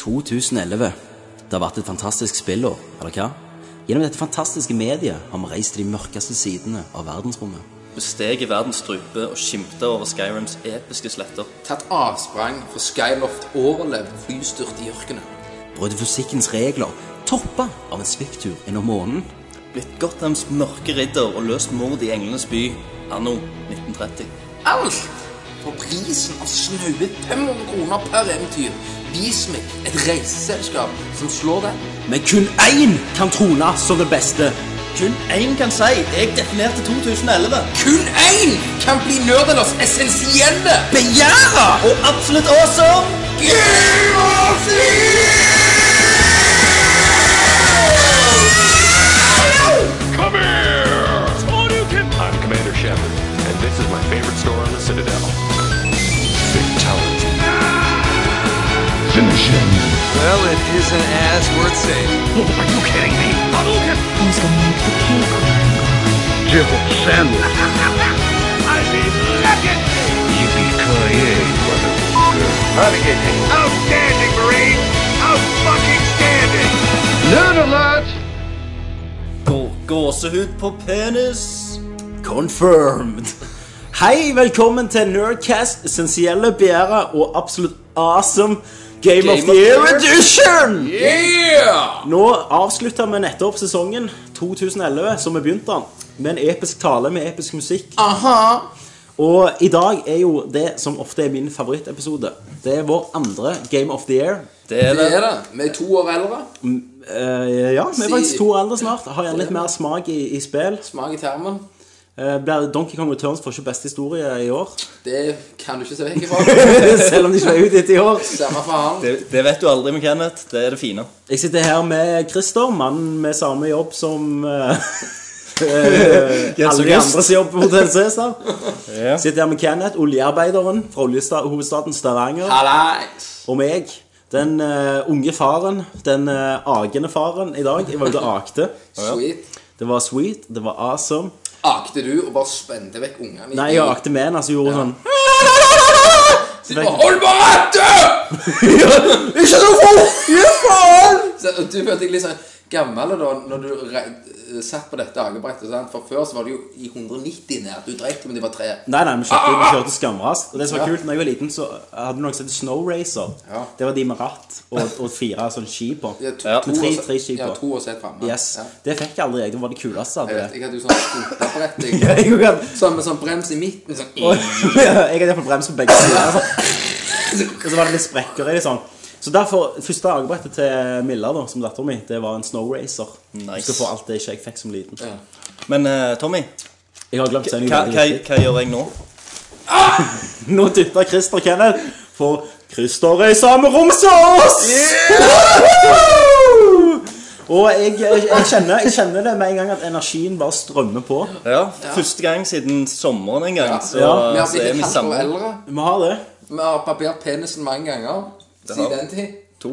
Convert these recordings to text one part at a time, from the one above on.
2011. Det har vært et fantastisk spillår, eller hva? Gjennom dette fantastiske mediet har vi reist til de mørkeste sidene av verdensrommet. Vi steg i verdens strupe og skimta over Skyrims episke sletter. Tatt avsprang for Skyloft overlevd flystyrt i ørkenen. Brøt fysikkens regler, toppa av en svipptur innom månen. Blitt Gothams mørke ridder og løst mord i Englenes by anno 1930. Alt for prisen av snaue 500 kroner per eventyr. Vis meg et reiseselskap som slår det. Men kun én kan trone som det beste. Kun én kan si jeg definerte 2011. Kun én kan bli nerdenes essensielle begjæra! Og absolutt awesome! Game of the Come here! I'm Commander Shepard, and this is my favorite store on the Citadel. Fatality. Finish him. Oh, Well, it is an ass worth saving. Are you kidding me? Hadouken! Who's gonna make the cake? Jill Sandwich. I mean, legend! Yippee-ki-yay, motherfucker. Hurricane. Outstanding, Marine! Out-fucking standing! Nerd alert! Gå- Gåsehud på penis. Confirmed. Hei, velkommen til Nerdcast, essensielle begjæra og absolutt awesome Game, of the Year edition! Yeah! Nå avslutter vi nettopp sesongen 2011, som vi begynte den, med en episk tale med episk musikk. Aha! Og i dag er jo det som ofte er min favorittepisode. Det er vår andre Game of the Year. Det er Det det. er det. Vi er to år eldre. Eh, ja, vi er faktisk to år eldre snart. Har gjerne litt mer smak i, i spill. Smak i termen. Eh, blir Donkey Kong Returns får ikke beste historie i år. Det kan du ikke se vekk ifra. Selv om de ikke var utgitt i år. Samme faen. det. Det vet du aldri med Kenneth. Det er det fine. Jeg sitter her med Christer, mannen med samme jobb som eh, alle de August. andres jobb på Hotell Cæsar. Sitter her med Kenneth, oljearbeideren fra oljesta- hovedstaden Stavanger. Hallais. Og meg, den eh, unge faren, den eh, agende faren i dag. Jeg var ute og akte. Sweet. Det var sweet, det var awesome. Akte du og bare spente vekk ungene? i Nei, jeg akte med henne, så gjorde hun sånn Så bare, Hold bare rattet! Ikke så fort! Gi faen! Så Du følte deg litt sånn gammel da når du re- eh, satt på dette akebrettet. sant? For før så var det jo i 190 nær. Du dreit men det var tre. Nei, nei, vi Ah, kjørte, vi kjørte skamrast. Og det som var Ja. kult, når jeg var liten, så hadde vi noe som het Snow Racer. Ja. Det var de med ratt og, og fire sånn ski på. Ja, to, Ja. to Med tre- år- tre skip Ja, på. to år sett framme. Yes. Ja. Det fikk jeg aldri, jeg. Det var det kuleste. Jeg Hadde vet, det. jeg hadde jo sånn skoterbrett. Jeg, jeg. hadde- Sånn med sånn brems i midten. Sånn. og- jeg hadde iallfall brems på begge sider. Altså. Og så var det litt sprekker i det. sånn Så derfor, Første akebrettet til Milla, da, som datteren min, det var en Snow Racer. Nice. Du skal få alt det ikke jeg fikk som liten. Ja. Men eh, Tommy, Jeg har glemt å si noe hva, veldig hva, viktig. hva gjør jeg nå? Nå dytter Christer Kenneth, for Christer er i samme rom som oss! Og jeg, jeg, jeg, kjenner, jeg kjenner det med en gang at energien bare strømmer på. Ja, Første gang siden sommeren en gang, så, Ja. Vi har så blitt er et vi halvt år sammen. eldre. Vi har det. Vi har barbert penisen mange ganger har siden den tid. To.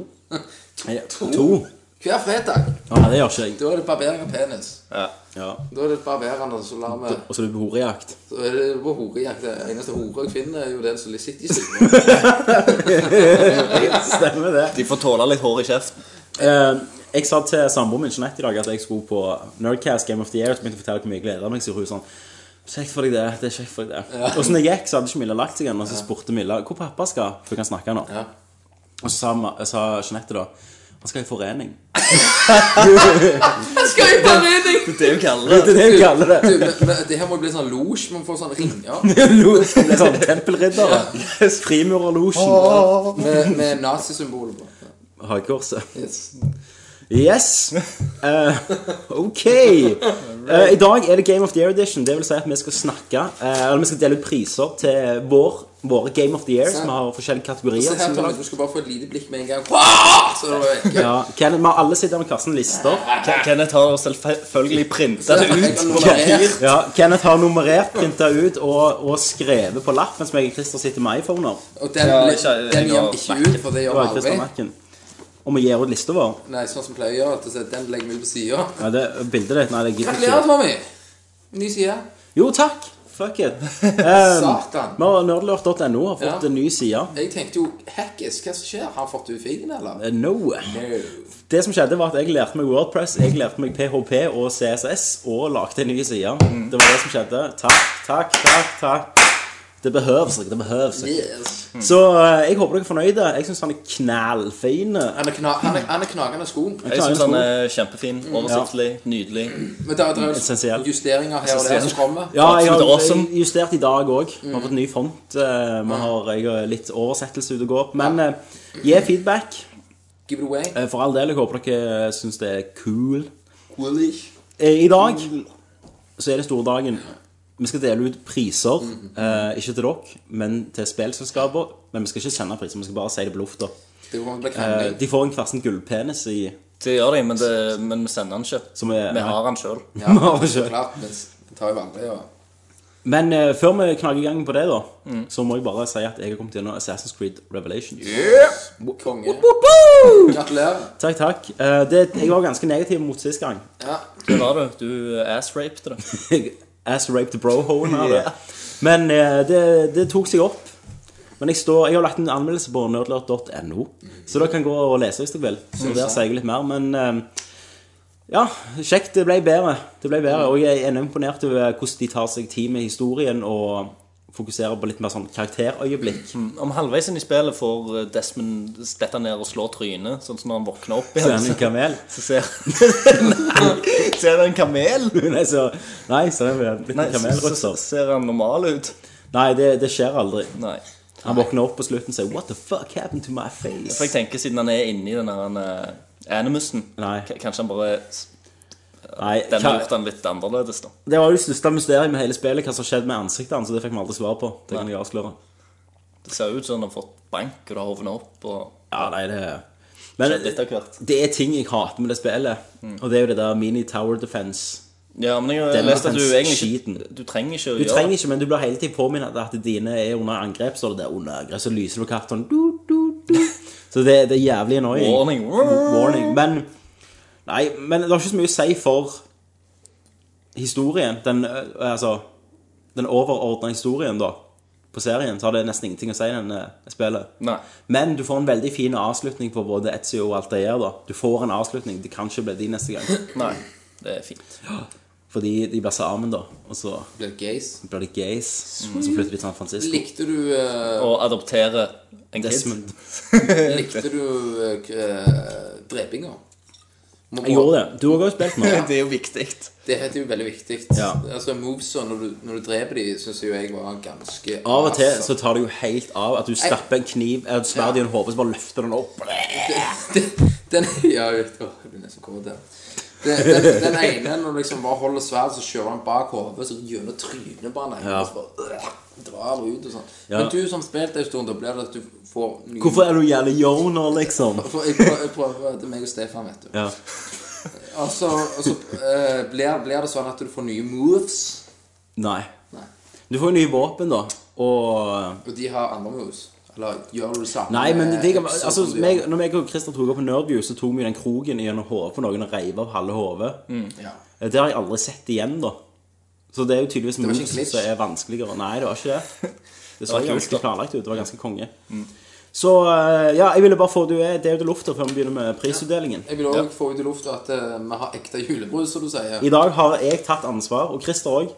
To. Hver fredag. Ja, det gjør ikke jeg. Da er det barbering av penis. Ja. Ja. Da er det barberende som lar meg Og så er det horejakt. Så er det på horejakt. Det eneste hore jeg finner, er jo den som sitter i stolen. Stemmer det. De får tåle litt hår i kjeften. Eh, jeg sa til samboeren min Jeanette i dag at jeg skulle på Nerdcast Game of the Year. Og så begynte jeg å fortelle hvor mye jeg gleder meg. Så gjorde hun sånn Kjekt for deg det. det er kjekt for deg det Og så når jeg gikk, så hadde ikke Milla lagt seg ennå. Og så spurte Milla hvor pappa skal, for hun kan snakke nå. Ja. Og så sa, ma- eh, sa Jeanette da Han skal i forening. Skal jeg bare redde deg? Det er jo Det kaldere. er det hun kaller Du, det. men, men, det her må jo bli sånn losj. Man får sånne ringer Lo- Sånn tempelriddere. Frimurerlosjen. med, med nazisymboler på. Hagkorset. Yes. Yes! Eh, ok. Eh, I dag er det Game of the Year Edition. Det vil si at vi skal snakke eh, Eller vi skal dele ut priser til vår, våre Game of the Year, som har forskjellige kategorier. Så her, Som vi, Tommy, lager. du skal bare få et lite blikk med en gang. Wow! Så er det vekk. ja, Kenneth, vi har alle sittet med kassen lister. Ke- Kenneth har selvfølgelig printa det Jeg ut. kan nummerere. Ja, Kenneth har nummerert, printa ut og, og skrevet på lapp, mens meg og Christer sitter med iPhoner. Og den, Ja, blir- ikke- den jeg gjør har vi ikke ut, for det gjør Det vi var Christer aldri. Macken. Og vi gir ut lista vår. Nei, sånn som pleier å gjøre. at det- Den legger vi ut på sida. Ja, det bildet ditt Nei, det gidder jeg Gratulerer, ikke. Tommy. Ny side. Jo, takk. Fuck it. Um, Satan. vi har nerdlurt.no har fått Ja. en ny side. Jeg tenkte jo Hackis, hva som skjer? Har han fått ut figen, eller? Eh, No. Det som skjedde, var at jeg lærte meg Wordpress, jeg lærte meg PHP og CSS og lagde en ny side. Mm. Det var det som skjedde. Takk, takk, takk. takk. Det behøves ikke. Det behøves ikke. Yes. Så eh, jeg håper dere er fornøyde. Jeg syns han er knallfin. Han er, kna han er, han er knagende skoen. Jeg Klarer syns en Mm. han er kjempefin. Oversiktlig, nydelig. Men der er Essensiell. det justeringer her og der som kommer. Ja, jeg har Absolutt awesome. jeg har justert i dag òg. Vi har fått ny font. eh, Vi har, jeg har litt oversettelse ute og går. Men eh, gi feedback. Give it away. Eh, For all del, jeg håper dere syns det er cool. Willy. Eh, I dag så er det store dagen. Vi skal dele ut priser. eh, Ikke til dere, men til spillselskaper. Men vi skal ikke sende priser, vi skal bare si det på lufta. Det kommer til å bli Eh, krangling. De får en kvarsen gullpenis i Det gjør de, men, det, men vi sender han Som ikke. er- Vi har han sjøl. Ja, Nå, så ikke. klart. Men s- det tar jo aldri å Men eh, før vi knager i gang på det, da, så må jeg bare si at jeg har kommet gjennom Assassin's Creed Revelation. Konge. Gratulerer. Takk, takk. Eh, det, jeg var ganske negativ mot sist gang. Ja. Det var du. Du ass-raped det. Ass raped bro-hoen av det. Men eh, det, det tok seg opp. Men jeg, står, jeg har lagt en anmeldelse på nerdlert.no, så dere kan gå og lese hvis dere vil. Så der sier jeg litt mer. Men eh, ja, kjekt. Det ble bedre. Det ble bedre. Og jeg er ennå imponert over hvordan de tar seg tid med historien og fokuserer på litt mer sånn karakterøyeblikk. Om halvveis inn i spillet får eh, Desmond dette ned og slår trynet, sånn som når han våkner opp Så er han igjen. en kamel. Så ser Nei, ser det en kamel? Nei, så, nei, så er han blitt Nei, en så, så kamelrusser. ser han normal ut. Nei, det, det skjer aldri. Nei. Han våkner opp på slutten og sier 'What the fuck happened to my face?' For jeg tenker, siden han er inni den her han, eh, animusen, Nei. k- kanskje han bare Nei, Den har gjort hva, han litt annerledes, da. det var jo det største mysteriet med hele spillet, hva som skjedde med ansiktet hans. Så det fikk vi aldri svar på. Det kan Nei. jeg avsløre. Det ser ut som han har fått bank, og det har hovna opp, og Ja, nei, det Men Skjedde litt av hvert. det er ting jeg hater med det spillet, og det er jo det der mini tower defense. Ja, men jeg har Den lest at du offense- egentlig skiten. ikke Du trenger ikke å Du gjøre trenger ikke, men du blir hele tiden påminnet at dine er under angrep, står det der under angrep, så lyser du kartet sånn du, du, du. Så det, det er jævlig annoying. Warning. Warning. Men Nei, men det har ikke så mye å si for historien. Den ø, altså Den overordna historien, da, på serien, så har det nesten ingenting å si, den ø, spillet. Nei. Men du får en veldig fin avslutning på både Etzio og Altair, da. Du får en avslutning. Det kan ikke bli de neste gang. Nei. Det er fint. Fordi de blir sammen, da. Og så Blir det gays. blir det gays. Og så flytter de til San Francisco. Likte du eh, Å adoptere en kid Desmond. Likte du uh, drepinga? Må Jeg gjorde det. Du har også spilt nå. Det er jo viktig. Det heter jo veldig viktig. Ja. Altså, Movesa, når, du- når du dreper de, syns jo jeg var ganske Av og til altså. så tar det jo helt av at du stapper en kniv eller et sverd i en hode, så bare løfter den opp. Den Ja, jeg vet du, jeg blir nesten kåt her. Den, den, den ene, når du liksom bare holder sverd, så kjører han bak hodet, så gjennom trynet på han. Ja. og så bare, øh, Drar ut og sånn. Ja. Men du som spilte en stund, da blir det at du får nye Hvorfor er du jævlig yoner, liksom? For jeg prøver, jeg prøver Det er meg og Stefan, vet du. Ja. Og så, og så eh, blir, blir det sånn at du får nye moves. Nei. Nei. Du får jo nye våpen, da. Og eh, Og de har andre mus? Eller gjør du det samme? Nei, men med det, det, Epson altså, Sånn som du meg, gjør? når jeg og Christer tok opp på Nerdview, så tok vi den kroken gjennom hodet på noen og reiv av halve hodet. Eh, ja. Det har jeg aldri sett igjen, da. Så det er jo tydeligvis var ikke en moves glitch. som er vanskeligere. Nei, det var ikke det. Det så var kult, ganske da. planlagt ut. Det var ganske konge. Så eh, ja, jeg ville bare få det det er jo til lufta før vi begynner med prisutdelingen. Jeg vil òg få ut i lufta at eh, vi har ekte julebrus, som du sier. I dag har jeg tatt ansvar, og Christer òg.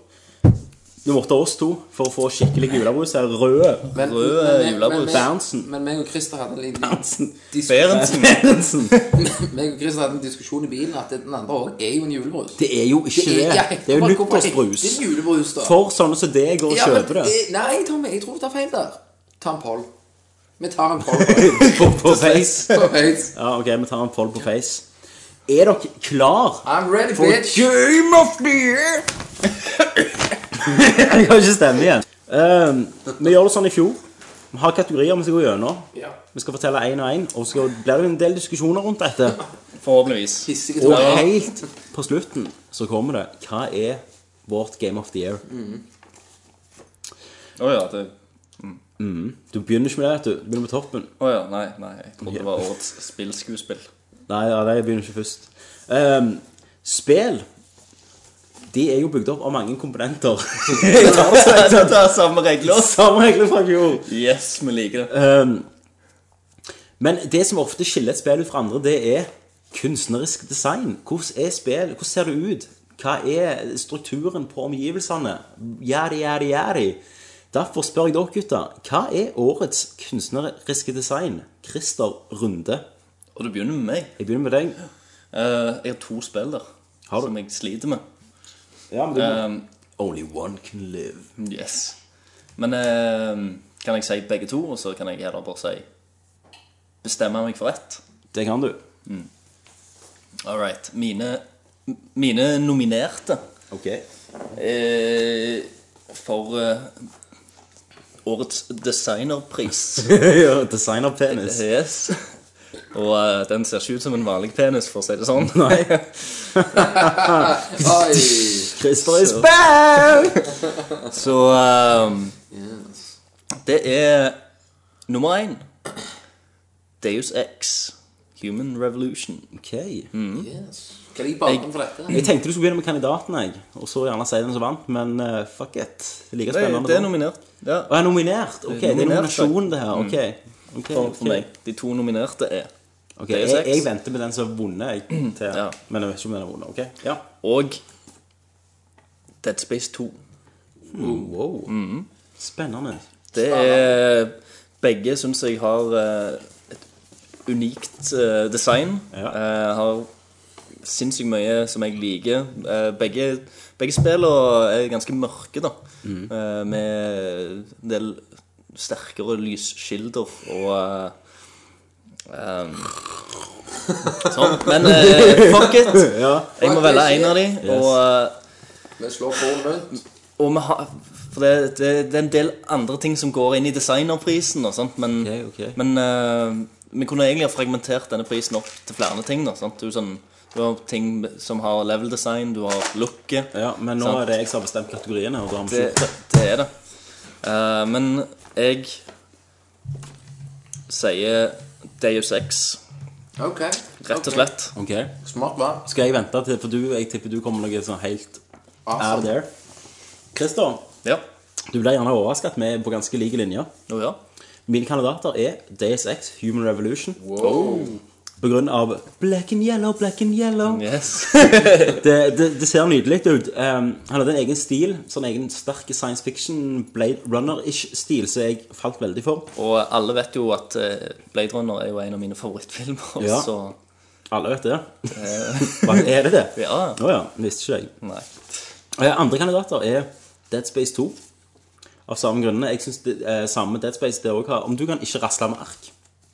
Det måtte oss to for å få skikkelig julebrus. Her, rød. Men- Rød men- men- julebrus. men- men- Bouncen. Men meg og Christer hadde en liten dis- Berentsen. Meg og Christer hadde en diskusjon i bilen at den andre også er jo en julebrus. Det er jo ikke det. ja, Det er jo bare- hvorfor nyttårsbrus. heter det julebrus, da. For sånne som deg går og Ja, men- kjøper det. eh, Nei, Tommy, jeg tror du tar feil der. Ta en poll. Vi tar en poll. På, på face. På høyt. Ja, OK, vi tar en poll på face. Er dere klar? I'm ready, For bitch. Game of the year! Jeg har ikke stemme igjen. Um, vi gjør det sånn i fjor. Vi har kategorier vi skal gå gjennom. Ja. Vi skal fortelle én og én, og så blir det en del diskusjoner rundt dette. Forhåpentligvis. Hissige Og tårer. helt på slutten så kommer det Hva er vårt Game of the Year? Å ja, det Du begynner ikke med det, vet du. Du begynner på toppen. Å ja, nei, nei. Jeg trodde det var årets spillskuespill. Nei, ja, nei, jeg begynner ikke først. Um, spill. Ehm, de er jo bygd opp av mange komponenter. Jeg tar det som Det er samme regler. Samme regler fra fjor. Yes, vi liker det. Ehm, men det som ofte skiller et spill ut fra andre, det er kunstnerisk design. Hvordan er spill? Hvordan ser det ut? Hva er strukturen på omgivelsene? Yadi, yadi, yadi. Derfor spør jeg dere, gutter, hva er årets kunstneriske design? Christer Runde. Og du begynner med meg. Jeg begynner med deg. Eh, jeg har to spill der Har du? som jeg sliter med. Ja, men du må... Um, Only one can live. yes. Men eh, kan jeg si begge to, og så kan jeg heller bare si bestemme meg for ett? Det kan du. All right. Mine, mine nominerte Ok. eh, for eh, årets designerpris. Ja, Designer penis. Yes. Og eh, den ser ikke ut som en vanlig penis, for å si det sånn. Nei. Oi! Christer is back! Så ehm, Det er nummer én. Deus X. Human Revolution. Ok. Yes. Hva ligger bakom for dette? Jeg tenkte du skulle begynne med kandidaten, jeg. Og så gjerne si den som vant, men eh, fuck it. Det er Like Det, spennende. det er nominert. Ja. Å, jeg er nominert. Ok, det er Nominert, Mm. nominasjon, det her. Ok. Ok, For, ok. for meg. De to nominerte er Ok, Deus jeg, Ex. jeg venter med den som har vunnet, jeg. Til, Ja. Men jeg vet ikke om den har vunnet. Ok. Ja. Og Dead Space 2. Mm. Wow. Mm. Spennende. Det er Begge syns jeg har eh, et unikt eh, design. Ja. Eh, har sinnssykt mye som jeg liker. Eh, begge, begge spillene er ganske mørke, da. Eh, med en del sterkere lyskilder og eh, eh, Sånn. Men eh, fuck it! Jeg må velge en av de, og eh, Vi slår foran rundt. og vi har For det, det, det er en del andre ting som går inn i designerprisen, og sånt, men, Ok, ok. men eh, vi kunne egentlig ha fragmentert denne prisen opp til flere ting. Da, sant? Du, sånn, du har ting som har level design, du har looket Ja, men nå Sant. er det jeg som har bestemt kategoriene, og da har vi det, ikke det er det. Eh, men jeg sier Deus Ex, Ok. rett Ok. og slett. Ok. Smart valg. Skal jeg vente til For du, jeg tipper du kommer med noe sånn helt out Awesome. there. Christer, Ja. du blir gjerne overrasket at vi er på ganske like linjer. Å ja. Mine kandidater er DSX, Human Revolution. Oh. På grunn av black and yellow, black and yellow. Yes. det, det, det ser nydelig ut. Um, han hadde en egen stil, sånn egen sterk science fiction, Blade Runner-ish stil, som jeg falt veldig for. Og alle vet jo at eh, Blade Runner er jo en av mine favorittfilmer, Ja. så Alle vet det. Hva er det det? Eh. Ja. Å ja, visste ikke jeg. Nei. Eh, Andre kandidater er Dead Space 2. Av samme grunnene. Jeg synes det, eh, samme Dead Space det også har Om du kan ikke rasle med ark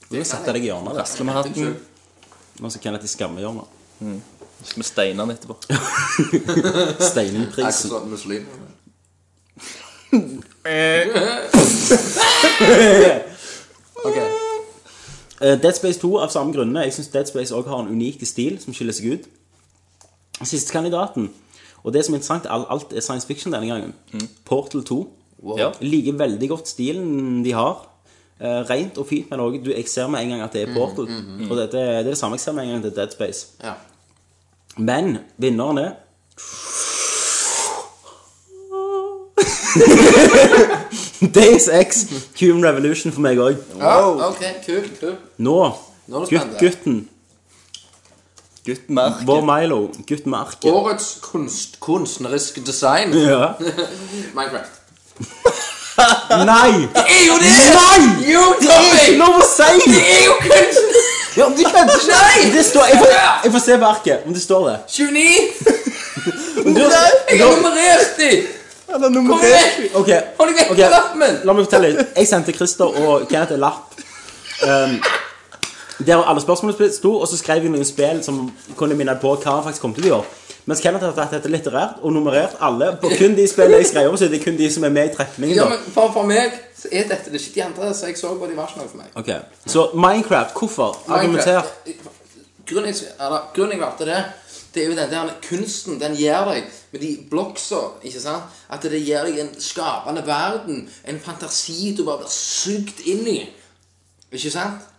Du kan sette deg i hjørnet. der. Rasle med hatten. Nå skal Kenneth i skammehjørnet. Skal vi steine den etterpå? Jeg er ikke Steiningprisen. sånn muslim. Ok. Eh, Dead Space 2 av samme grunne. Jeg syns Dead Space også har en unik stil som skiller seg ut. Siste kandidaten. Og det som er interessant, all- alt er science fiction denne gangen. Mm. Portal 2. Ja. Jeg liker veldig godt stilen de har. Eh, rent og fint, men også, du, jeg ser med en gang at det Mm, er Portal. Og dette, det er det samme jeg ser med en gang til Dead Space. Ja. Men vinneren er Days X, Human Revolution for meg òg. Ja, ok, kul, kul. Nå, Nå er gutt, det spennende. gutten, Gutt merk. vår Milo, gutt med arket. Årets kunst, kunstnerisk design. Ja. Minecraft. Nei! Det er jo det! Nei! Jo, Tommy! Lov å si! Det er jo kunst... Ja, men du skjønte ikke! Nei! Det står, jeg, får, jeg får se på arket om det står det. 29! Du, Jeg har nummerert de! Kom igjen! Ok, Hold deg vekk ok. fra lappen! La meg fortelle litt. Jeg sendte Christer og Kenneth en lapp. Um, der alle spørsmålene sto, og så skrev jeg noen spill som kunne minne på hva han faktisk kom til å gjøre. Mens Kenneth har tatt dette litterært og nummerert alle på kun de spillene jeg skrev om. Så det er kun de som er med i trekningen. Ja, da. men for, for meg så er dette det er ikke de andre, så jeg så på de varsene for meg. Ok, Så Minecraft, hvorfor? Argumenter. Grunnen jeg, eh, eller, grunnen jeg valgte det, det er jo den der kunsten den gir deg med de bloksa, ikke sant? At det gir deg en skapende verden, en fantasi du bare blir sugd inn i. Ikke sant?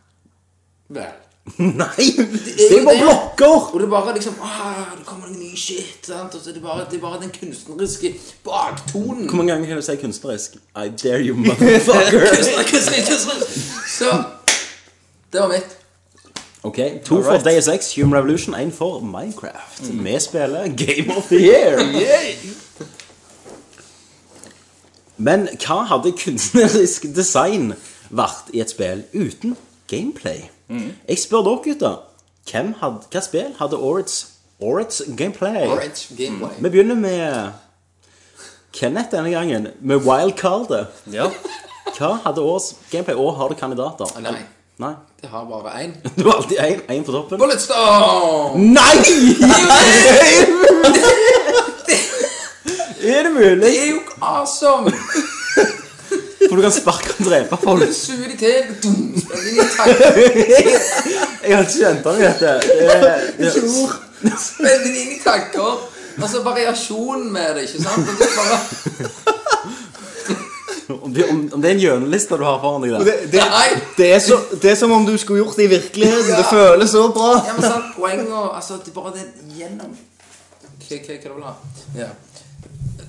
Vel. Nei! er Det jo var det. blokker! Og det er bare liksom ah, Det kommer noe ny shit. Sant? Og så er det, bare, det er bare den kunstneriske baktonen. Hvor mange ganger kan du si kunstnerisk? I dare you, motherfucker! Kunstner, kunstner, kunstner. Så Det var mitt. Ok, To for Deus Ex, Human Revolution, én for Minecraft. Vi spiller Game of the Year. Men hva hadde kunstnerisk design vært i et spill uten gameplay? Jeg spør dere, gutter. Hvem hadde, hva spill hadde årets, årets gameplay? Orange gameplay. Vi begynner med Kenneth denne gangen, med wildcardet. Ja. Hva hadde årets gameplay, og har du kandidater? Nei, Nei. det har bare én. Du har alltid én, én på toppen. Bulletstone! Nei! Er det mulig? Det er jo awesome! For du kan sparke og drepe folk. Suger de til. Dum, sprenger inn i tanken. Jeg har ikke kjent han i dette. Det er- Spenner de inn i tanker. Altså variasjonen med det, ikke sant? Og det er bare, Om det- Om om det er en hjørneliste du har foran deg der. Det, det, nei! det, er så, det er som om du skulle gjort det i virkeligheten. Ja. Det føles så bra. Ja, men sant, poeng og Altså, det er bare det gjennom... Hva, hva, hva du vil ha? Ja.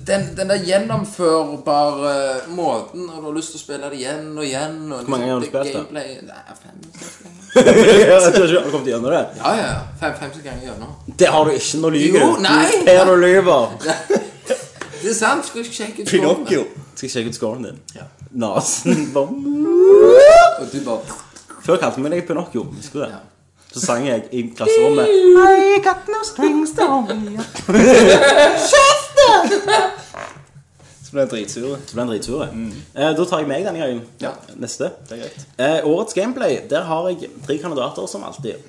Den, den der gjennomførbare måten, og du har lyst til å spille det igjen og igjen og liksom, Hvor mange ganger har du spilt det? gameplay- Nei, fem, seks ganger. Jeg tror ikke du har kommet gjennom det. Ja, ja, ja. Fem, fem, seks ganger gjennom. Det har du ikke. Nå lyver Jo, du. nei. Per, du lyver. Det er sant, skulle ikke sjekke ut Pinocchio. Skal jeg sjekke ut scoren din? Ja. Nasen bom. Og du bare... Før kalte vi deg Pinocchio. Husker du det? Ja. Så sang jeg i klasserommet. I got no strings to hold me up. Så ble jeg dritsur. Så ble han dritsur. jeg. Eh, da tar jeg meg denne gangen. Ja. Neste. Mm. Det er greit. Eh, årets gameplay, der har jeg tre kandidater, som alltid.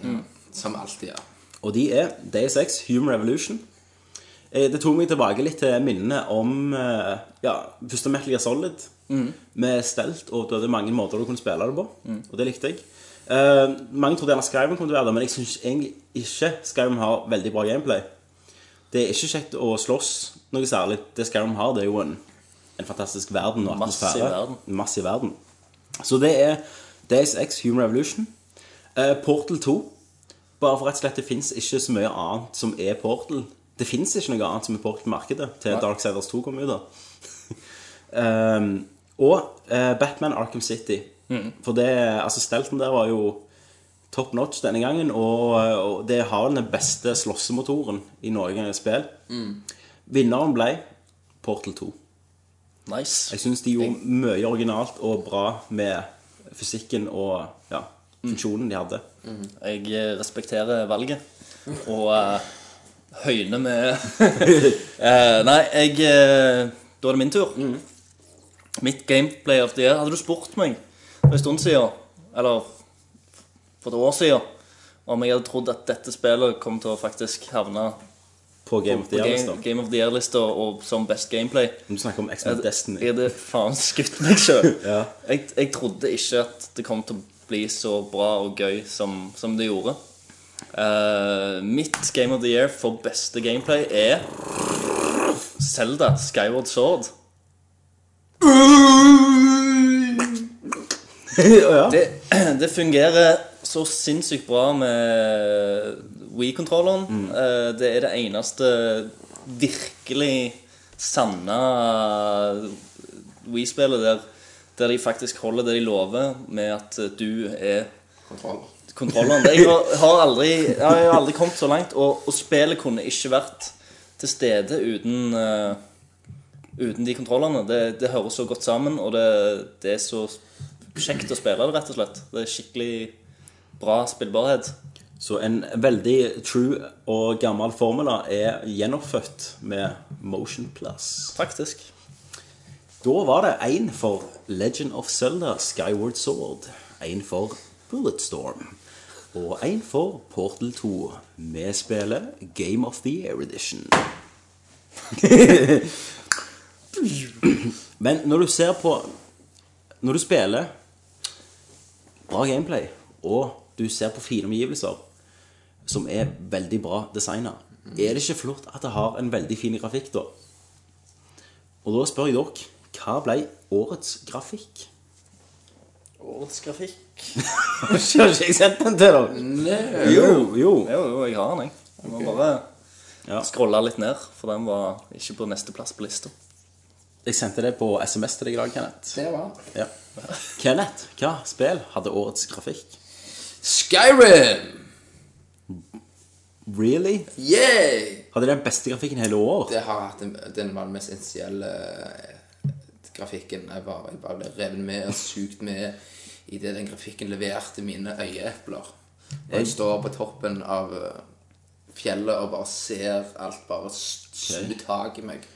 Som alltid, ja. Og de er Day 6, Human Revolution. Eh, det tok meg tilbake litt til minnene om eh, ja, første Metal Gear Solid. Mm. Med stelt, og du hadde mange måter du kunne spille det på. Og det likte jeg. Eh, mange trodde gjerne Skyrim kom til å være det, men jeg syns egentlig ikke Skyrim har veldig bra gameplay. Det er ikke kjekt å slåss noe særlig. Det Skyrim har, det er jo en, en fantastisk verden og Massiv atmosfære. verden. Massiv verden. Så det er Days X Human Revolution. Eh, Portal 2. Bare for rett og slett det fins ikke så mye annet som er Portal. Det fins ikke noe annet som er Portal på markedet til Darksiders 2 kom ut. da Ehm, og eh, Batman Arkham City. Mm. For det, altså stelten der var jo top notch denne gangen, og, og det har den beste slåssemotoren i noe spill. Mm. Vinneren ble Portal 2. Nice. Jeg syns de gjorde mye originalt og bra med fysikken og ja, Mm. funksjonen de hadde. Jeg eh, respekterer valget. Og eh, høyner med Eh, Nei, jeg eh, Da er det min tur. Mm. Mitt gameplay of the year. Hadde du spurt meg for en stund siden, eller for et år siden, om jeg hadde trodd at dette spillet kom til å faktisk havne På Game of the på Year. Game, liksom. game of the Year-lista og som best gameplay Om Du snakker om X-Men jeg, Destiny. Jeg hadde faen skutt meg sjøl. Ja. jeg, jeg trodde ikke at det kom til å bli så bra og gøy som, som det gjorde. Eh, mitt Game of the Year for beste gameplay er Zelda Skyward Sword. ja. Det, det fungerer så sinnssykt bra med Wii-kontrolleren. Eh, det er det eneste virkelig sanne Wii-spillet der, der de faktisk holder det de lover, med at eh, du er Kontroll. kontrolleren. Jeg har, har, aldri, jeg har aldri kommet så langt, og, og spillet kunne ikke vært til stede uten eh, Uten de kontrollene. Det, det høres så godt sammen, og det, det er så kjekt å spille det, rett og slett. Det er skikkelig bra spillbarhet. Så en veldig true og gammel formula er gjennomfødt med Motion Plus. Faktisk. Da var det én for Legend of Zelda Skyward Sword, én for Bulletstorm og én for Portal 2. Vi spiller Game of the Year Edition. Men når du ser på Når du spiller bra gameplay, og du ser på fine omgivelser som er veldig bra designa, er det ikke flott at det har en veldig fin grafikk, da? Og da spør jeg dere, hva ble årets grafikk? Årets grafikk. Har ikke jeg sendt den til dere? Nei. Jo, jo. Jo, jo, jeg har den, jeg. Jeg må bare Ja. scrolle litt ned, for den var ikke på neste plass på lista. Jeg sendte det på SMS til deg i dag, Kenneth. Det var den. Ja. Kenneth, hva spill hadde årets grafikk? Skyrim! Really? Yeah! Hadde den beste grafikken hele år? Det har hatt den, den var den mest essensielle eh, grafikken. Jeg bare, jeg bare ble revet med og sugd med i det den grafikken leverte mine øyeepler. Og jeg står på toppen av eh, fjellet og bare ser alt bare suge tak i meg.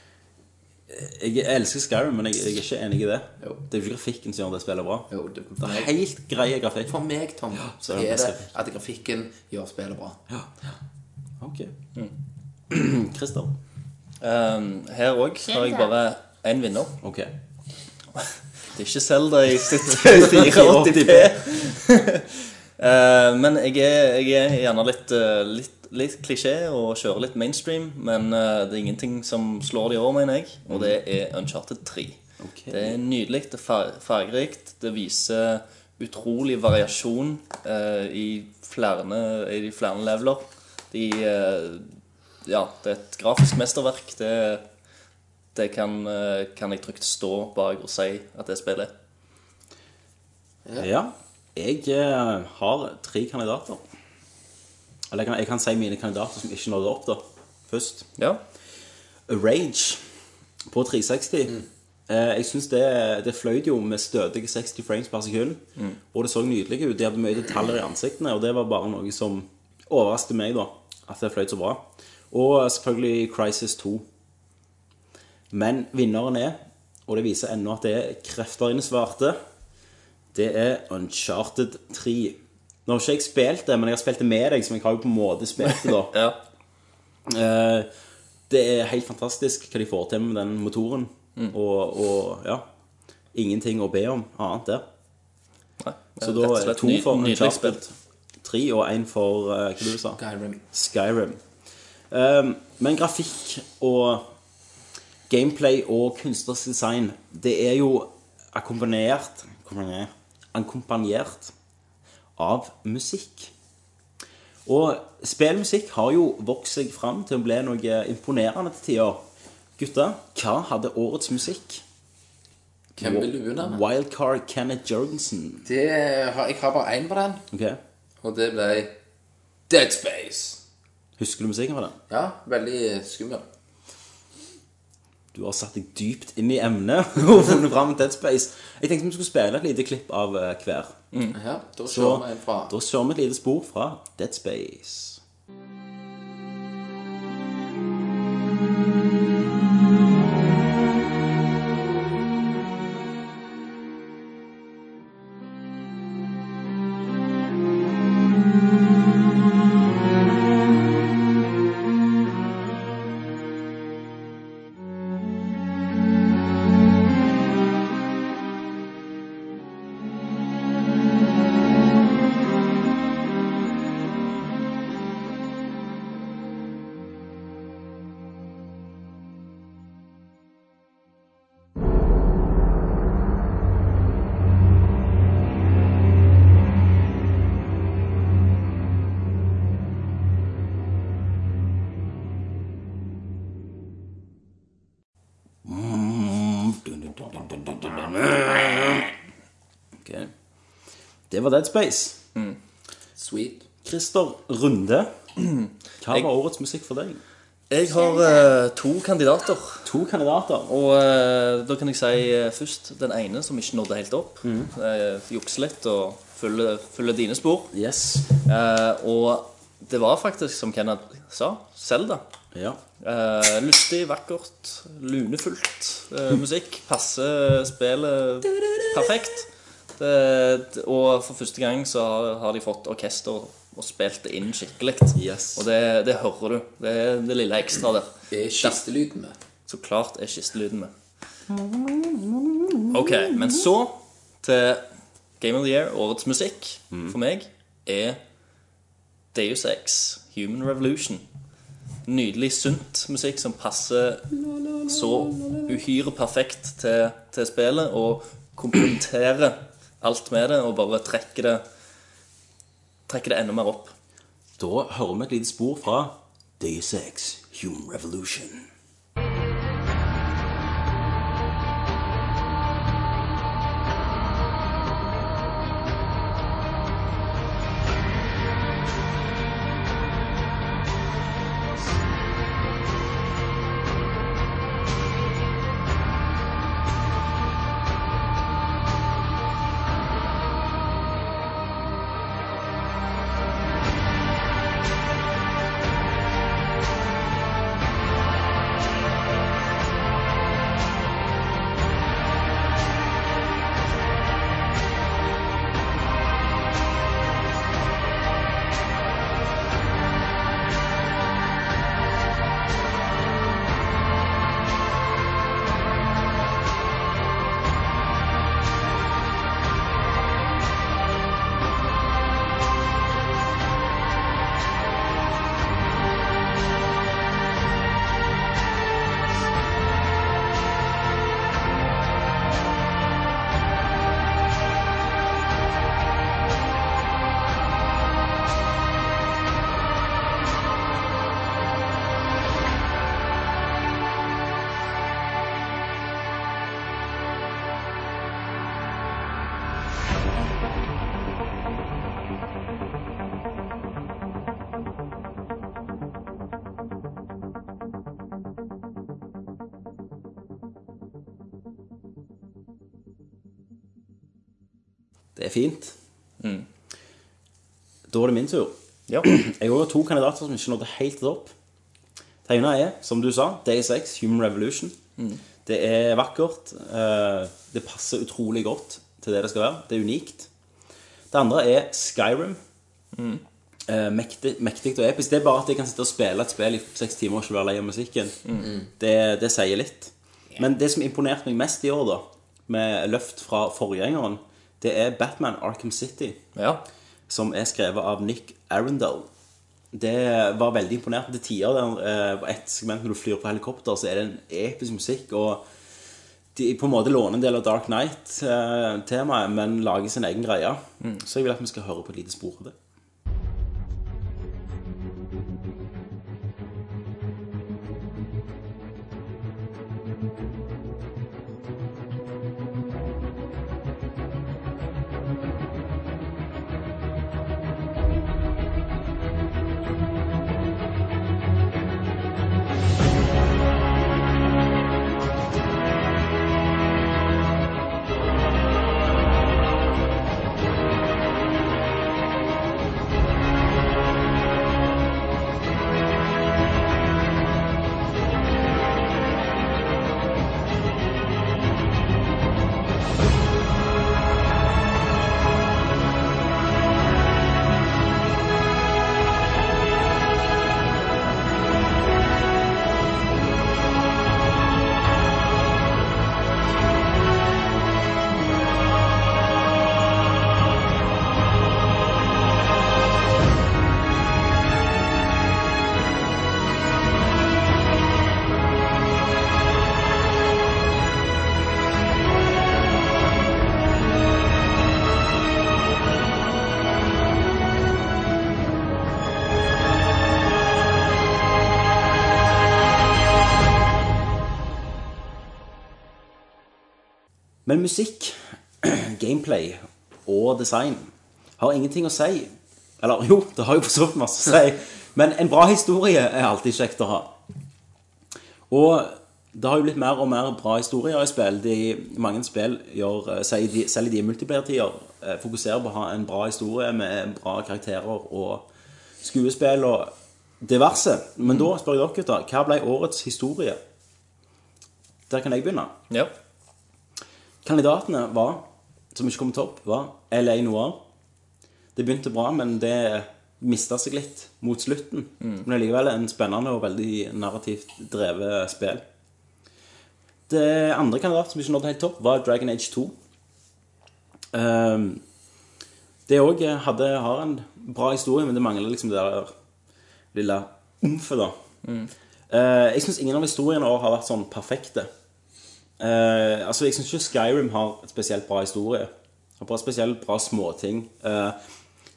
Jeg elsker Skyrim, men jeg, jeg er ikke enig i det. Jo. Det er jo ikke grafikken som gjør det spillet bra. Jo, det, Det for, er meg, helt greie grafikk. for meg, Tom, så så er det er den det beste at grafikken gjør spillet bra. Ok. Christer. Ehm, her òg har jeg bare én vinner. Ok. Det er ikke Zelda i sitt 480p. Eh, men jeg er, jeg er gjerne litt, eh, litt, litt klisjé og kjører litt mainstream. Men eh, det er ingenting som slår det i år, mener jeg, og det er Uncharted 3. Ok. Det er nydelig, det er far- fargerikt, det viser utrolig variasjon eh, i, flere, i de flere leveler. De, eh, ja, det er et grafisk mesterverk. Det, det kan, eh, kan jeg trygt stå bak og si at det spillet er. Ja. Jeg eh, har tre kandidater. Eller jeg kan, jeg kan si mine kandidater som ikke nådde opp, da. Først. Ja. Rage på 360. Eh, jeg synes det, det fløyt jo med stødige 60 frames per sekund. Og det så nydelig ut. De hadde mye detaljer i ansiktene, og det var bare noe som overrasket meg, da. At det fløyt så bra. Og selvfølgelig Crisis 2. Men vinneren er, og det viser ennå at det er krefter inne svarte, det er Uncharted 3. Nå har ikke jeg spilt det, men jeg har spilt det med deg, så jeg har jo på en måte spilt det, da. ja. Eh, Det er helt fantastisk hva de får til med den motoren. Og, og ja Ingenting å be om annet der. Nei, Så da er det to for nydelig spilt. Uncharted. Tre og én for eh, hva du sa? Skyrim. Skyrim. Ehm, men grafikk og gameplay og kunstnerisk design, det er jo akkompagnert akkompagnert- Akkompagnert av musikk. Og spillmusikk har jo vokst seg fram til å bli noe imponerende til tider. Gutta, hva hadde årets musikk? Hvem vil du unna? med? Wildcard Kenneth Jorgensen. Det har, jeg har bare én på den, Ok, og det ble Dead Space. Husker du musikken fra den? Ja, veldig skummel. Du har satt deg dypt inn i emnet og funnet fram Dead Space. Jeg tenkte vi skulle spille et lite klipp av eh, hver. Ja, da Så kjører vi en fra. da kjører vi et lite spor fra Dead Space. Ok. Det var Dead Space. Sweet. Christer Runde, hva var årets musikk for deg? Jeg har eh, to kandidater. To kandidater. Og eh, da kan jeg si eh, først den ene som ikke nådde helt opp. Mm. Jukse litt og følge, følge dine spor. Yes. Eh, og det var faktisk, som Kenneth sa, Selda. Ja. lystig, vakkert, lunefullt eh, musikk. Passer spillet perfekt. Det, og for første gang så har, har de fått orkester og spilt det inn skikkelig. Yes. Og det, det hører du. Det er det lille ekstra der. Det er kistelyden med. Så klart er kistelyden med. Ok, men så til Game of the Year, årets musikk, for meg er Deus Ex, Human Revolution. Nydelig, sunt musikk som passer så uhyre perfekt til, til spillet, og komplementerer alt med det, og bare trekker det Trekker det enda mer opp. Da hører vi et lite spor fra Day 6, Human Revolution. Det er fint. Mm. Da er det min tur. Ja. Jeg har to kandidater som ikke nådde helt opp. Det ene er, som du sa, Day 6, Human Revolution. Det er vakkert. eh, Det passer utrolig godt til det det skal være. Det er unikt. Det andre er Skyrim. Eh, Mektig, mektig og episk. Det er bare at jeg kan sitte og spille et spill i seks timer og ikke være lei av musikken. Det, det sier litt. Men det som imponerte meg mest i år, da, med løft fra forgjengeren, det er Batman Arkham City Ja. som er skrevet av Nick Arendal. Det var veldig imponerende til tider. Der, eh, på et segment når du flyr på helikopter, så er det en episk musikk. Og de på en måte låner en del av Dark Night-temaet, men lager sin egen greie. Så jeg vil at vi skal høre på et lite spor av det. Men musikk, gameplay og design har ingenting å si. Eller jo, det har jo for så vidt masse å si, men en bra historie er alltid kjekt å ha. Og det har jo blitt mer og mer bra historier i spill. De, mange spill gjør, eh, sier de, selv i de multiplayer-tider, eh, fokuserer på å ha en bra historie med bra karakterer og skuespill og diverse. Men da spør jeg dere, gutter, hva ble årets historie? Der kan jeg begynne. ja. Kandidatene var, som ikke kom til opp, var LA Noir. Det begynte bra, men det mista seg litt mot slutten. Men allikevel en spennende og veldig narrativt drevet spill. Det andre kandidat som ikke nådde helt topp, var Dragon Age 2. Ehm, det òg hadde har en bra historie, men det mangler liksom det der lille umfet, da. Eh, jeg syns ingen av historiene i år har vært sånn perfekte. Eh, altså, Jeg syns ikke Skyrim har et spesielt bra historie. Det Og bare spesielt bra småting. Uh,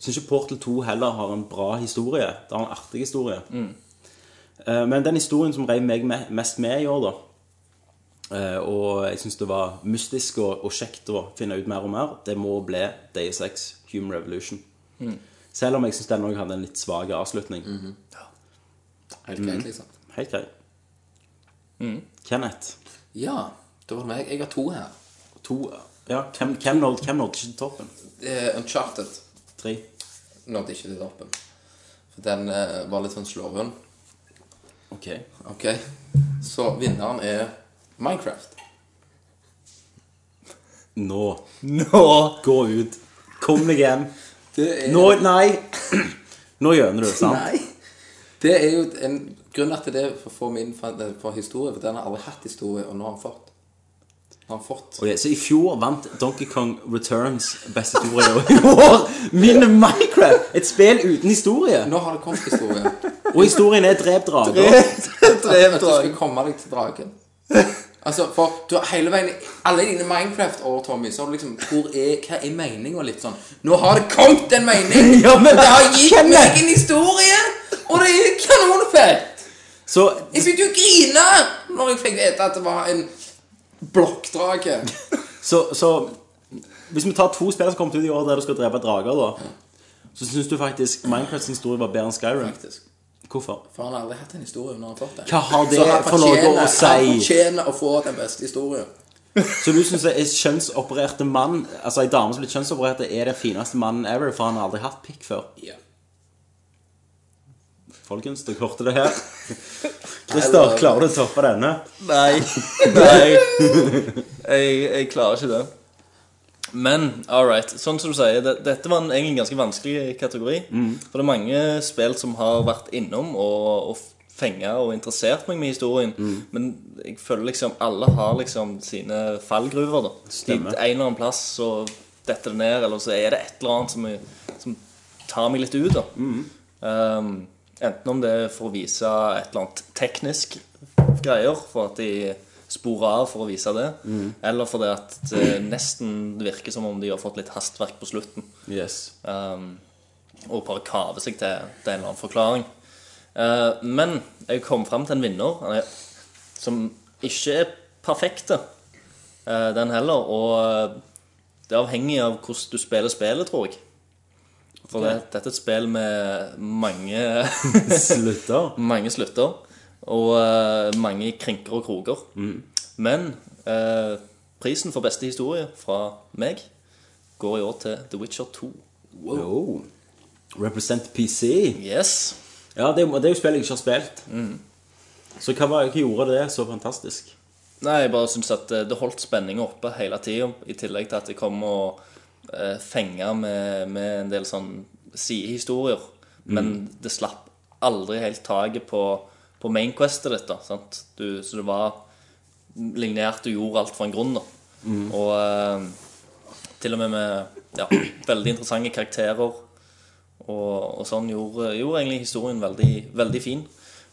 Syns ikke Portal 2 heller har en bra historie. Det har en artig historie. Eh, men den historien som reiv meg me- mest med i år, da eh, Og jeg syns det var mystisk og, og kjekt å finne ut mer og mer, det må bli Days X, Human Revolution. Selv om jeg syns den òg hadde en litt svak avslutning. Helt greit, liksom. Helt grei. Kenneth. Ja, da var det meg. Jeg har to her. To Ja, hvem, hvem nådde hvem nådde ikke til toppen? Eh, Uncharted Tre. nådde ikke til toppen. For den eh, var litt sånn sloven. Ok. Ok, så vinneren er Minecraft. Nå. Nå! Gå ut. Kom deg hjem. Det er... Nå Nei! Nå gjøner du, sant? Nei. Det er jo en grunn til det for, for min for, for historie, for den har aldri hatt historie, og nå har han fått. Nå har han fått. Ok, Så i fjor vant Donkey Kong Returns beste historie. Og i år vinner Minecraft! Et spill uten historie. Nå har det kommet historie. Og historien er drep drager. At du skal komme deg til dragen. Altså, for du har hele veien Alle dine Minecraft-år, Tommy, så har du liksom Hvor er Hva er meninga? Litt sånn Nå har det kommet en mening! Ja, men det har gitt Kenneth! meg en historie! Og det er kanonfett! Så Jeg begynte jo å grine når jeg fikk vite at det var en blokkdrage. Så, så hvis vi tar to spill som kom ut i år der du skal drepe drager, da, så syns du faktisk Minecrafts historie var bedre enn Skyrim. Faktisk. Hvorfor? For han har aldri hatt en historie når han har fått den. Hva har det Så han for noe å fortjener- si? Han fortjener å få den beste historien. Så du syns en kjønnsopererte mann Altså en dame som blir kjønnsoperert, er den fineste mannen ever, for han har aldri hatt pikk før? Ja. Folkens, dere hørte det her. Christer, klarer du å toppe denne? Nei. Nei. Jeg, jeg klarer ikke det. Men all right, sånn som du sier, det, dette var en, egentlig en ganske vanskelig kategori. For det er mange spill som har vært innom og, og fenga og interessert meg med historien. Men jeg føler liksom alle har liksom sine fallgruver. da De, En Stemmer. eller annen plass så detter det ned, eller så er det et eller annet som, jeg- som tar meg litt ut. da Um, enten om det er for å vise et eller annet teknisk greier, for at de sporer av for å vise det, eller fordi at det nesten virker som om de har fått litt hastverk på slutten Yes. um, og bare kave seg til, til en eller annen forklaring. Eh, men jeg kom fram til en vinner han er- som ikke er perfekte, eh, den heller. Og eh, det avhenger av hvordan du spiller spillet, tror jeg. For det, dette er et spill med mange Slutter. mange slutter, og eh, mange krinker og kroker. Men eh, prisen for beste historie fra meg går i år til The Witcher 2. Wow. Represent PC. Yes. Ja, det, er jo- det er jo spill jeg ikke har spilt. Så hva, var, hva gjorde det så fantastisk? Nei, jeg bare syns at eh, det holdt spenninga oppe hele tida, i tillegg til at jeg kom og eh, fenga med, med en del sånn sidehistorier. Men det slapp aldri helt taket på, på mainquestet ditt, da. Sant? Du, så det var lignært du gjorde alt for en grunn, da. Og eh, til og med med ja, veldig interessante karakterer og, og sånn gjorde, gjorde egentlig historien veldig, veldig fin.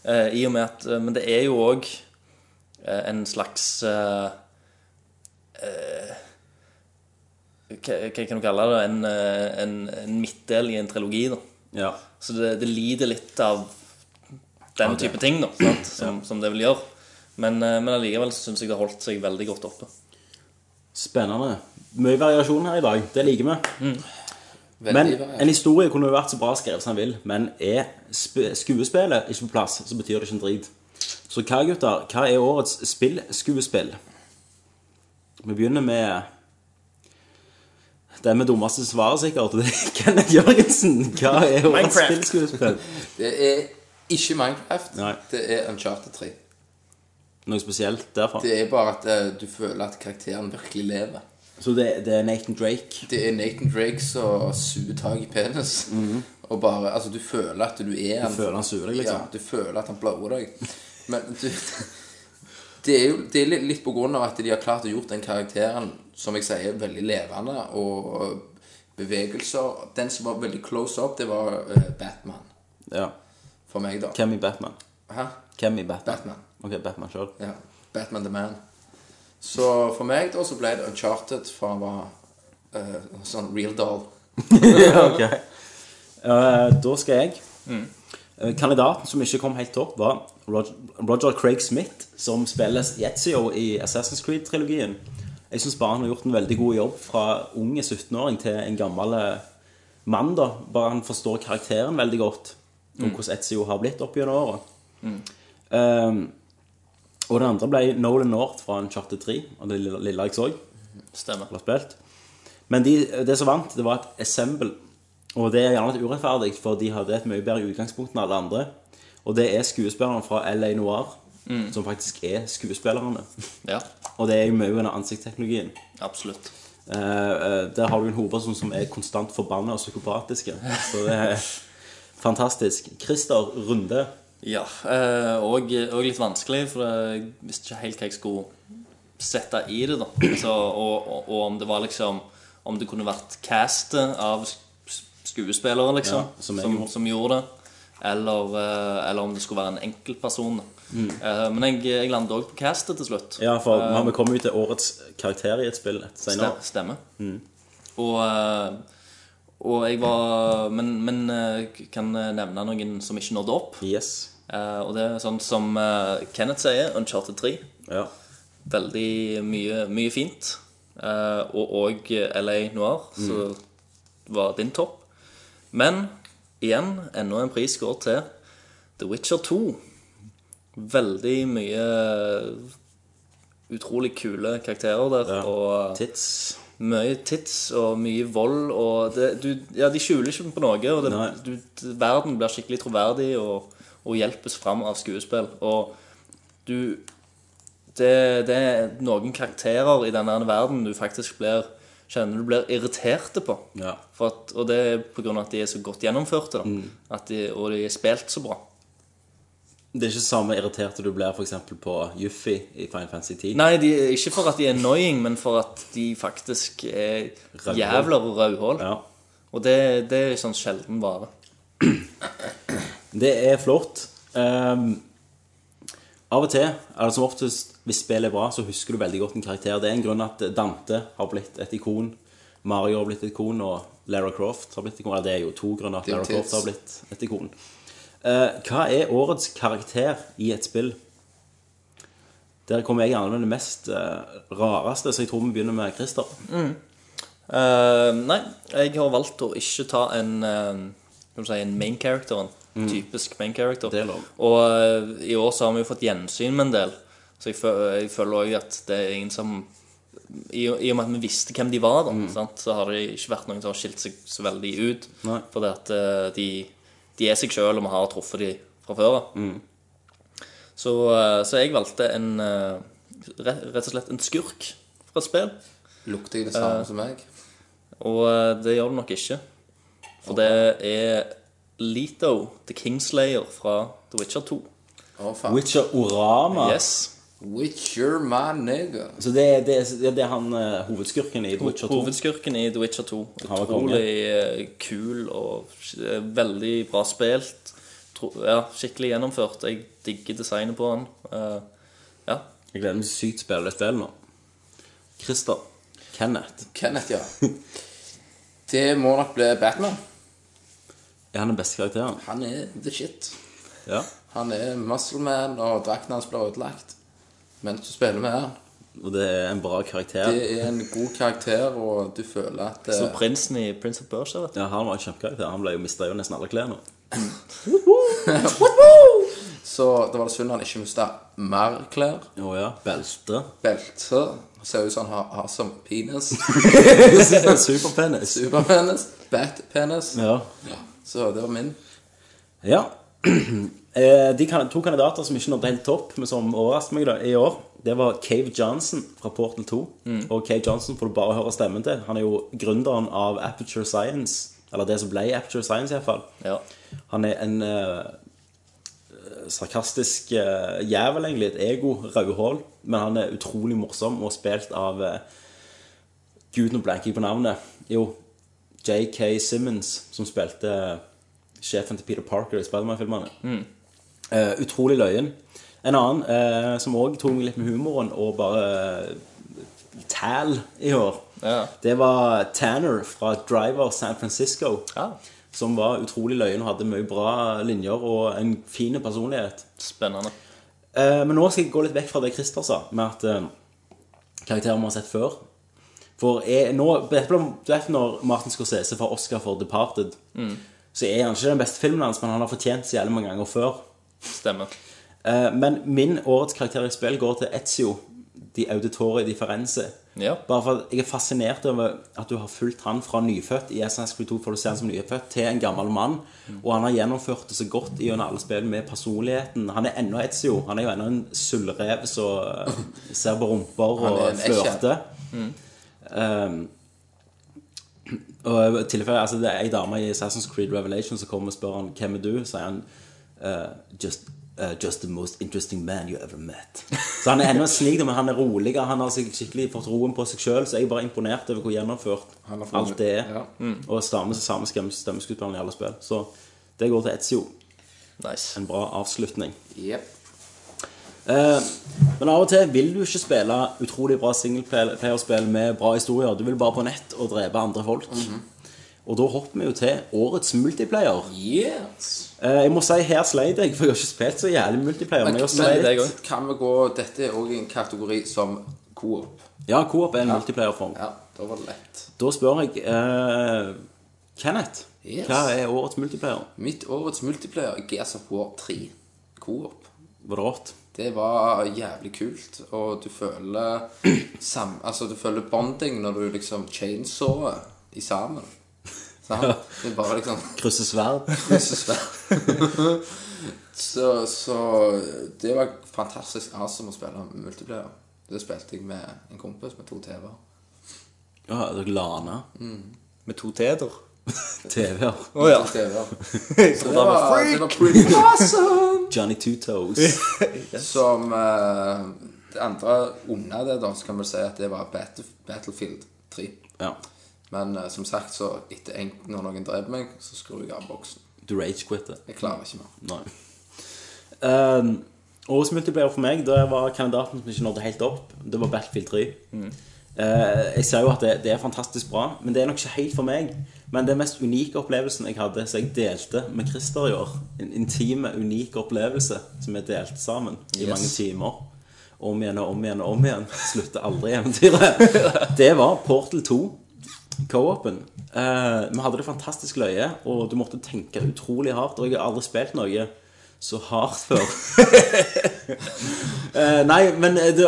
Eh, I og med at eh, Men det er jo òg eh, en slags eh, eh, Hva hva kan du kalle det? En, eh, en, en midtdel i en trilogi. da Ja. Så det, det lider litt av den type ting da sant? Som, som det vil gjøre. Men, eh, men allikevel syns jeg det holdt seg veldig godt oppe. Spennende. Mye variasjon her i dag. Det liker vi. Men Veldig bra. en historie kunne jo vært så bra skrevet som den vil, men er sp- skuespillet ikke på plass, så betyr det ikke en drit. Så hva, gutter, hva er årets spillskuespill? Vi begynner med det med dummeste svaret, sikkert. og Det er Kenneth Jørgensen. Hva er årets Minecraft. spillskuespill? Det er ikke Minecraft. Nei. Det er Uncharted 3. Noe spesielt derfra. Det er bare at eh, du føler at karakteren virkelig lever. Så det, det er Nathan Drake. Det er Nathan Drake som suger tak i penis. Og bare Altså, du føler at du er han. Mhm. føler han suger deg, liksom. Ja, du føler at han blower deg. Men du Det er jo det er litt- litt på grunn av at de har klart å gjort den karakteren, som jeg sier, veldig levende, og bevegelser Den som var veldig close up, det var eh, Batman. Ja. For meg, da. Hvem i Batman? Hæ? Hvem i Batman? Batman. Ok, Batman sjøl. Ja. Batman the Man. Så for meg, da, så ble det Uncharted, for han var eh, sånn real doll. Ok. Eh, da skal jeg. Eh, kandidaten som ikke kom helt opp, var Roger, Roger Craig Smith, som spiller Yetzio i Assassin's Creed-trilogien. Jeg syns bare han har gjort en veldig god jobb fra unge 17-åring til en gammel eh, mann. da Bare han forstår karakteren veldig godt, og hvordan Etzio har blitt opp gjennom åra. Eh, og den andre ble Nolan North fra en Charter 3, og det lille, lille jeg så Stemmer. har spilt. Men de, det som vant, det var et Assemble. Og det er gjerne litt urettferdig, for de hadde et mye bedre utgangspunkt enn alle andre. Og det er skuespillerne fra LA Noir, som faktisk er skuespillerne. Ja, Og det er jo mye under ansiktsteknologien. absolutt. Eh, eh, der har du en hovedperson som er konstant forbanna og psykopatiske. Så det er fantastisk. Christer Runde. Ja, eh, og, og litt vanskelig, for jeg visste ikke helt hva jeg skulle sette i det. da Så, og, og, og om det var liksom Om det kunne vært castet av sk- skuespillere, liksom, Ja, som som, jeg som, gjorde. gjorde det. Eller, eh, eller om det skulle være en enkeltperson. Eh, men jeg, jeg landet òg på castet til slutt. Mm. Ja, for vi kommer jo til årets karakter i et spill senere. Stem, stemmer. Mm. Og, eh, og jeg var Men, men eh, kan nevne noen som ikke nådde opp. Yes. Eh, og det er sånn som eh, Kenneth sier, Uncharted 3. Ja. Veldig mye, mye fint. Eh, og og LA Noir, så var din topp. Men igjen, enda en pris går til The Witcher 2. Veldig mye eh, utrolig kule karakterer der. Ja. Og eh, Tits. mye tits og mye vold. Og det, du, ja, de skjuler ikke på noe. Og det, Nei. du, d- verden blir skikkelig troverdig og, og hjelpes fram av skuespill. Og du det, det er noen karakterer i denne her verden du faktisk blir kjenner du blir irriterte på. Ja. Mm. For at, og det er pga. at de er så godt gjennomførte, da. At de, og de er spilt så bra. Det er ikke samme irriterte du blir for eksempel på Yuffie i Final Fantasy 10. Nei, de, ikke for at de er annoying, men for at de faktisk er Rødhål. jævler og rødhål. Ja. Og det, det er sånn sjelden vare. Det er flott. Ehm, av og til, eller som oftest, hvis spillet er bra, så husker du veldig godt en karakter. Det er en grunn at Dante har blitt et ikon, Mario har blitt et ikon, og Lara Croft har blitt et ikon. Eller det er jo to grunner at Det er jo Lara Croft tids. har blitt et ikon. Eh, hva er årets karakter i et spill? Der kommer jeg gjerne med det mest eh, rareste, så jeg tror vi begynner med Christer. Eh, nei, jeg har valgt å ikke ta en, eh, skal vi si, en main character. En typisk main character. Mm. Det er lov. Og eh, i år så har vi jo fått gjensyn med en del. Så jeg, fø- jeg føler òg at det er ingen som i, I og med at vi visste hvem de var, da, Mm. sant? så har det ikke vært noen som har skilt seg så veldig ut. Nei. Fordi at eh, de, de er seg sjøl, og vi har truffet de fra før av. Mm. Så, eh, så jeg valgte en eh, rett rett og slett en skurk fra et spill. Lukter jeg det samme som meg? Og eh, det gjør det nok ikke. For det er Lito, The Kingslayer fra The Witcher 2. Å, faen. Witcher Orama. Yes. Witcher, my nigga. Så det, det, det er han eh, hovedskurken i The Witcher 2. Hovedskurken i The Witcher 2. Han var Utrolig eh, kul og eh, veldig bra spilt. Tro, ja, skikkelig gjennomført. Jeg digger designet på han. Eh, ja. Jeg gleder meg sykt til å spille det spillet nå. Christer. Kenneth. Kenneth, ja. Det må nok bli Batman. Er han den beste karakteren? Han er the shit. Ja. Han er muscle man, og drakten hans blir ødelagt. Men så spiller vi her. Og det er en bra karakter. Det er en god karakter, og du føler at Så eh, prinsen i Prince of Persia, vet du. Ja, han var en kjempekarakter. Han ble jo mista jo nesten alle klærne. Så det var det synd han ikke mista mer klær. Å ja. Belte. Belte. Ser ut som han har, har som penis. Superpenis. Superpenis. Bat-penis. Ja. Så det var min. ja. Eh, De kan- to kandidater som ikke nådde helt topp, men som overrasket meg da, i år, det var Cave Johnson fra Portal 2. Og Cave Johnson får du bare høre stemmen til. Han er jo gründeren av Aperture Science. Eller det som ble Aperture Science, iallfall. Ja. Han er en eh, sarkastisk eh, jævel, egentlig. Et ego, rødhål. Men han er utrolig morsom og spilt av eh, Gud, nå blanker jeg på navnet. Jo, J.K. Simmons, som spilte eh, sjefen til Peter Parker i Spiderman-filmene. Mm. Eh, utrolig løyen. En annen eh, som òg tok meg litt med humoren og bare uh, tæl eh, i år, Ja. Det var Tanner fra Driver San Francisco. Ja. Som var utrolig løyen og hadde mye bra linjer og en fin personlighet. Spennende. Eh, men nå skal jeg gå litt vekk fra det Christer sa, med at eh, karakterer vi har sett før. For jeg, nå, du vet du vet når Martin Scorsese får Oscar for Departed, så er han ikke den beste filmen hans, men han har fortjent så jævlig mange ganger før. Stemmer. Eh, men min årets karakter i spill går til Ezio, de auditore di Firenze. Ja. Bare for at jeg er fascinert over at du har fulgt han fra nyfødt i Assassin's Creed 2, for du ser han som nyfødt, til en gammel mann. Og han har gjennomført det så godt gjennom alle spillene med personligheten. Han er ennå Ezio. Han er jo ennå en sølvrev som eh, ser på rumper Han og er en Mm. Escher. flørter. Um, og i tilfelle, altså Det er ei dame i Assassin's Creed Revelation som kommer og spør han hvem er du sier han eh, just, eh, just the most interesting man you ever met. Så han er ennå en snik, men han er rolig. Han har seg skikkelig fått roen på seg sjøl. Så jeg er bare imponert over hvor gjennomført Han har fått- alt det er. ja. Mm. Og samme, samme stemme- stemmeskuespilleren i alle spill. Så det går til Etzio. Nice. En bra avslutning. Jep. Eh, Men av og til vil du ikke spille utrolig bra singelplayerspill med bra historier. Du vil bare på nett og drepe andre folk. Og da hopper vi jo til årets multiplayer. Yes. Eh, Jeg må si her sleit jeg, for jeg har ikke spilt så jævlig multiplayer. Men jeg har Men sleit. det går. kan vi gå Dette er òg en kategori som coop. Ja, Coop er en multiplayerform. Ja, da var det lett. Da spør jeg eh, Kenneth. Yes. Hva er årets multiplayer? Mitt årets multiplayer er Gears of War 3. Coop. Var det rått? Det var jævlig kult, og du føler sam, Altså, du føler bonding når du liksom chainsawer i sammen. Sant? Det er bare liksom Krysse sverd. krysse sverd. så, så det var fantastisk awesome å spille multiplayer. Det spilte jeg med en kompis med to TV-er. Ja, dere lana. Med to t-er. TV-er. Å ja. To TV-er. Det Så da var var, det var pretty Johnny Two Toes. Som eh, det andre under det, da, så kan vi si at det var Battle, Battlefield 3. Ja. Men eh, som sagt, så etter en, når noen dreper meg, så skrur jeg av boksen. Du ragequitter. Jeg klarer ikke mer. Nei. Um, årets multiplayer for meg, det var kandidaten som ikke nådde helt opp. Det var Battlefield 3. Eh, jeg ser jo at det, det er fantastisk bra, men det er nok ikke helt for meg. Men den mest unike opplevelsen jeg hadde, som jeg delte med Christer i år En intime, unik opplevelse som vi delte sammen i mange timer. Om igjen og om igjen og om igjen. Slutter aldri eventyret. Det var Portal 2. Co-open. Eh, vi hadde det fantastisk løye, og du måtte tenke utrolig hardt. Og jeg har aldri spilt noe så hardt før. eh, nei, men eh, det,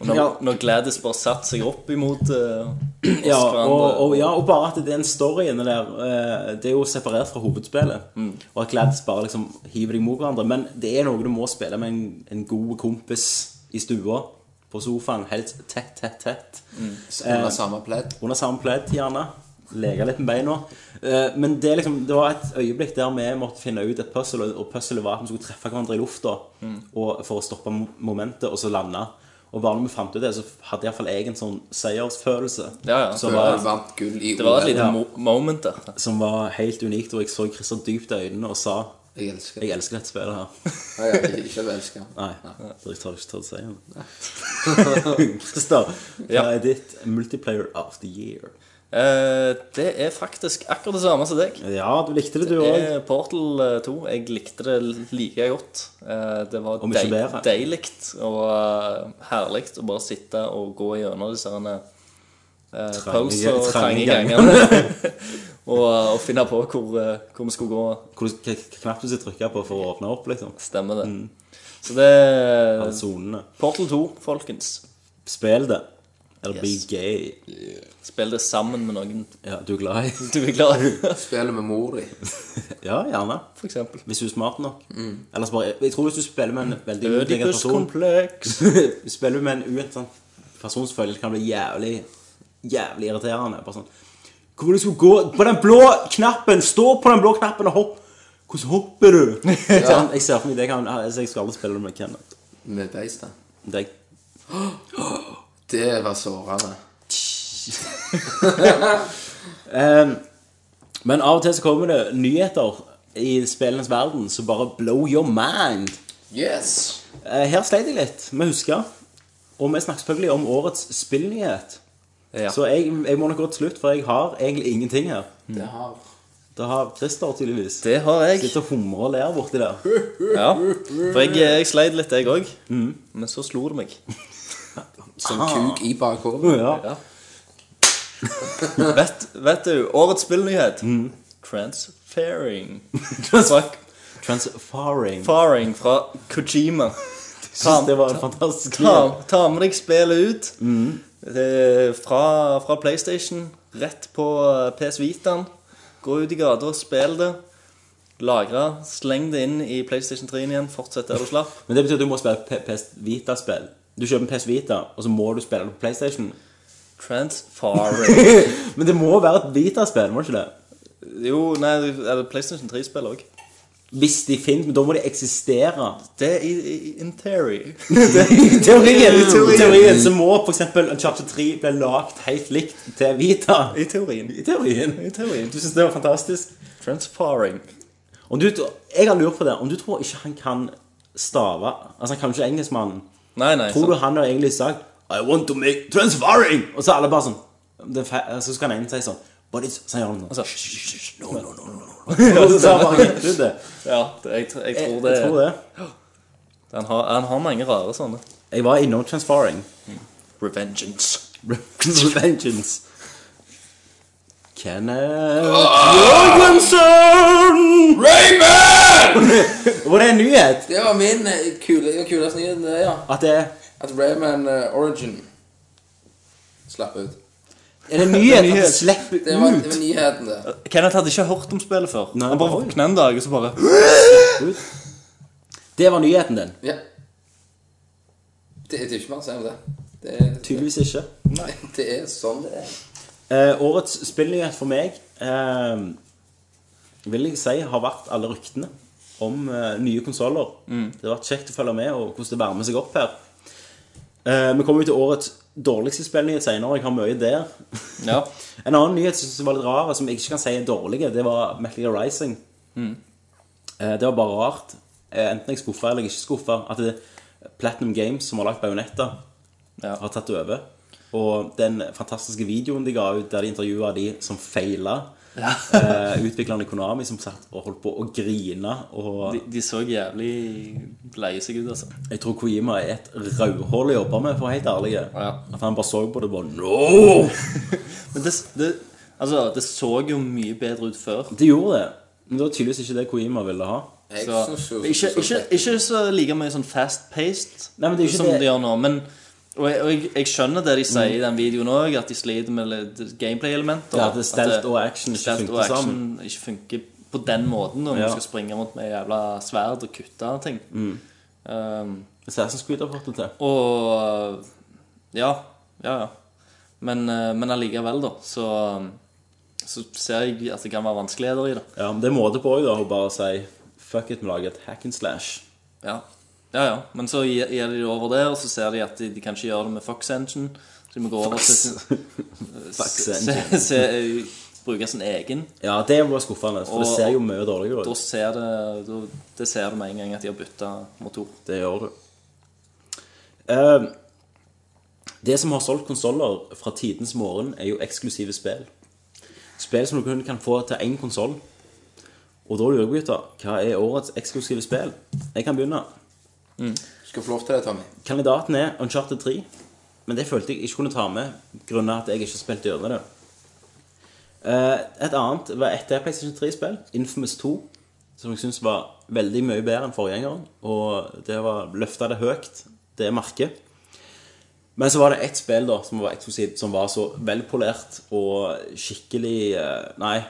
ja, Når, når Gladys bare satte seg opp imot eh, oss ja, hverandre. og, og, ja, og bare at det er en story inne der. eh, det er jo separert fra hovedspillet. Og at Gladys bare liksom hiver deg mot hverandre. Men det er noe du må spille med en, en god kompis i stua. På sofaen. Helt tett, tett, tett. eh, Under samme pledd. under samme pledd, gjerne. Leke litt med beina. Eh, Men det, er liksom, det var et øyeblikk der vi måtte finne ut et puzzle, og puzzlet var at vi skulle treffe hverandre i lufta og- for å stoppe mo- momentet, og så lande. Og bare når vi fant ut det, så hadde iallfall jeg en sånn seiersfølelse Ja, ja. Som, Før jeg var, vant gull i Det var OL. et lite mo moment der. som var helt unikt, og jeg så Christer dypt i øynene og sa Jeg elsker Jeg det. elsker dette spillet her. Ja, ja, jeg, ikke at jeg elsker det. Nei, jeg tar ikke til å si det. Christer, hva Ja. er ditt multiplayer of the year? Eh, det er faktisk akkurat det samme som deg. Ja, du likte det, du òg. Eh, Portal eh, 2. Jeg likte det like godt. Eh, Det var Om ikke deil, bedre. deilig og eh, herlig å bare sitte og gå gjennom disse herne, eh, puzzles og trange trange gangene. og, eh, og finne på hvor, eh, hvor vi skulle gå. Hvilken knapp du skal trykke på for å åpne opp, liksom? Stemmer det. Så det Alle sonene. Portal 2, folkens. Spill det. Eller Yes. be gay. Spill det sammen med noen Ja, du er glad i du er glad i, Spiller med mor di. Ja, gjerne. for eksempel. Hvis du er smart nok. Ellers bare Jeg tror hvis du spiller med en veldig uintelligent person Ødipuskompleks. Spiller du med en uintelligent person, selvfølgelig kan det bli jævlig Jævlig irriterende. Bare sånn Hvor var det du skulle gå? På den blå knappen! Stå på den blå knappen og hopp! Hvordan hopper du? Sånn, Jeg ser for meg det kan Jeg skal aldri spille det med Kenneth. Med beistet. Deg. Det var sårende. Ehm, men av og til så kommer det nyheter i spillenes verden som bare blow your mind. Yes! Eh, her sleit jeg litt med å huske. Og vi snakker selvfølgelig om årets spillnyhet. Ja. Så jeg, jeg må nok gå til slutt, for jeg har egentlig ingenting her. Det har Det har Christer tydeligvis. Det har jeg. Sitter og humrer og ler borti der. Ja. For jeg, jeg sleit litt, jeg òg. Men så slo det meg. Som kuk i bakhodet. Ja. Ja. vet, vet du, årets spillnyhet Mm. Transferring Fuck Transfaring. Faring fra Kojima Synes det var en Mm. fantastisk ta, ta med deg spillet ut Eh, fra, fra Playstation Rett på eh, PS Vitaen Gå ut i gata og spill det Lagre, sleng det inn i Playstation 3 igjen Fortsett der du slapp Men det betyr at du må spille P- PS Vita-spill. Du kjøper en PS Vita, og så må du spille det på PlayStation. Transfaring Men det må være et Vita-spill, må det ikke det? Jo, nei, eller Playstation 3 spiller også Hvis de finnes, men da må de eksistere. Det er i, i, in theory I teorien, i teorien så må f.eks. Uncharted 3 bli lagd helt likt til Vita. I teorien I teorien. I teorien Du syns det var fantastisk? Transfaring Om du, jeg har lurt på det. Om du tror ikke han kan stave Altså, han kan jo ikke engelskmannen. Nei, nei Tror du sant. han har egentlig sagt I want to make transferring Og så er alle bare sånn det er fe- Så skal han egentlig si sånn But it's Så gjør han sånn Altså, No, no, no, no, no, no. Og så sa han bare helt ut det Ja, det, jeg, tr- jeg jeg, tror det, jeg tror det Han, har, han har mange rare sånne Jeg var innom transferring Revengeance Revengeance Kenneth Mm. Jorgensen Rayman! Var det en nyhet? Det var min eh, kule, ja, kuleste nyhet, det, ja. At det At Rayman eh, Origin slapp ut. Er det en nyhet at nyhet. det slipper Det var, det ut? var nyheten, det. Eh, Kenneth hadde ikke hørt om spillet før Nei, Han bare oi. våkna en dag og så bare Det var nyheten din Ja. Det, det er ikke mer å si om det. Det er, Tydeligvis ikke det er sånn det er. Eh, årets spillnyhet for meg eh, vil jeg si har vært alle ryktene om eh, nye konsoller. Det har vært kjekt å følge med og hvordan det varmer seg opp her. Eh, vi kommer jo til årets dårligste spillnyhet senere. Jeg har mye der. Ja En annen nyhet som jeg synes var litt rar, og som jeg ikke kan si er dårlig, det var Metal Gear Rising. Mm. Eh, det var bare rart. Eh, enten jeg skuffa eller jeg ikke skuffa. At det er Platinum Games, som har lagt Bajonetta, Ja. har tatt over. Og den fantastiske videoen de ga ut der de intervjua de som feila. eh, utviklerne i Konami som satt og holdt på å grine. Og de, de så jævlig leie seg ut, altså jeg tror Kojima er et rødhål å jobbe med, for å være helt ærlig. Ja. At han bare så på det og bare No! Men det, det, altså, det så jo mye bedre ut før De gjorde det. Men det var tydeligvis ikke det Kojima ville ha. Jeg så, synes jo ikke, så- ikke, ikke så like mye sånn fast-paced Nei, men det er jo ikke som det- de gjør nå. Men, og jeg, og jeg, jeg skjønner det de sier i den videoen òg, at de sliter med litt gameplay-elementer. Ja, at det stelt At det- og action ikke stelt funker og action ikke funker på den måten Ja. når Mm. du skal springe rundt med jævla sverd og kutte ting. Um, Assassin's Creed har fått det til. og Ja. Ja, ja. Men, eh, men allikevel, da, så så ser jeg at det kan være vanskeligheter i det. Ja, men Det er måte på òg, da. Å bare si fuck it, vi lager et hack and slash. Ja, ja, ja. men så gir gir de det over der, og så ser de at de, de kan ikke gjøre det med Fox Engine. Så de må gå over til Fox se- Engine. se- bruke sin egen. Ja, det var skuffende, for det Og- ser jo mye dårligere Da ut. ser det, da, det ser du med en gang at de har bytta motor. Det gjør du. Eh, det som har solgt konsoller fra tidens morgen, er jo eksklusive spill. Spill som du kun kan få til én konsoll. Og da lurer jeg, gutter, hva er årets eksklusive spill? Jeg kan begynne. Du skal få lov til det, Tommy. Kandidaten er Uncharted 3, men det følte jeg ikke kunne ta med grunnet at jeg ikke spilte gjennom det. Eh, Et annet var etter PlayStation 3-spill, Infamous 2, som jeg syns var veldig mye bedre enn forgjengeren. Og det var løfta det høyt, det merket. Men så var det ett spill da som var eksklusivt, som var så velpolert og skikkelig eh, Nei,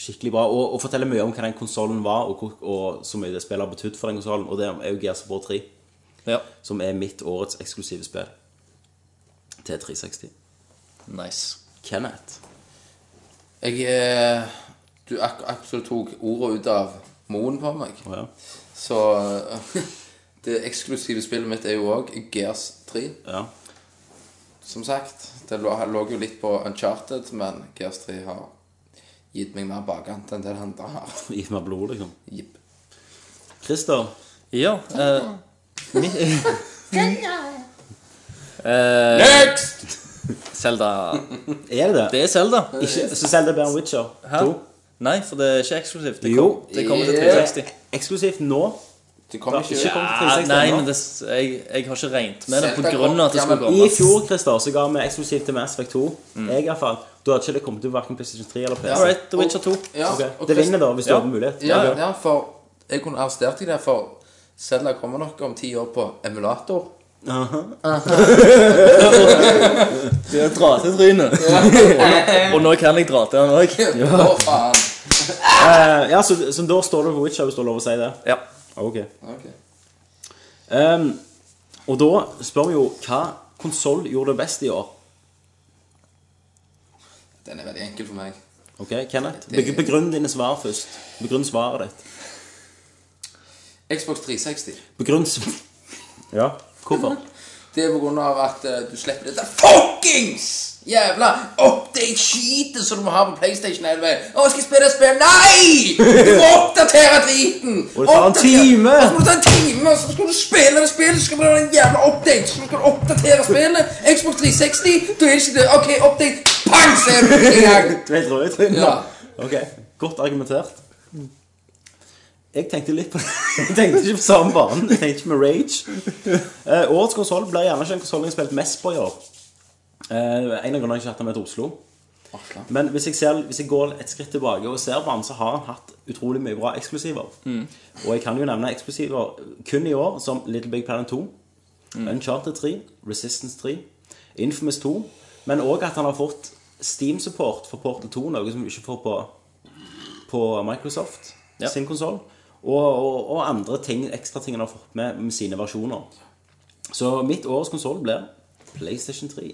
skikkelig bra. Og, og forteller mye om hva den konsollen var, og, hvor- og så mye det spillet har betydd for den konsollen. Og det er jo Gears of War 3 Ja, som er mitt årets eksklusive spill til 360. nice. Kenneth. Jeg eh, Du ak absolutt tok ordet ut av moen på meg. Å ja. Så eh, det eksklusive spillet mitt er jo òg Gears 3, ja. som sagt. Det lå, lå jo litt på Uncharted, men Gears 3 har gitt meg mer bakant enn det andre har. Gitt meg blod, liksom. Jipp. Christer. Ja eh, mi, eh, Next! Zelda. Er det det? Det er Zelda. Ikke, så selv det er bare Witcher 2? Nei, for det er ikke eksklusivt. Det, Jo. kom, det kommer til Yeah. 360. Eksklusivt nå. Du kommer Det har ikke ikke kommet til Ah, 360 nei, ennå. men det, jeg, jeg har ikke regnet med det Zelda pga. at det kom- ja, skulle I komme. fjor Christer, så ga vi eksklusivt til Mass Effect 2. Jeg i hvert fall. Da hadde ikke det kommet til hverken PlayStation 3 eller PC. All right, The Witcher 2. Ja, Ok, og Det Chris- vinner, da, hvis du Ja. har mulighet. Ja, ja, for jeg kunne arrestert deg der, for Zelda kommer nok om ti år på emulator. Dra til trynet. og, nå, og nå kan jeg dra til han òg. Å, faen. Eh, ja så, så da står det på Witcher, hvis du har lov å si det. Ja. Ok. Ok. Ehm, og da spør vi jo hva konsoll gjorde det best i år. Den er veldig enkel for meg. Ok, Kenneth? Det- Beg- Begrunn dine svar først. Begrunn svaret ditt. Xbox 360. Begrunn s- Ja. Hvorfor? Det er på grunn av at eh, du slipper dette fuckings jævla update-skitet som du må ha på PlayStation 11. Å, skal jeg spille et spill? Nei! Du må oppdatere driten! Og det tar en Oppdater- time! Og så må du ta en time, og så skal du spille det spillet, så skal du ha en jævla update, så skal du oppdatere spillet. Xbox 360, du er ikke det. OK, update. Pang, ser du en gang. Du er helt rød i trynet. Ja. Ok, godt argumentert. Jeg tenkte litt på Jeg tenkte ikke på samme banen. Jeg tenkte ikke med rage. Eh, årets konsoll blir gjerne ikke en konsoll jeg har spilt mest på i år. Eh, en av grunnene jeg ikke har hatt den med til Oslo. Men hvis jeg, ser, hvis jeg går et skritt tilbake og ser på han, så har han hatt utrolig mye bra eksklusiver. Og jeg kan jo nevne eksklusiver kun i år som Little Big Planet 2, Uncharted 3, Resistance 3, Infamous 2, men òg at han har fått Steam-support for Portal 2, noe som du ikke får på, på Microsoft Ja. sin konsoll. Og, og, og andre ting, ekstra ting han har fått med med sine versjoner. Så mitt årets konsoll blir PlayStation 3.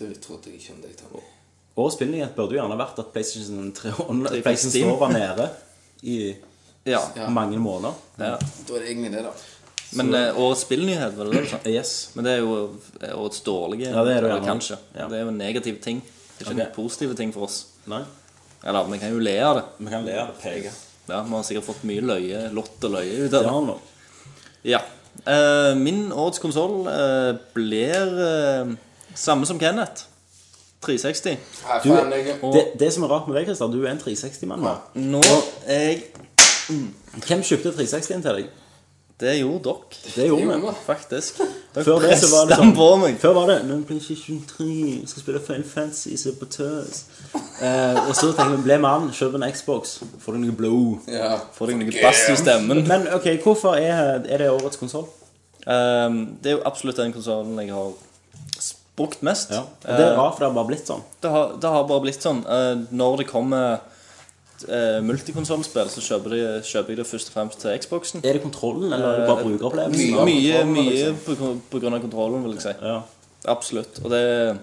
Du trodde jeg ikke om deg, Tommy. Årets spillnyhet burde jo gjerne vært at PlayStation 3 online, fikk PlayStation Steam. Store var nede i ja. Ja. mange måneder. ja. Da er det egentlig det, da. Men eh, årets spillnyhet, var det det du sa? Yes. Men det er jo eh, årets dårlige. Ja, det er det eller gjerne. kanskje. Ja. Det er jo en negativ ting. Det er ikke Ok. en positive ting for oss. Nei? Eller vi kan jo le av det. Vi kan le av det peke. Ja, Vi har sikkert fått mye løye, lott og løye ut Det av det. har han nå. Ja. Eh, min årets konsoll blir eh, samme som Kenneth. 360. Nei, Du- faen, jeg- Det, det som er rart med deg, Christer, du er en 360-mann nå. Nå er jeg Hvem kjøpte 360-en til deg? Det gjorde dere, Det gjorde vi. Gjorde faktisk. Dere Før det så var det presset den sånn- på meg. Før var det Nå er det PlayStation 3, jeg skal spille Final Fantasy, se på tøs. Eh, og så tenker vi, ble mann, kjøp en Xbox, får du noe blod. Ja. Får deg noe bass i stemmen. Men ok, hvorfor er, er det årets konsoll? Ehm, det er jo absolutt den konsollen jeg har s- brukt mest. Og det er rart, for det har bare blitt sånn. Det har, det har bare blitt sånn. eh, når det kommer uh, multikonsollspill, så kjøper, de, kjøper jeg det først og fremst til Xboxen. Er det kontrollen, eller er det bare brukeropplevelsen? Mye, mye, kontrollen, mye liksom. på, gru- på grunn av kontrollen, vil jeg si. Ja. Absolutt. Og det,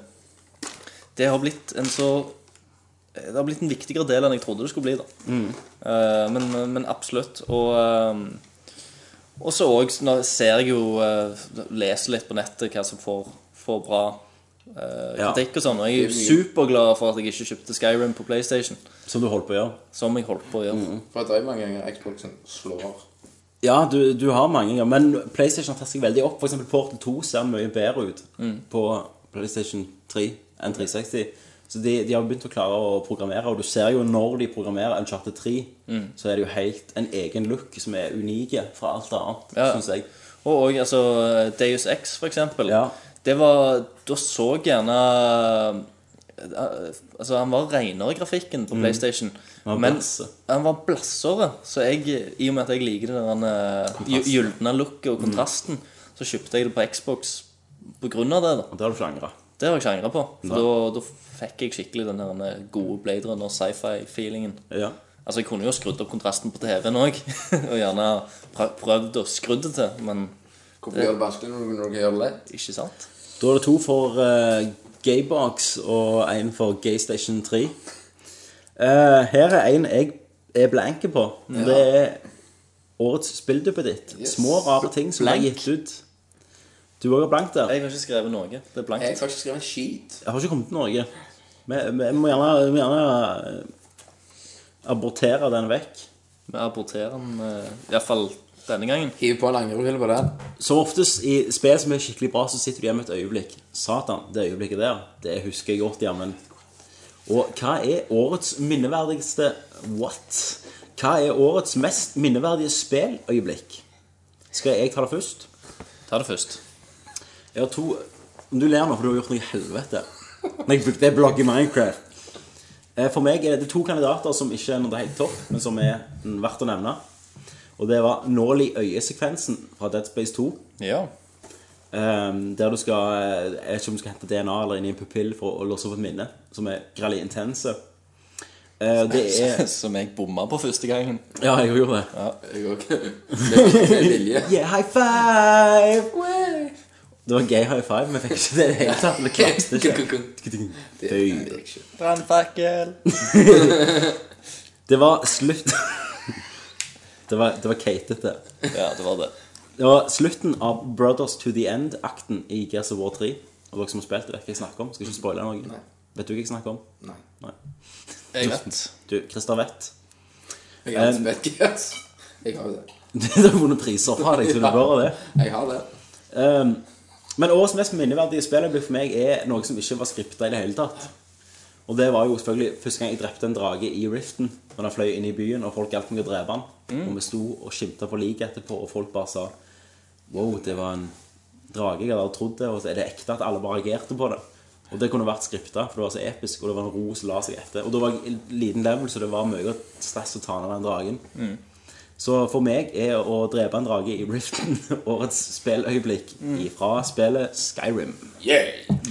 det har blitt en så Det har blitt en viktigere del enn jeg trodde det skulle bli. da Eh, men, men absolutt. Og eh, og så òg ser jeg jo eh, Leser litt på nettet hva som får, får bra eh, Ja. kritikk og sånn. Og jeg er jo superglad for at jeg ikke kjøpte Skyrim på PlayStation, Som du holdt på å gjøre? som jeg holdt på å gjøre. For det er mange ganger Xboxen slår. Ja, du, du har mange ganger, men PlayStation har tatt seg veldig opp. For eksempel Portal 2 ser mye bedre ut på PlayStation 3 enn 360. Så de, de har begynt å klare å programmere, og du ser jo når de programmerer Uncharted 3, så er det jo helt en egen look som er unike fra alt annet, Ja. synes jeg. Og, og altså, Deus Ex, for eksempel. Ja. Det var Da så jeg gjerne eh, Altså, han var renere i grafikken på PlayStation. Mm. Han var men blasse. han var blassere. Så jeg, i og med at jeg liker den der, eh, gy- gylne looket Mm. og kontrasten, så kjøpte jeg det på Xbox på grunn av det. da Og det har du ikke angra. Det har jeg ikke angra på. For da, da fikk jeg skikkelig den der eh, gode Blade Runner sci-fi-feelingen. Ja. Altså, jeg kunne jo skrudd opp kontrasten på TV-en òg, og gjerne prø- prøvd å skru det til, men Hvorfor gjør det vanskelig når du når du kan gjøre det lett? ikke sant. Da er det to for eh, Gaybox og en for Gaystation 3. Eh, her er en jeg er blanke på. Det er årets spillduppe ditt. Yes. Små, rare ting som blir gitt ut. Du òg er blank der. Jeg har ikke skrevet noe. Det er Jeg blankt. har ikke skrevet en skit. Jeg har ikke kommet til Norge. Vi, vi må gjerne, vi må gjerne eh, abortere den vekk. Vi aborterer den eh, i hvert fall denne gangen. Hiv på en langrulle på den. Som oftest i spill som er skikkelig bra, så sitter du igjen med et øyeblikk. Satan, det øyeblikket der, det husker jeg godt, jammen. Og hva er årets minneverdigste what? Hva er årets mest minneverdige spilløyeblikk? Skal jeg ta det først? Ta det først. Jeg har to Om du ler nå, for du har gjort noe i helvete. Når jeg brukte det blogget i Minecraft. Eh, For meg er det to kandidater som ikke er noe helt topp, men som er mm, verdt å nevne. Og det var nål i øyesekvensen fra Dead Space 2. Ja. Ehm, der du skal Jeg vet ikke om du skal hente DNA eller inn i en pupill for å låse opp et minne. Som er grally intense. Eh, det er Som jeg bomma på første gangen. Ja, jeg gjorde det. Jeg òg. Det er vilje. Yeah, high five! Det var gay high five, men jeg fikk ikke det i det hele tatt. Det klarte ikke. Fy. Brannfakkel. Det var slutt Det var, det var keitete. Ja, det var det. Det var slutten av Brothers to the End-akten i Gears of War 3. Og dere som har spilt, det vet hva jeg snakker om. Skal ikke spoile noe. Vet du hva jeg snakker om? Nei. Nei. Jeg vet. Du, Christer vet. Jeg har ikke spilt Gears. Jeg har jo det. Du har vunnet priser fra deg, så du bør ha det. Jeg har det. Um, men årets mest minneverdige spilløyeblikk for meg er noe som ikke var skripta i det hele tatt. Og det var jo selvfølgelig første gang jeg drepte en drage i Riften. Når den fløy inn i byen, og folk hjalp meg å drepe den. Og vi sto og skimta på liket etterpå, og folk bare sa Wow, det var en drage jeg hadde aldri trodd det. Og så er det ekte at alle bare reagerte på det. Og det kunne vært skripta, for det var så episk, og det var en ro som la seg etter. Og da var jeg i liten level, så det var mye stress å ta ned den dragen. Så for meg er å drepe en drage i Riften årets spilløyeblikk fra spillet Skyrim.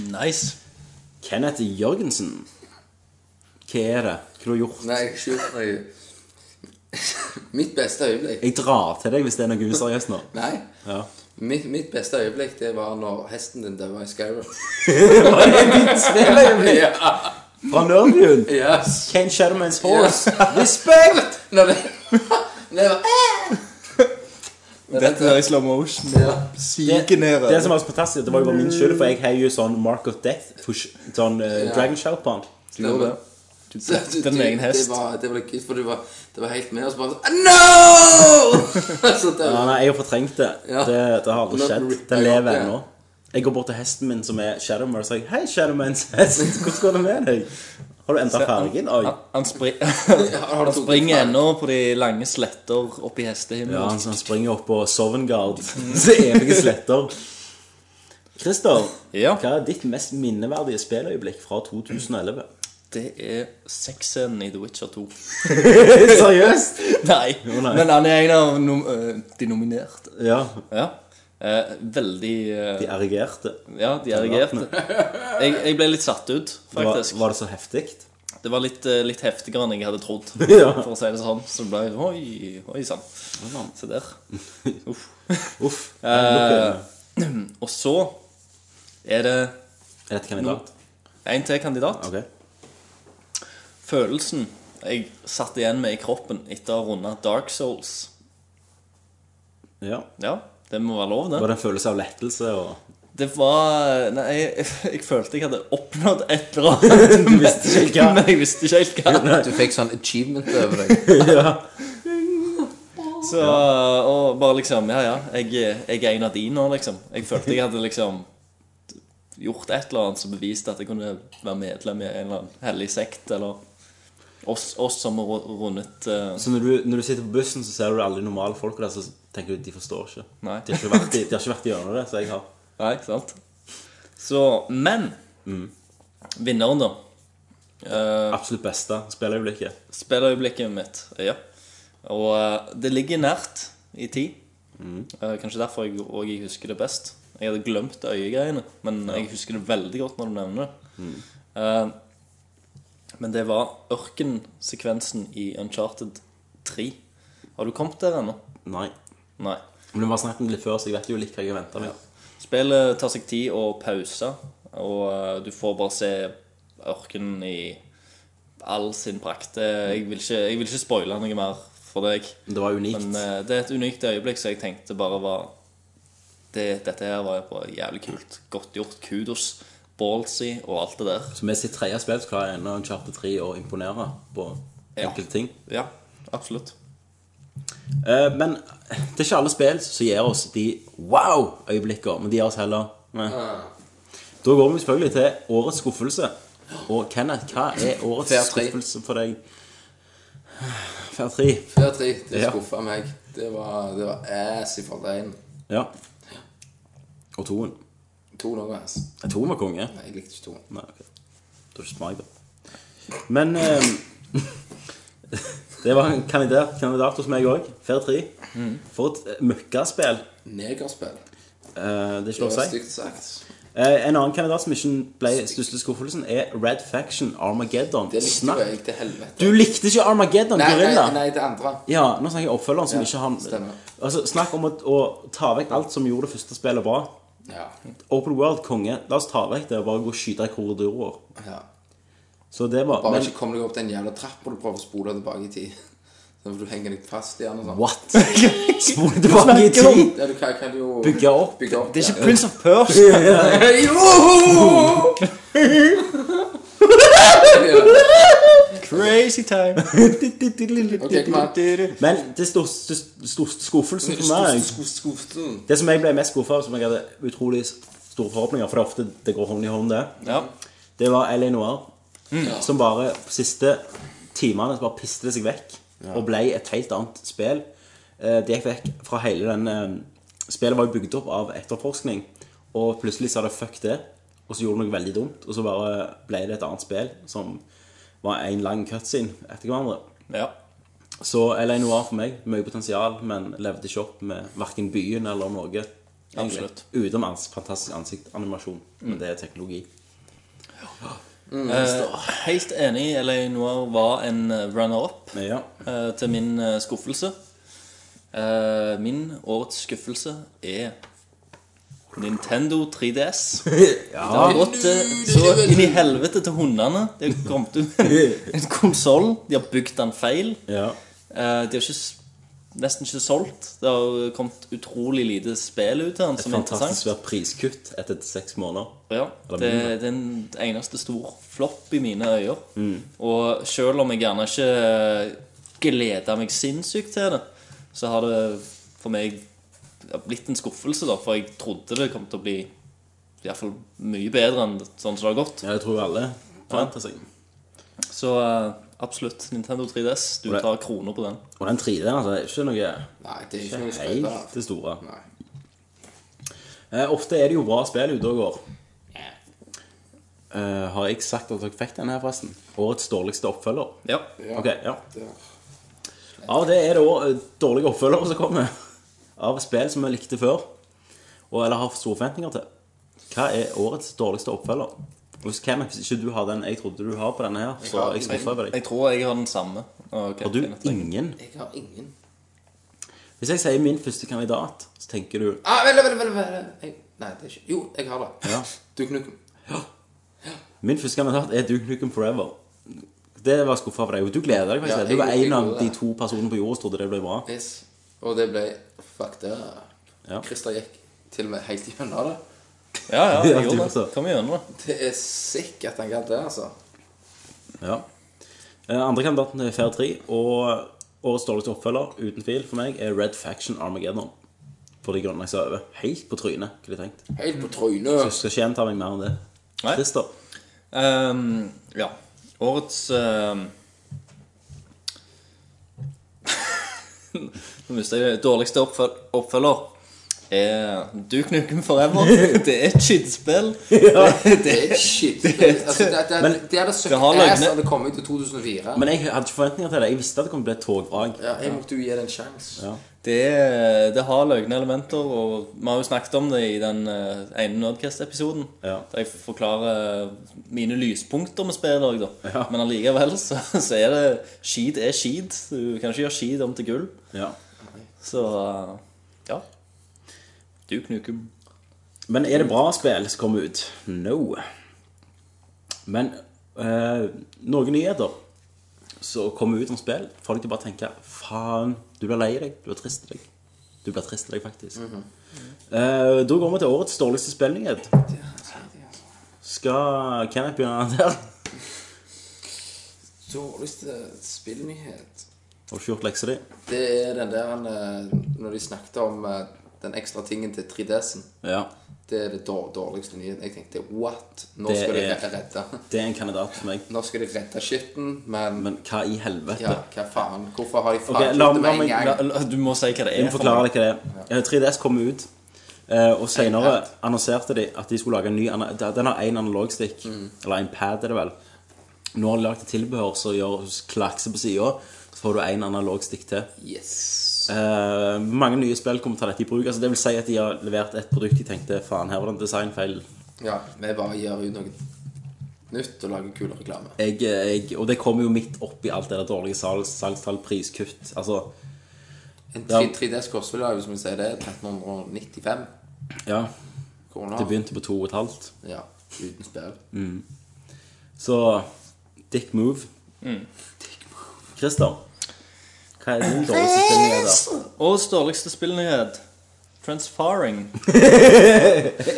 Nice. Kenneth Jørgensen. Hva er det? Hva har du gjort? Nei, jeg har ikke gjort noe. Mitt beste øyeblikk Jeg drar til deg hvis det er noe useriøst nå. Nei. Ja. Mitt, mitt beste øyeblikk det var når hesten din døde i Skyrim. Spilløyeblikk Ja, fra Nørnbjørn. yes. Kane Shadowman's Horse. Respekt! Når det, når det var Dette er i slow motion. Ja. Siger ned. Det som var så fantastisk, det var jo bare min skyld, for jeg har jo sånn Mark of Death, push, sånn eh, Dragon Shout på han. Du gjorde det. Du drepte din egen hest. Det var, det var litt kult, for du var, det var helt med, og så bare sånn No! så det, Ja, nei, jeg har fortrengt det. Ja. Det, det har aldri Nå skjedd. ripper Den jeg opp lever igjen. ennå. Jeg går bort til hesten min som er Shadowman og sier 'Hei, Shadowmans hest, hvordan går det med deg?' Har du endra fargen? Oi. Han, han, spri har du han tatt springer feil? ennå på de lange sletter oppi Ja, han hestehimmelen. som springer opp på Sovnguard. Så evige sletter. Christer, Ja. hva er ditt mest minneverdige spilløyeblikk fra 2011? Det er sexscenen i The Witcher 2. Seriøst? Nei. nei. Men han er en av nom eh, de nominerte. Ja. Ja. Eh, veldig eh, De erigerte. Ja, de erigerte. Jeg, jeg ble litt satt ut, Det Var, faktisk. var det så heftig? Det var litt, eh, litt heftigere enn jeg hadde trodd. Ja. For å si det sånn. Så det ble Oi, oi sann. Se der. Uff. Eh, Uff. lukk øynene. Og så er det Er dette kandidat? en til kandidat. Ok. Følelsen jeg satt igjen med i kroppen etter å ha runda Dark Souls. Ja. Ja, det må være lov, det. Var det en følelse av lettelse og Det var Nei, jeg, jeg følte jeg hadde oppnådd et eller annet. Du visste ikke hva. Men jeg visste ikke helt hva. du fikk sånn achievement over deg. Så, og bare liksom, ja ja, jeg, jeg er en av de nå, liksom. Jeg følte jeg hadde liksom gjort et eller annet som beviste at jeg kunne være medlem i en eller annen hellig sekt, eller oss, oss som har ru- rundet eh, Så Altså, når du, når du sitter på bussen, så ser du alle de normale folka der, så tenker du de forstår ikke. Nei. De har ikke vært, i- de har ikke vært gjennom det, så jeg har. Nei, ikke sant? Så, men Vinneren, da. Eh, Absolutt beste spilløyeblikket. Spilløyeblikket mitt. Ja. Og eh, det ligger nært i tid. Eh, kanskje derfor jeg og jeg husker det best. Jeg hadde glemt øyegreiene, men jeg husker det veldig godt når du nevner det. Eh, men det var ørkensekvensen i Uncharted 3. Har du kommet der ennå? Nei. Nei. Men vi har snakket om det litt før, så jeg vet jo litt hva jeg venter med. Spillet tar seg tid å pause, og eh, du får bare se ørkenen i all sin prakt. Eh, Jeg vil ikke, jeg vil ikke spoile noe mer for deg. Det var unikt. Men eh, det er et unikt øyeblikk, så jeg tenkte bare var det, Dette her var jo bare jævlig kult. Godt gjort. Kudos. Ballsy og alt det der. så med sitt tredje spill så klarer jeg ennå en Charter 3 å imponere på Ja. enkelte ting. Ja, absolutt. Eh, men det er ikke alle spill som gir oss de wow-øyeblikkene, men de gir oss heller Nei. Ah. Da går vi selvfølgelig til årets skuffelse. Og Kenneth, hva er årets Fair tre. skuffelse for deg? Fair tre. Før tre. Det Ja. skuffa meg. Det var, det var ass i forveien. Ja. Og toen. To noe ass. Nei, Toen var konge. Nei, jeg likte ikke to. Nei, ok. Du har ikke smak, da. Men eh, Det var en kandidat, kandidat hos meg òg. Fair tre. Mm. For et eh, møkkaspill. Negerspill. Eh, det er ikke Det lov å var si. stygt sagt. Eh, En annen kandidat som ikke ble største skuffelsen, er Red Faction Armageddon. Det likte Snakk- jo jeg til helvete. Du likte ikke Armageddon, Nei, nei, gorilla! nei, det andre. Ja, nå snakker jeg oppfølgeren som Ja, ikke han stemmer. Altså, Snakk om å, å ta vekk alt som gjorde det første spillet bra. Ja. Open World, konge. La oss ta vekk det og bare gå og skyte i korridorer. ja. Så det var Bare men, ikke kom deg opp den jævla trappa du prøver å spole tilbake i tid. Sånn at du henger deg fast i den og sånn. What? Spol tilbake i tid! Ja, du kan, kan jo Bygge opp. Bygge opp Det er ikke Prince of Perse. Crazy time. Ok, kom an. Men det største største skuffelsen for meg Skuften. Det som jeg ble mest skuffa av, som jeg hadde utrolig store forhåpninger For det er ofte det går hånd i hånd, det. Ja. Det var LA Noir. Som bare på siste timene så bare piste det seg vekk. Og ble et helt annet spill. Eh, Det gikk vekk fra hele den eh, Spillet var jo bygd opp av etterforskning. Og plutselig sa det fuck det. Og så gjorde det noe veldig dumt. Og så bare ble det et annet spill som var en lang cutscene etter hverandre. ja. Så LA Noir for meg, mye potensial, men levde ikke opp med hverken byen eller noe. egentlig. Absolutt. Utenom hans fantastisk ansiktanimasjon. Men det er teknologi. Eh, helt enig. LA Noir var en eh, runner-up. Men ja. Eh, til min eh, skuffelse. Eh, min årets skuffelse er Nintendo 3DS. Det har gått eh, så inn i helvete til hundene. Det har kommet ut en konsoll. De har bygd den feil. ja. Eh, de har ikke, s- nesten ikke solgt. Det har kommet utrolig lite spill ut av den. Som er Fantastisk interessant. svært priskutt etter seks måneder. Ja, Eller det er den eneste stor flopp i mine øyne. Mm. Og selv om jeg gjerne ikke eh, gleder meg sinnssykt til det, så har det for meg blitt en skuffelse, da. For jeg trodde det kom til å bli i hvert fall mye bedre enn sånn som det har gått. Ja, det tror alle forventer seg. Så eh, absolutt, Nintendo 3DS, du det- tar kroner på den. Og den 3D-en altså, er ikke noe Nei, det er ikke noe å skryte helt av. det store. Nei. Eh, ofte er det jo bra spill ute og går. Eh, har jeg sagt at dere fikk den her, forresten? Årets dårligste oppfølger. Ja. Ja. Ok, ja. Det Ja, det er det òg dårlige oppfølgere som kommer. Av spill som vi likte før, og eller har store forventninger til. Hva er årets dårligste oppfølger? Og Hvis Kenneth, hvis ikke du har den jeg trodde du har på denne her, så er jeg skuffa over deg. Jeg tror jeg har den samme. Ok, Har du jeg vet ikke. ingen? Jeg har ingen Hvis jeg sier min første kandidat, så tenker du ah, Vent, vent, vent, vent. Jeg... Nei, det er ikke Jo, jeg har det. Ja. Du knukken. Min første kandidat er Duke Nukem Forever. Det var skuffa for deg. og Du gleder deg Ja, faktisk. jeg- du var jeg en av gjorde de det. to personene på jorda som trodde det ble bra. Yes. Oh, Og det ble Fuck det. Ja. Christer gikk til og med helt gjennom det. Ja, ja, Ja, jeg du gjorde det. forstår. Kom igjennom, da. Det er sikkert at han kan det, altså. Ja. Eh, Andre kandidaten er Fair 3, og årets dårligste oppfølger, uten tvil for meg, er Red Faction Armageddon. For de grunnene jeg sa over. Helt på trynet, hva de tenkt. Helt på trynet. Jeg skal ikke gjenta meg mer enn det. Nei. Christer. Ehm, ja. Årets ehm, Nå mister jeg det. Dårligste oppføl oppfølger er Duke Nukem Forever. Det er et skittspill. Det er shit. Altså, det, det, det, det hadde søkt Det har løgnet. ass hadde kommet ut i 2004. Men jeg hadde ikke forventninger til det. Jeg visste at det kom til å bli et togvrag. Ja, jeg måtte jo gi det en sjanse. Ja. Det, er- det har løgne elementer, og vi har jo snakket om det i den eh, ene Nerdcast-episoden. Ja. Der jeg forklarer eh, mine lyspunkter med spillet òg, da. Men allikevel så, så er det Skit er skit. Du kan ikke gjøre skit om til gull. Ja. Så eh, ja. Duke Nukem. Men er det bra spill som kommer ut? No. Men eh, noen nyheter som kommer ut om spill, får deg til å bare tenke Faen, du blir lei deg. Du blir trist i deg. Du blir trist i deg, faktisk. Eh, da går vi til årets dårligste spillnyhet. Skal Kenneth begynne der? Dårligste spillnyhet Har du ikke gjort leksa di? Det er den der han, eh, Når de snakket om eh, den ekstra tingen til 3DS-en Ja. Det er det dår- dårligste nyheten. Jeg tenkte what? Nå Det skal de er- redde, redde. Det er en kandidat for meg. Nå skal de redde skitten, men, Men hva i helvete? ja, hva faen? Hvorfor har de Ok, faen la, gjort la det med en meg, gang? la, Eller, Du må si hva det Jeg er. må for forklare meg. deg hva det er. Eh, 3DS kom ut, eh, og senere annonserte de at de skulle lage en ny ana- Den har én analogstikk, eller en pad, er det vel. Nå har de lagd et tilbehør som gjør klakse på sida, så får du én analogstikk til. Yes. Eh, mange nye spill kommer til å ta dette i bruk. Altså, det vil si at de har levert et produkt de tenkte faen, her var det en designfeil. Ja, vi bare gjør ut noe nytt og lager kul reklame. Jeg, jeg, og det kommer jo midt oppi alt det der dårlige salg, salgstall, priskutt. Altså, En Ja. 3- 3DS koster vel, hvis vi sier det, 1395 ja. Det kroner. begynte på to og et halvt. Ja, uten spill. Så dick move. Mm. Christer, hva er din dårligste spillnyhet? Årets dårligste spillnyhet. Transfaring.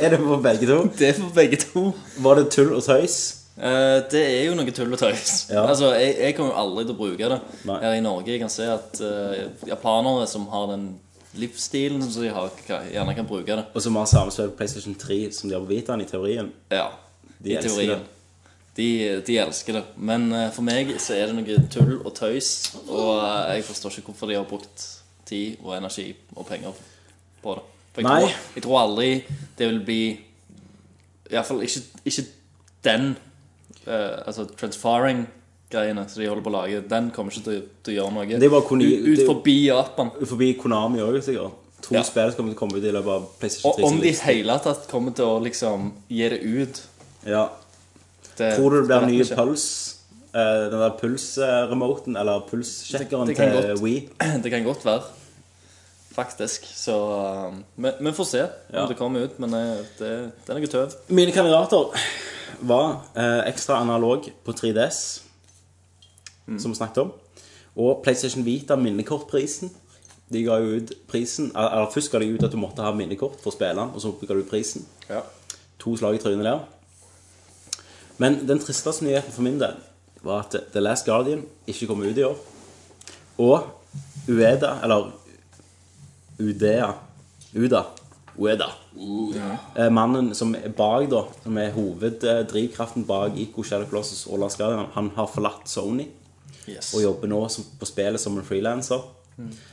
Er det på begge to? Det er for begge to. Var det tull og tøys? Eh, det er jo noe tull og tøys. Ja. Altså, jeg, jeg kommer jo aldri til å bruke det Nei. her i Norge. Jeg kan se at eh, japanere som har den livsstilen som de har, kan- gjerne kan bruke det. Og som har samme spill på PlayStation 3 som de har på Vitaen i teorien. Ja, De i elsker teorien. det. De, de elsker det. Men eh, for meg så er det noe tull og tøys. Og eh, jeg forstår ikke hvorfor de har brukt tid og energi og penger på det. For jeg, Nei. Tror, jeg tror aldri det vil bli Iallfall ikke, ikke den eh, Altså transfaring-greiene som de holder på å lage, den kommer ikke til, til å gjøre noe Det er bare Konami- ut, ut det er- forbi Japan. Forbi Konami òg, sikkert. To Ja. spill som kommer til å komme ut i løpet av PlayStation 3. Og om sin de i liv. hele tatt kommer til å liksom gi det ut ja. det, Tror du det blir vet vi ny ikke. Puls? Eh, den der Puls-remoten, eller Puls-sjekkeren Det- det kan til godt. Wii? Det kan godt være. Faktisk. Så um, vi- Vi får se om Ja. det kommer ut, men eh, det, det er noe tøv. Mine kandidater var eh, ekstra analog på 3DS, som vi snakket om, og PlayStation Vita minnekortprisen. De ga jo ut prisen Eller eller først ga de ut at du måtte ha minnekort for å spille den, og så ga de ut prisen. Ja. To slag i trynet der. Men den tristeste nyheten for min del var at The Last Guardian ikke kom ut i år. Og Ueda, eller Udea Uda. Ueda. Eh, Mannen som er bak, da, som er hoveddrivkraften bak Ico Shadow Colossus og Last Guardian, han har forlatt Sony Yes. og jobber nå som, på spillet som en frilanser.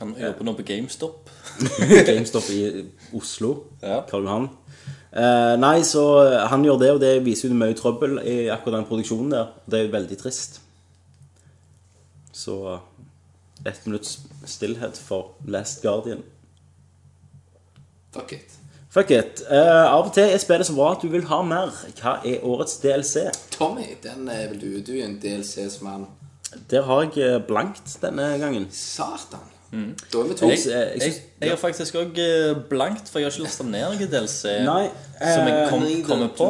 Han jobber nå på GameStop. GameStop i Oslo. Ja. Karl Johan. Eh, nei, så han gjør det, og det viser jo det er mye trøbbel i akkurat den produksjonen der. Det er jo veldig trist. Så eh, ett minutts stillhet for Last Guardian. Fuck it. Fuck it. Eh, av og til er spillet så bra at du vil ha mer. Hva er årets DLC? Tommy, den er vel du. Du er en DLC-mann. Der har jeg eh, blankt denne gangen. Satan. Da er vi to. Mm. Jeg- Jeg, jeg, synes- jeg har faktisk òg blankt, for jeg har ikke lasta ned noen DLC Nei, som jeg eh, kom, nei, det- kommer på.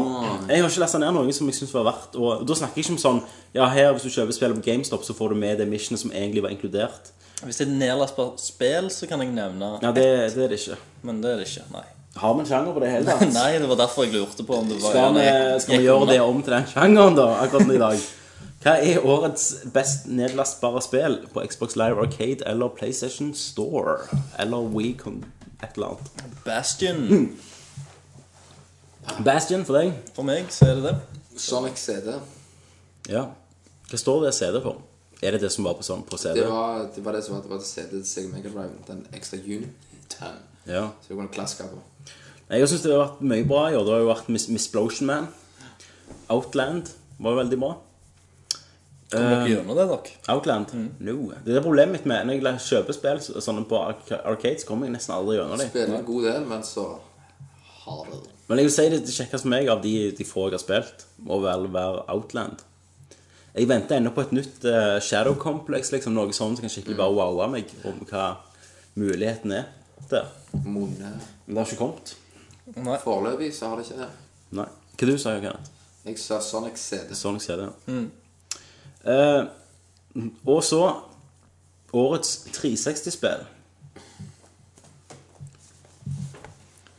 Jeg har ikke lest ned noen som jeg syns var verdt å og Da snakker jeg ikke om sånn Ja, her hvis du kjøper spillet på GameStop, så får du med det missionet som egentlig var inkludert. Hvis det er nedlastbart spill, så kan jeg nevne Ja, det, det er det ikke. Men det er det ikke. Nei. Har vi en sjanger på det hele tatt? Nei, det var derfor jeg lurte på om det var Skal vi, skal vi gjøre det om til den sjangeren, da, akkurat i dag? Hva er årets best nedlastbare spill på Xbox Live Arcade eller PlayStation Store? Eller WeCon et eller annet. Bastion. Bastion for deg? For meg så er det det. Sonic CD. Ja. Hva står det CD for? Er det det som var på, sånn, på CD? Det var det, var det som var, det var til CD til Sega Mega Drive. Den ekstra uniten. Ja. Så du kunne klaske på. Nei, Jeg syns det har vært mye bra i år. Det har jo vært Miss, Misplosion Man. Outland var jo veldig bra. Kom Um. dere gjennom det, dere? Outland? No. Det er problemet mitt med når jeg la- kjøper spill så- sånne på arca- arcade, så kommer jeg nesten aldri gjennom dem. Spiller en god del, men så har det det. Men jeg vil si det, det kjekkeste for meg av de, de få jeg har spilt, må vel være Outland. Jeg venter ennå på et nytt eh, Shadow Complex, liksom noe sånt som kan skikkelig bare wowe meg om hva muligheten er der. Monne. Men det har ikke kommet. Nei. Foreløpig så har det ikke det. Nei. Hva du sa du, Kenneth? Jeg sa Sonic CD. Sonic CD. Eh, og så årets 360-spill.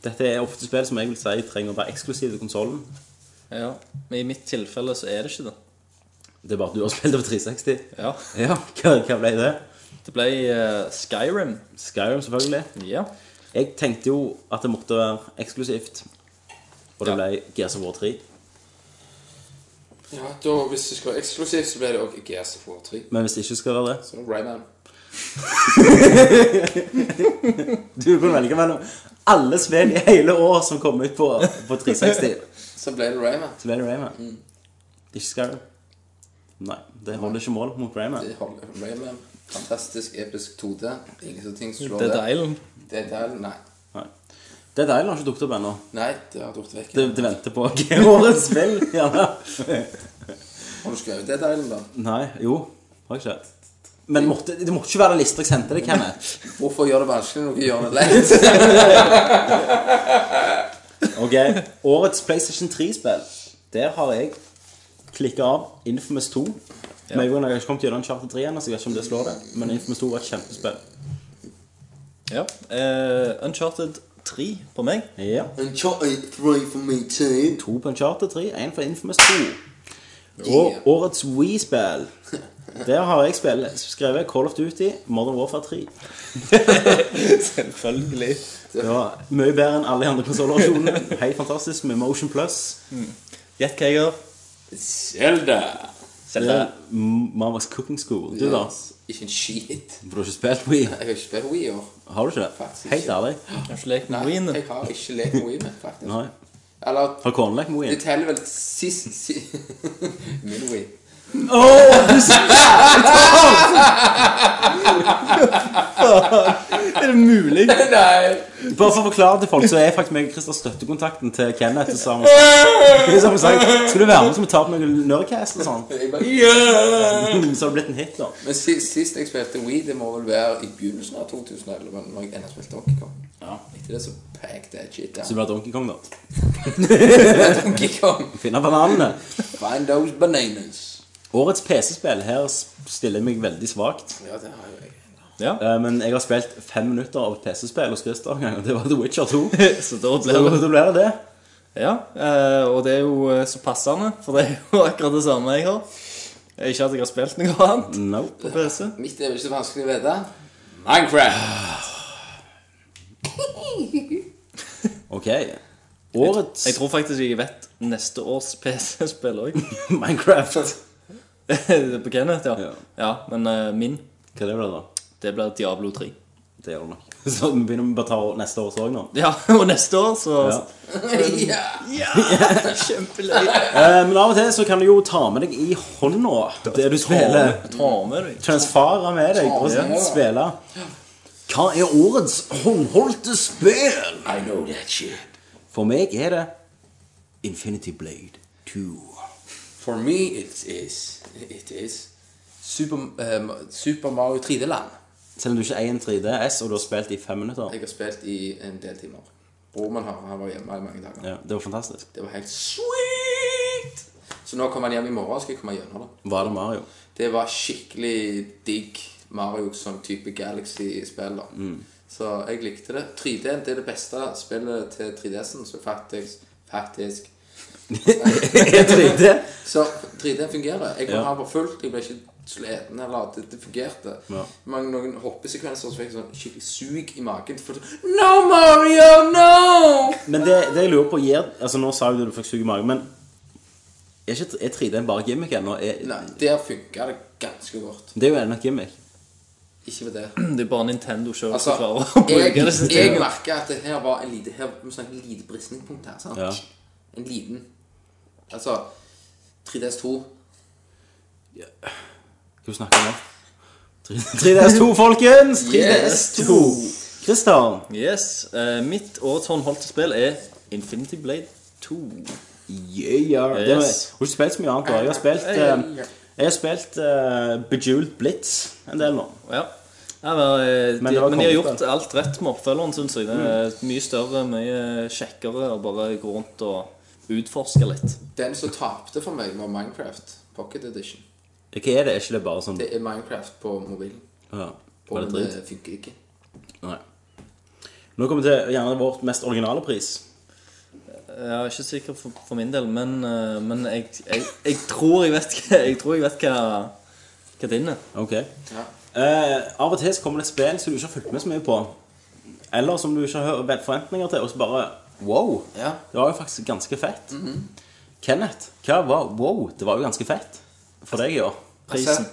Dette er ofte spill som jeg vil si trenger å være eksklusive til konsollen. Ja, men i mitt tilfelle så er det ikke det. Det er bare at du har spilt over 360. Ja. Ja, hva, hva ble det? Det ble eh, Skyrim. Skyrim, selvfølgelig. Ja. Jeg tenkte jo at det måtte være eksklusivt. Og det Ja. ble Gears of War 3. Ja, da, Hvis det skal være eksklusivt, så blir det òg GS of War 3. Men hvis det ikke skal være det Så det er Rayman. Du kan velge mellom alle spill i hele år som kom ut på, på 360. Så ble det Rayman. Så ble det Rayman. Ikke Skyrim. Nei, det holder ikke mål mot Rayman. Det holder Rayman. Fantastisk episk 2D. Ingenting slår Dead Island. Det er deilig. Nei. Nei. Dead Island har ikke dukket opp ennå. Nei, det har du gjort vekk. Det, det venter på årets spill. Gjerne. Har du skrevet Dead Island, da? Nei, jo. Har jeg ikke. Men måtte, det måtte ikke være den lista jeg sendte deg, Kenneth. Hvorfor gjør det vanskelig når du gjør det lett? Ok, Årets PlayStation 3-spill. Der har jeg klikka av Infamous 2. Men jeg har ikke kommet gjennom Charter 3 ennå, så jeg vet ikke om det slår det. Men Infamous 2 var et kjempespill. Ja. Eh, Uncharted 3 på meg. Ja. And try three for me too. To på en Charter 3, én for Infamous 2. Og årets Wii-spill. Der har jeg spill, skrevet Call of Duty Modern Warfare 3. Selvfølgelig. Det var mye bedre enn alle de andre konsollasjonene. Helt fantastisk med Motion Plus. Gjett hva jeg gjør. Zelda. Zelda. Det- M- Mamas Cooking School. Du, da? Ikke en skit. For du har ikke spilt Wii? Jeg har ikke spilt Wii i år. Har du ikke? Faktisk Helt ikke. ærlig? Har ikke lekt Nei, med Wien. jeg har ikke lekt Wii med, faktisk. Nei. Eller Har kona lekt med Wii? det teller vel sist si, Min Wii. Er det mulig? Nei! Bare for å forklare til folk, så er faktisk meg og Christer støttekontakten til Kenneth. Og sammen. Sammen sagt, skal du være med, så må vi ta på noe Nerdcast og sånn. Jeg bare, yeah! Så har det blitt en hit, da. Men sist, sist jeg spilte Wii, det må vel være i begynnelsen av 2011, men når jeg ennå spilte Donkey Kong. Ja. Etter det så pack that shit Så down. det blir Donkey Kong, da. Donkey Kong. Finne bananene. Find those bananas. Årets PC-spill. Her stiller jeg meg veldig svakt. Ja, det har jo jeg. Ja. Eh, Men jeg har spilt fem minutter av et PC-spill hos Christer en gang, og det var The Witcher 2. Så da Så blir det da blir det det. Ja, eh, og det er jo eh, så passende, for det er jo akkurat det samme jeg har. Ikke at jeg har spilt noe annet No. på PC. Mitt er vel ikke så vanskelig å vite. Minecraft. Ok. Årets Jeg tror faktisk jeg vet neste års PC-spill òg. Minecraft. På Kenneth, ja. Ja. ja. Men eh, min, Hva er det, da? det blir Diablo 3. Det gjør det nok. Så vi begynner med å ta neste års òg nå. Ja, og neste år, så Ja. Ja. Kjempeløy. Eh, Men av og til så kan du jo ta med deg i hånda det du spiller. Tar med deg. transfere med deg og Ja. spille. Hva er årets håndholdte spill? I know that shit. For meg er det Infinity Blade 2. For me it is, it is Super, eh, Super Mario 3D-land. Selv om du ikke eier en 3DS og du har spilt i fem minutter. Jeg har spilt i en del timer. Broren min har, han var hjemme i mange dager. Ja, det var fantastisk. Det var helt sweet! Så nå kommer han hjem i morgen, skal jeg komme gjennom det. Var det Mario? Det var skikkelig digg Mario som type Galaxy-spill. da. Så jeg likte det. 3D det er det beste spillet til 3DS-en, så faktisk faktisk Er det det? Så 3D fungerer. Jeg kom Ja. her på fullt, jeg ble ikke sliten eller at det, det fungerte. Ja. Mange noen hoppesekvenser så fikk jeg sånn skikkelig sug i magen. For sånn, no, Mario, no! Men det, det jeg lurer på gir Altså Nå sa jo du du fikk suge i magen, men er, ikke, er 3D bare gimmick ennå? Er- Nei, der funka det ganske godt. Det er jo ennå gimmick. Ikke med det. Det er bare Nintendo sjøl Altså, som klarer å bruke det. jeg, jeg merker at det her var en lite, her, vi snakker en lite bristningpunkt her, sant? Ja. En liten. Altså, 3DS2, Hva snakker du om? 3DS2, folkens! 3DS2. Christer. Yes, eh, Mitt årets håndholdte spill er Infinity Blade 2. Yeah. Det var, Yes. har ikke spilt så mye annet. da. Jeg har spilt, eh, jeg har spilt eh, Bejeweled Blitz en del nå. Ja. Ja, men, eh, Men det var Mm. de, men de har kongespill. gjort alt rett med oppfølgeren, syns jeg. Den er Mye større, mye kjekkere å bare gå rundt og utforske litt. den som tapte for meg var Minecraft Pocket Edition. Hva er det? Er ikke det bare sånn Det er Minecraft på mobilen. ja. Og Var det det dritt? funker ikke. Nei. Nå kommer vi til gjerne vårt mest originale pris. Jeg er ikke sikker for, for min del, men, eh, men jeg, jeg, jeg tror jeg vet hva Jeg tror jeg vet hva, Katinne. Ok. Eh, av og til så kommer det et spill som du ikke har fulgt med så mye på. Eller som du ikke har hørt- vet forventninger til, og så bare wow. Ja. Det var jo faktisk ganske fett. Kenneth, hva var wow? Det var jo ganske fett for deg i år. Prisen. Altså-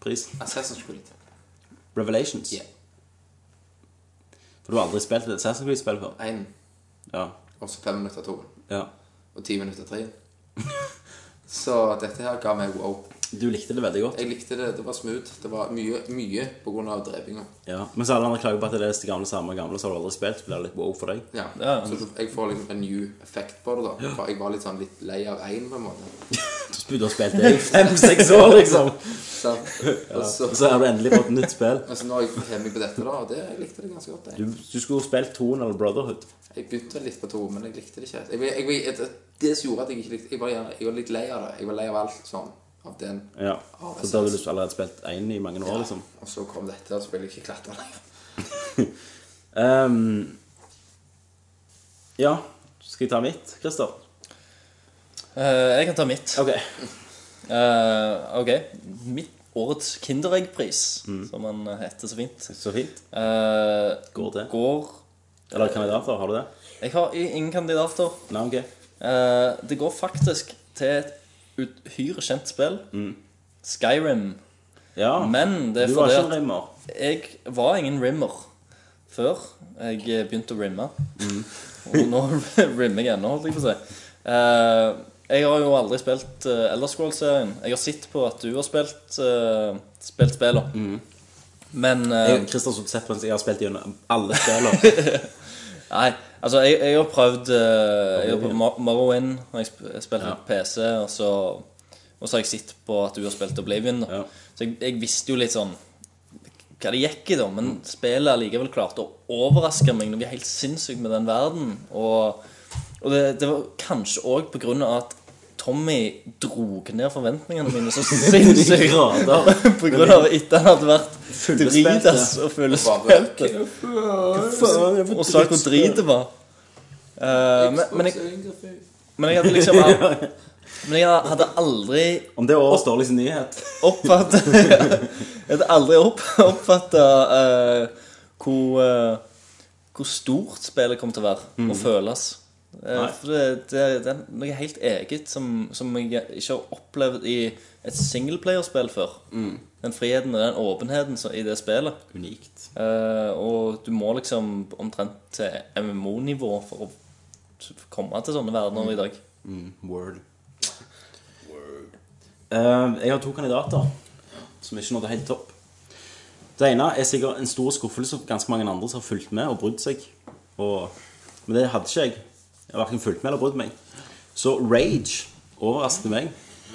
Prisen. Assassin's Creed. Revelations. Yeah. For du har aldri spilt et Assassin's Creed-spill før. Én, Ja. og så fem minutter to. ja. Og ti minutter tre. Så dette her ga meg wow. Du likte det veldig godt. Jeg likte det. Det var smooth. Det var mye, mye på grunn av drepinga. Ja. Mens alle andre klager på at det er det gamle samme gamle, så har du aldri spilt. Så blir det litt wow for deg. Ja. Ja. Så du- jeg får liksom en new effekt på det, da. For jeg var litt sånn litt lei av én, på en måte. Du har spilt det i fem-seks år, liksom. Så, og så, Og så har du endelig fått et nytt spill. og så nå har jeg kommet meg på dette, da, og det, jeg likte det ganske godt. Jeg. Du, du skulle spilt Tone eller Brotherhood. Jeg begynte litt på to, men jeg likte det ikke. Jeg, jeg, jeg, det, det som gjorde at jeg ikke likte Jeg var, gjerne- jeg var litt lei av det. Jeg var lei av alt sånn. Av den. Ja. Av Så da hadde Assassin's. du allerede spilt én i mange år, liksom. Og så kom dette, og så ville jeg ikke klatre lenger. Ehm, ja. Skal jeg ta mitt, Christer? Eh, jeg kan ta mitt. Ok. Eh, ok. Mitt årets Kindereggpris, Mm. som han heter så fint. Så fint. Eh, Går til. Går Eller kandidater, har du det? Jeg har i- ingen kandidater. Nei, ok. Eh, det går faktisk til et uhyre kjent spill. Skyrim. Ja. Men det er Mm. Ah, du var fordi ikke en at- rimmer. Jeg var ingen rimmer før jeg eh, begynte å rimme. Og nå rimmer jeg ennå, holdt jeg på å si. Eh, jeg har jo aldri spilt uh, Elder Scrolls-serien. Jeg har sett på at du har spilt uh, Spilt spiller. Men eh, Jeg, Ehm, Christer som sett på en, jeg har spilt gjennom alle spiller. Nei, altså jeg, jeg har prøvd eh, Jeg har prøvd Mar- Morrowind Når jeg sp- jeg spilte Ja. på PC og så, og så har jeg sett på at du har spilt Oblivion da. Ja. Så jeg, jeg visste jo litt sånn Hva det gikk i da Men spillet allikevel klarte å overraske meg Når vi er helt sinnssykt med den verden Og, og det, det var kanskje også på grunn av at Tommy drog ned forventningene mine Så sinnssykt Grader. På grunn av etter han hadde vært Fullspilt, Dritas og Bare fullspilt Faen, jeg får og sa hvor drittspill. drit det var. Eh, men, men, jeg, men jeg hadde liksom al- Men jeg hadde aldri Om det er årets dårligste nyhet. oppfattet Jeg hadde aldri opp, oppfatta hvor, eh, hvor stort spillet kom til å være og føles. Eh, Nei. for det, det, det er noe helt eget som, som jeg ikke har opplevd i et singleplayerspill før. Den friheten og den åpenheten som- i det spillet. Unikt. Eh, og du må liksom omtrent til MMO-nivå for å komme til sånne verdener i dag. Mm, Word. Eh, jeg har to kandidater som ikke nådde helt topp. Det ene er sikkert en stor skuffelse for ganske mange andre som har fulgt med og brydd seg. Og, men det hadde ikke jeg. Jeg har hverken fulgt med eller brydd meg. Så Rage overrasket meg.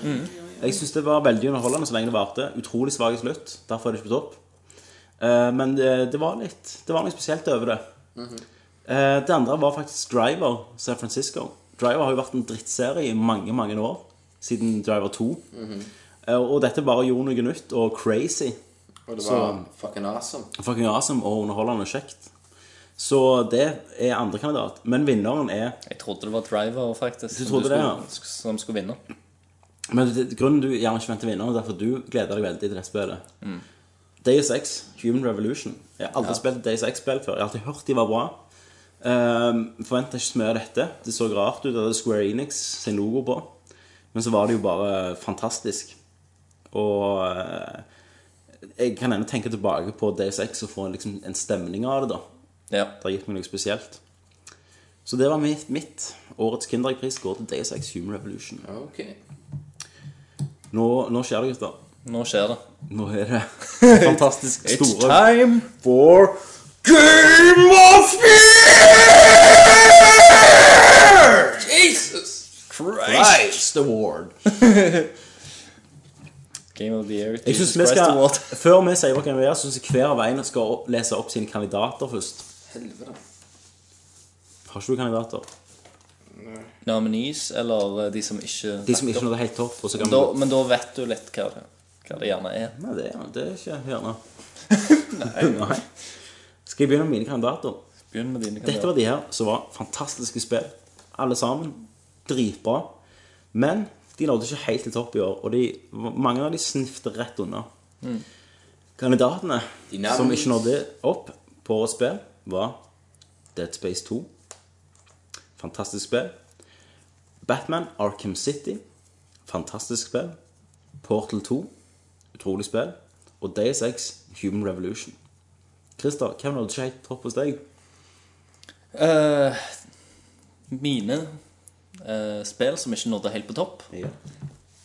Jeg syns det var veldig underholdende så lenge det varte. Utrolig svak i slutt. Derfor er det ikke på topp. Eh, men det, det var litt Det var noe spesielt over det. Eh, Det andre var faktisk Driver San Francisco. Driver har jo vært en drittserie i mange, mange år. Siden Driver 2. Eh, Og dette bare gjorde noe nytt og crazy. Og det var Så- fucking awesome. Fucking awesome og underholdende og kjekt. Så det er andre kandidat. Men vinneren er Jeg trodde det var Driver faktisk Du som, trodde det, skulle, ja. sk- som skulle vinne. Men det, grunnen du gjerne ikke venter vinneren, er derfor du gleder deg veldig til det spillet. Deus Ex, Human Revolution. Jeg har aldri spilt et Deus Ex-spill før. Jeg har alltid hørt de var bra. Um, Forventa ikke så mye av dette. Det så rart ut. Det hadde Square Enix sin logo på. Men så var det jo bare fantastisk. Og eh, jeg kan ennå tenke tilbake på Deus Ex og få en, liksom, en stemning av det. da Ja. Det har gitt meg noe spesielt. Så det var mitt. mitt. Årets Kinderegg-pris går til Deus Ex Human Revolution. Ok. Nå, nå skjer det, gutter. Nå skjer det. Nå er det fantastisk store time! for Game of Jesus! Christ Award. Game of the year. Jeg Jesus synes vi Christ skal, Award. Før vi sier hva vi gjør, syns jeg hver av en skal opp- lese opp sine kandidater først. Helvete. Har ikke du kandidater? Nominees, eller eh, de som ikke De som ikke nådde helt topp. Og så kan da, vi... Men da vet du litt hva det, hva det gjerne er. Nei, det, er- det er ikke gjerne. Nei. Skal jeg begynne med mine kandidater? Begynn med dine Dette kandidater. var de her som var fantastiske spill. Alle sammen. Dritbra. Men de nådde ikke helt til topp i år, og de, mange av de snifte rett unna. Kandidatene De navn- som ikke nådde opp på spill, var Dead Space 2. Fantastisk spill. Batman Arkham City. Fantastisk spill. Portal 2. Utrolig spill. Og Deus Ex Human Revolution. Christer, hvem nådde ikke helt opp hos deg? Eh, mine eh, spill som ikke nådde helt på topp, Ja.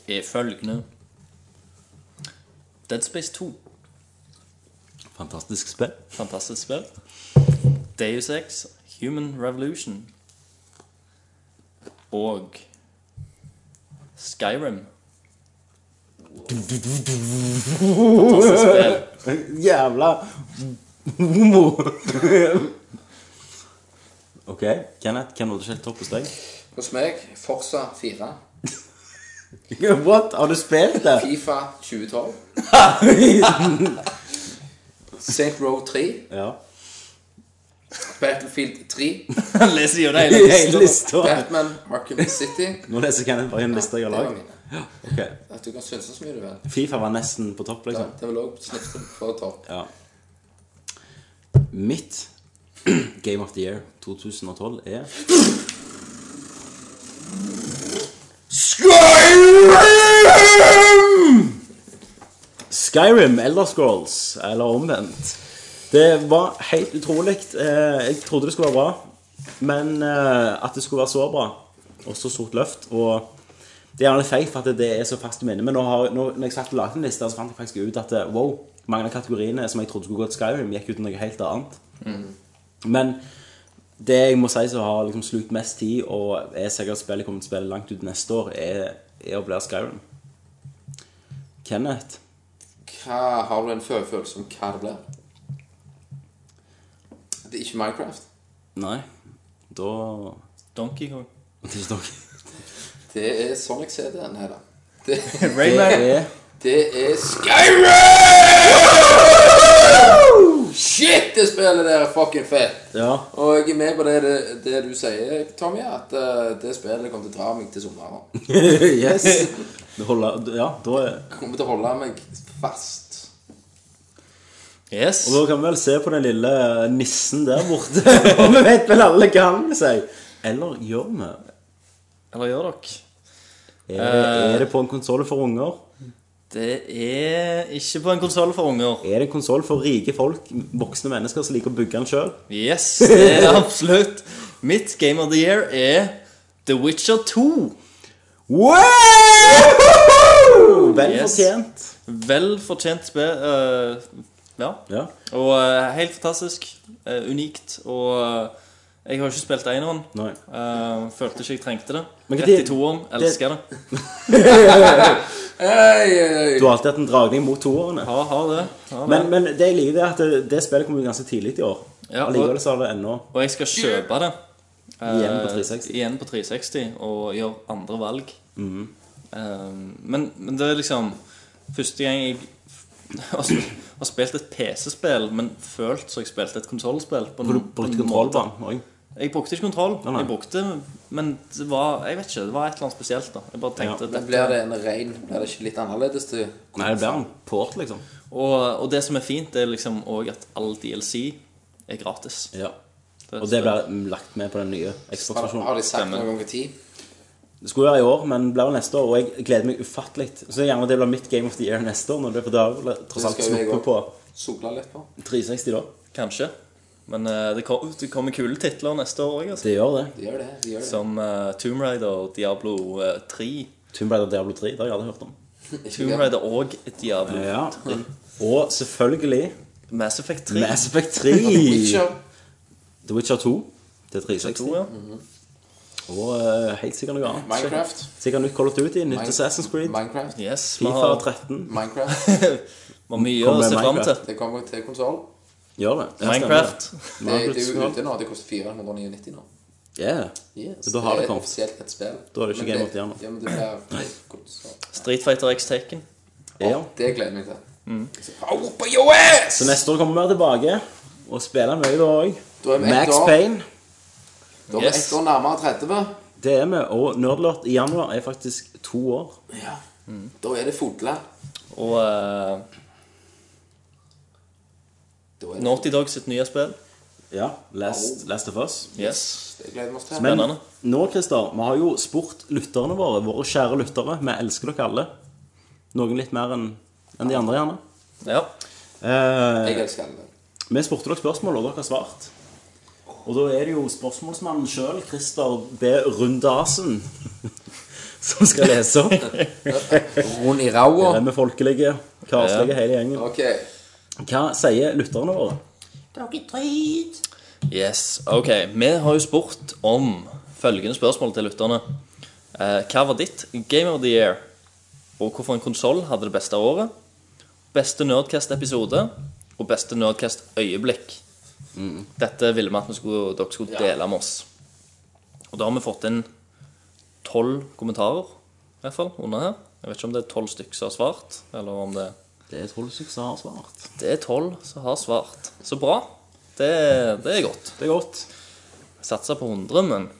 er følgende Dead Space 2. Fantastisk spill. Fantastisk spill. Deus Ex, Human Revolution og Skyrim. Fantastisk spill. Jævla homo! ok, Kenneth, hvem nådde ikke helt topp hos deg? Hos meg Forsa 4. What? Har du spilt det? Fifa 2012. Saint Row 3. ja. Battlefield 3. Han leser gjennom hele Hele lista. lista. Batman Arkham City. Nå leser Kenneth bare en liste jeg har Det var lagd. mine. Ok. At du kan synse så mye du vil. Fifa var nesten på topp, liksom. Det vil også snifte på topp. Ja. Mitt Game of the Year 2012 er Skyrim! Skyrim, Elder Scrolls, eller omvendt. Det var helt utrolig. Eh, Jeg trodde det skulle være bra, men eh, at det skulle være så bra, og så stort løft og det er gjerne feil for at det er så fast i minnet, men nå har, nå, når jeg satt og lagde en liste, så fant jeg faktisk ut at eh, wow, mange av kategoriene som jeg trodde skulle gå til Skyrim, gikk ut til noe helt annet. Men det jeg må si som har liksom slukt mest tid, og er sikkert spillet kommer til å spille langt ut neste år, er, er å bli Skyrim. Kenneth, Hva har du en fø- følelse om hva det blir? Det er ikke Minecraft. nei, da Donkey Kong. Det er ikke dere. Det er Sonic CD-en her, da. Det, Rayman. Det er det er Skyrim! Shit, det spillet der er fucking fett! Ja. Og jeg er med på det, det, det du sier, Tommy, at eh, det spillet kommer til å dra meg til sommeren. yes. Det holder, ja, da er Kommer til å holde meg fast. Yes. Og da kan vi vel se på den lille nissen der borte. Og vi vet vel alle hva han vil si. Eller gjør vi? Eller gjør dere? Er det, er det på en konsoll for unger? Det er ikke på en konsoll for unger. Er det en konsoll for rike folk, voksne mennesker som liker å bygge den sjøl? Yes, det er det absolutt. Mitt Game of the Year er The Witcher 2. Vel Yes. fortjent. Vel fortjent spill. eh, ja. Ja. Og eh, helt fantastisk. eh, unikt. Og eh, jeg har jo ikke spilt eneren. Nei. Eh, følte ikke jeg trengte det. Men hva Rett i tid- toeren. Elsker det. Du har alltid hatt en dragning mot toårene. Ja, har det. Har det. Men, men det jeg liker, det er at det, det spillet kom ut ganske tidlig i år. Ja, og- Allikevel så har det ennå Og jeg skal kjøpe det. eh, Igjen på 360. igjen på 360 og gjøre andre valg. Mhm. Eh, men, men det er liksom første gang jeg har sp- har spilt et PC-spill, men følt som jeg spilte et konsollspill. på en- For du på en brukte måte. kontrollbanen òg. Jeg brukte ikke kontroll. Nei, nei. Jeg brukte, men det var jeg vet ikke, det var et eller annet spesielt. da Jeg bare tenkte Ja. at Men blir det en rein Blir det ikke litt annerledes til Nei, det ble en port, liksom. og, og det som er fint, det er liksom òg at all DLC er gratis. Ja. Og det ble lagt med på den nye Har, Xbox-versjonen. har de sagt Stemmer. noe om tid? Det skulle være i år, men det blir jo neste år, og jeg gleder meg ufattelig. Så gjerne det blir mitt Game of the Year neste år, når det er på dag, tross alt Det skal jo jeg snuppe på også. Sola litt på. 360 da. Kanskje. Men eh, det, kom, det kommer kule titler neste år òg. Altså. Det gjør det. De gjør det. de gjør det Som eh, Tomb Raider og Diablo eh, 3. Tomb Raider Diablo 3, det har jeg aldri hørt om. Tomb Raider og Diablo Ja. 3. Og selvfølgelig Mass Effect 3. Mass Effect 3. Witcher. The Witcher 2 til 360. 2, ja. Mm. Og eh, helt sikkert noe annet. Minecraft. Sikkert nytt Call of Duty, nytt Assassin's Creed, Minecraft. Yes, vi FIFA har, 13. Minecraft. vi har mye å Kommer se fram til. Minecraft. Det kommer til konsoll. Gjør det. Ja, stemmer Minecraft. det. Det, det er jo Minecraft. ute nå. Det koster 499 nå. Yeah. Yes. Så da har det er kommet. offisielt et spill. Da er det ikke Men Game of the Year nå. Ja, men det blir konsoll. Street Fighter X Taken. Ja. Det gleder jeg meg til. Så, Au, på US! Så neste år kommer vi tilbake og spiller mye da òg. Da er vi ett Max år. Payne. Da er vi Yes. ett år nærmere 30. Det er vi, og Nerdlort i januar er faktisk to år. Ja. Da er det fodla. Og eh, Da er det Naughty Dog sitt nye spill. Ja, Last, last of Us. Yes. Jeg gleder meg til. Men Spennende. nå, Christer, vi har jo spurt lytterne våre, våre kjære lyttere. Vi elsker dere alle. Noen litt mer enn enn de andre, gjerne. Ja. Eh, Jeg elsker den. vi spurte dere spørsmål, og dere har svart. Og da er det jo spørsmålsmannen sjøl, Christer B. Rundasen, som skal lese opp. Rund i raua. Vi folkelige, karslige, hele gjengen. Ok. Hva sier lytterne våre? Dere drit. Yes. Ok. Vi har jo spurt om følgende spørsmål til lytterne. Eh, hva var ditt Game of the Year? Og hvorfor en konsoll hadde det beste året? Beste Nerdcast-episode og beste Nerdcast-øyeblikk. Dette ville vi at vi skulle, dere skulle dele med oss. Og da har vi fått inn tolv kommentarer, i hvert fall, under her. Jeg vet ikke om det er tolv stykker som har svart, eller om det er Det er Truls som har svart. Det er tolv som har svart. Så bra. Det, det er godt. Det er godt. Satser på 100, men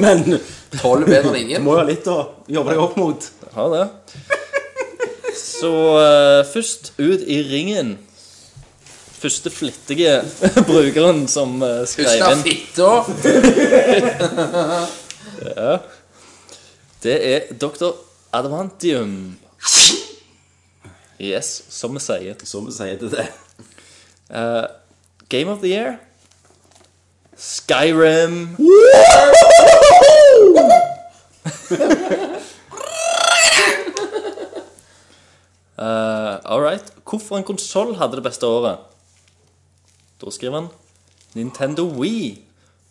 Men du Tolv bedre enn ingen. må jo ha litt å jobbe deg opp mot. ha det. Så eh, først ut i ringen Første flittige brukeren som eh, skrev Første inn. fitta. Det er Dr. Advantium. Yes, som vi sier. Som vi sier til det. Uh, Game of the year. Skyrim. Uh, All right. Hvorfor en konsoll hadde det beste året? Da skriver han Nintendo Wii.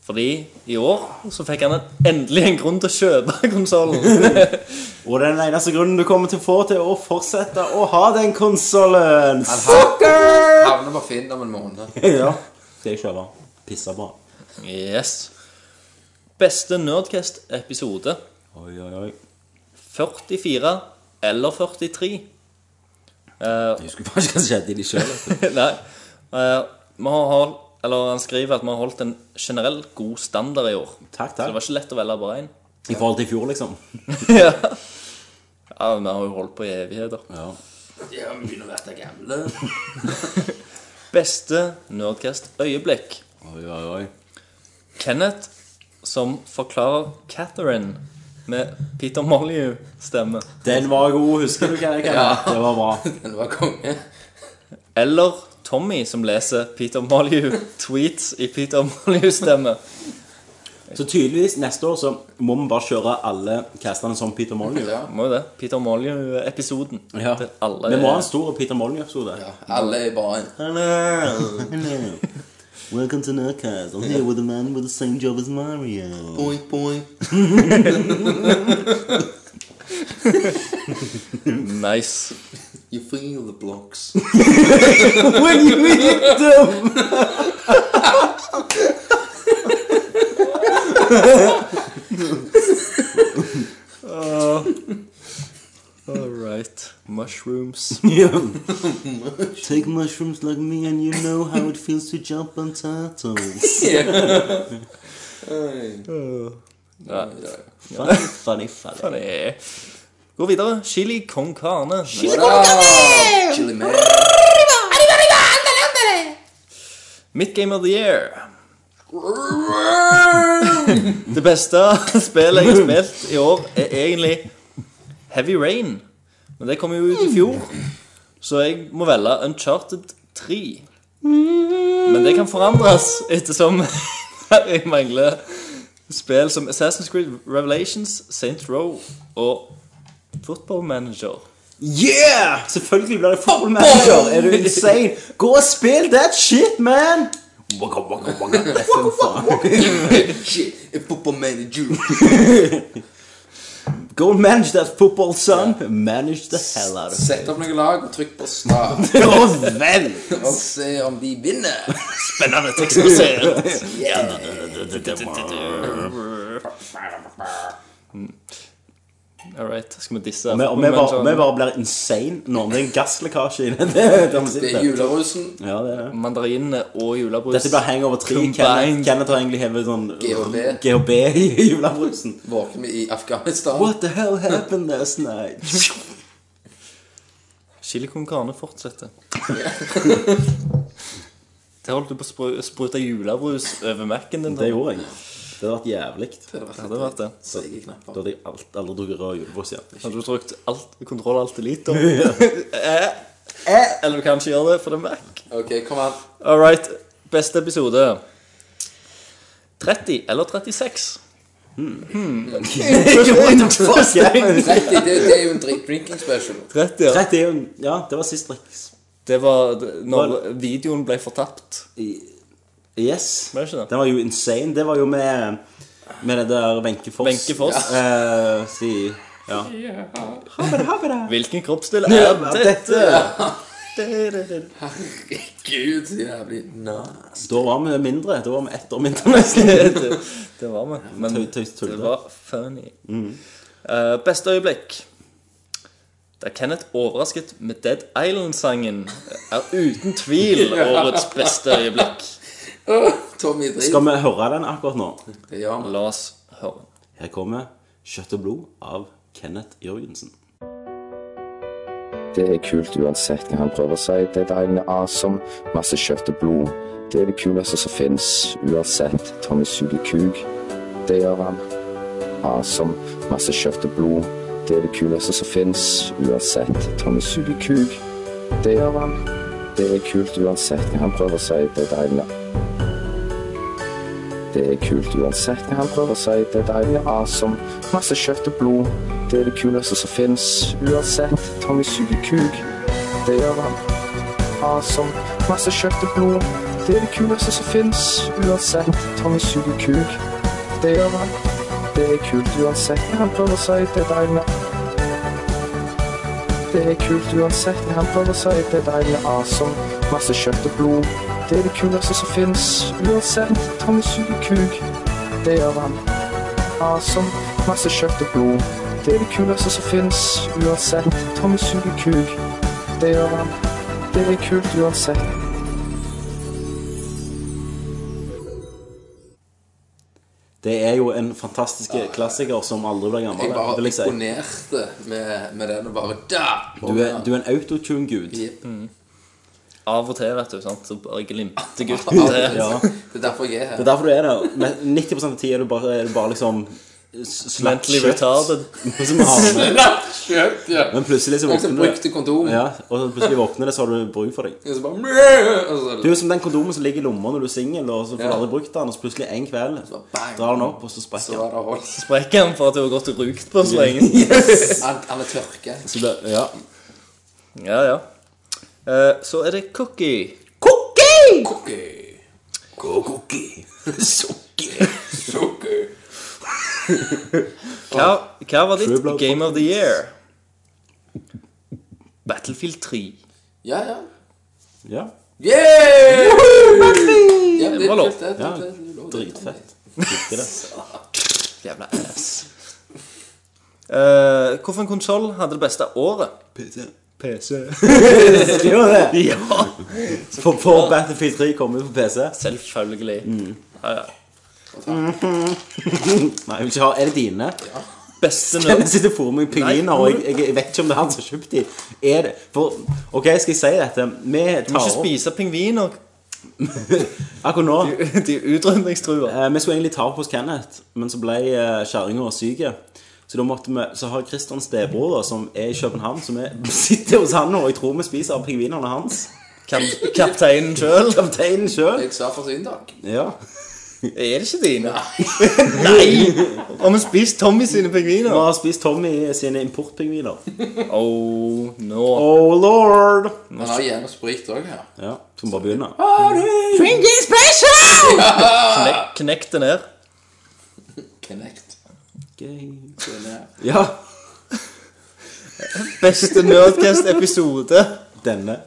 Fordi i år så fikk han en, endelig en grunn til å kjøpe konsollen. Og det er den eneste grunnen du kommer til å få til å fortsette å ha den konsollen. Havner på Finn om en måned. Ja. Skal jeg kjøpe? Pissa bra. Yes. Beste Nerdcast-episode. Oi, oi, oi. 44 eller 43. Jeg husker bare ikke hva som skjedde i de sjøl. Nei. Eh, vi har holdt, eller han skriver at vi har holdt en generell god standard i år. Takk, Så det var takk. ikke lett å velge bare én. I forhold til i fjor, liksom. ja. ja, men vi har jo holdt på i evigheter. Ja. Ja, vi begynner å være gamle. Beste Nerdcast-øyeblikk. Oi, oi, oi. Kenneth som forklarer Catherine med Peter Molyneux-stemme. Den var god, husker du hva jeg kan? Ja. Det var bra. Den var konge. Eller Tommy som leser Peter Molyneux-tweets i Peter Molyneux-stemme. Så tydeligvis neste år så må vi bare kjøre alle castene som Peter Molyneux. Ja. Må jo det. Peter Molyneux-episoden. Ja. Det er alle- Vi må ha en stor Peter Molyneux-episode. Ja, alle er bare en. Hello. Hello. Welcome to Nerdcast. I'm here with a man with the same job as Mario. Boing, boing. Nice. You feel the blocks. When you eat them! All right. Mushrooms. Take mushrooms like me and you know how it feels to jump on turtles. Ja. Funny, funny, funny. Nei. Gå videre. Chili con carne. Chili man. Mitt game of the year. Det beste spillet jeg har spilt i år, er egentlig Heavy Rain. Men det kom jo ut i fjor, så jeg må velge Uncharted 3. Men det kan forandres ettersom jeg mangler spill som Assassin's Creed Revelations, Saint Row og Football Manager. Yeah! Selvfølgelig blir det football manager. Er du insane? Gå og spill that shit, man! Waka, waka, waka. Waka, waka, waka. Shit, a football manager. Go and manage that football, son. Manage the hell out of it. Sett opp noen lag og trykk på start. Og vel! Og se om de vinner. Spennende tekst å se. All right, skal vi disse Og vi- og vi bare- vi bare blir insane nå om det er en gasslekkasje inne der vi Det er sitter. julerusen. Ja, det er det. mandarinene og julebrus. Dette blir Hangover 3. Combined. Kenneth, Kenneth har egentlig hevet sånn GHB. GHB i julebrusen. Våkner vi i Afghanistan. What the hell happened last night? Chili con carne fortsetter. Der holdt du på å spru- sprute julebrus over Mac-en din. Det gjorde jeg. Det hadde vært jævlig. Det Ja, det hadde vært det. Seige Da knapper. hadde jeg alt, aldri drukket rød julebrus igjen. Hadde du trykt alt, kontroll alt elite Eh, eh, Eller du kan ikke gjøre det, for det er Mac. Ok, kom an. All right. Beste episode. 30 eller 36? Hmm. 30, det, det er jo en drink, drinking special. 30, ja. Rett er jo en- Ja, det var sist drikkes. Det var d- når videoen ble fortapt. Yes. Var det ikke det? Den var jo insane. Det var jo med Med det der Wenche Foss. Wenche Foss. Eh, si Ja. Hvilken kroppsdel er dette? Herregud, så jævlig nas. Da var vi mindre. Da var vi ett år mindre, nesten. det, det var vi. Men Tøy- tøys- tull, det det. Mm. var funny. Eh, beste øyeblikk? Da Kenneth overrasket med Dead Island-sangen er uten tvil årets beste øyeblikk. Tommy Drit. Skal vi høre den akkurat nå? Det gjør vi. La oss høre. Her kommer Kjøtt og blod av Kenneth Jørgensen. Det er kult uansett når han prøver seg. Det er deilig awesome. Masse kjøtt og blod. Det er det kuleste som fins. Uansett. Tommy suger kuk. Det gjør han. Awesome. Masse kjøtt og blod. Det er det kuleste som fins. Uansett. Tommy suger kuk. Det gjør han. Det er kult uansett når han prøver seg. Det er deilig. Det er kult uansett hva han prøver seg. Det er deilig awesome. Masse kjøtt og blod. Det er det kuleste som fins. Uansett. Tommy suger kuk. Det gjør han. Awesome. Masse kjøtt og blod. Det er det kuleste som fins. Uansett. Tommy suger kuk. Det gjør han. Det er kult uansett hva han prøver seg. Det er deilig. Det er kult uansett hva han prøver seg. Det er deilig awesome. Masse kjøtt og blod. Det er det kuleste som fins. Uansett. Tommy suger kuk. Det gjør han. Awesome. Masse kjøtt og blod. Det er det kuleste som fins. Uansett. Tommy suger kuk. Det gjør han. Det er kult uansett. Det er jo en fantastisk klassiker som aldri blir gammel. Jeg bare vil jeg si. imponerte med, med den og bare Da! Du er, du er en autotune-gud. Jepp. Av og til, vet du. sant? Så bare glimter gutt. Det- Ja. Det er derfor jeg Det er her. er derfor du er der. Men 90 av tida er du bare, er du bare liksom s- slapp Mentally kjøtt retarded. som har- Kjøtt, ja. Men plutselig så Noen som våkner du brukte kondom. Ja, og så plutselig våkner det, så har du bruk for deg. Og så bare mø, og så- Du er jo som den kondomen som ligger i lomma når du er singel, og så får du Ja. aldri brukt den, og så plutselig en kveld Så bang. drar den opp, og så Så sprekker den. var det holdt. Sprekker han for at du har gått og rugt på så lenge? Han, han er tørke. Så det, ja. Ja, ja. Eh, Så er det Cookie. Cookie. Cookie. Sukker. Hva, hva var ditt True Blood Game of the Year? Battlefield 3. Ja, ja. Ja. Yeah! Ja, Det var lov. kult, det, ja. det, det, det, det, det. Dritfett. Likte det. Jævla ass. Uh, Hvilken konsoll hadde det beste året? Gjør det? Ja. For, for Battlefield 3 kommer jo på PC. Selvfølgelig. Mm. Ja, ja. Nei, jeg vil ikke ha Er det dine? Beste Den nerd. sitter for meg i pingviner, og jeg, jeg vet ikke om det er han som har kjøpt de. Er det For OK, skal jeg si dette? Vi Du må tar ikke opp spise pingviner. Akkurat nå De er utrydningstrua. Eh, Vi skulle egentlig ta opp hos Kenneth, men så ble eh, kjerringa syk. Så da måtte vi, så har Christian stebror, da, som er i København, så vi sitter hos han nå, og jeg tror vi spiser av pingvinene hans. Kap kapteinen sjøl. Kapteinen sjøl. Jeg sa for syndag. Ja. Er det ikke dine? Nei! Har vi spist Tommy sine Vi pingviner? har spist Tommy sine importpingviner. Oh, no. Oh lord! Han har gjerne sprit òg her. Ja, Skal vi bare begynne? Knek knekk det ned. Connect. Gøy. Den er- Ja. Beste Nerdcast-episode. Denne.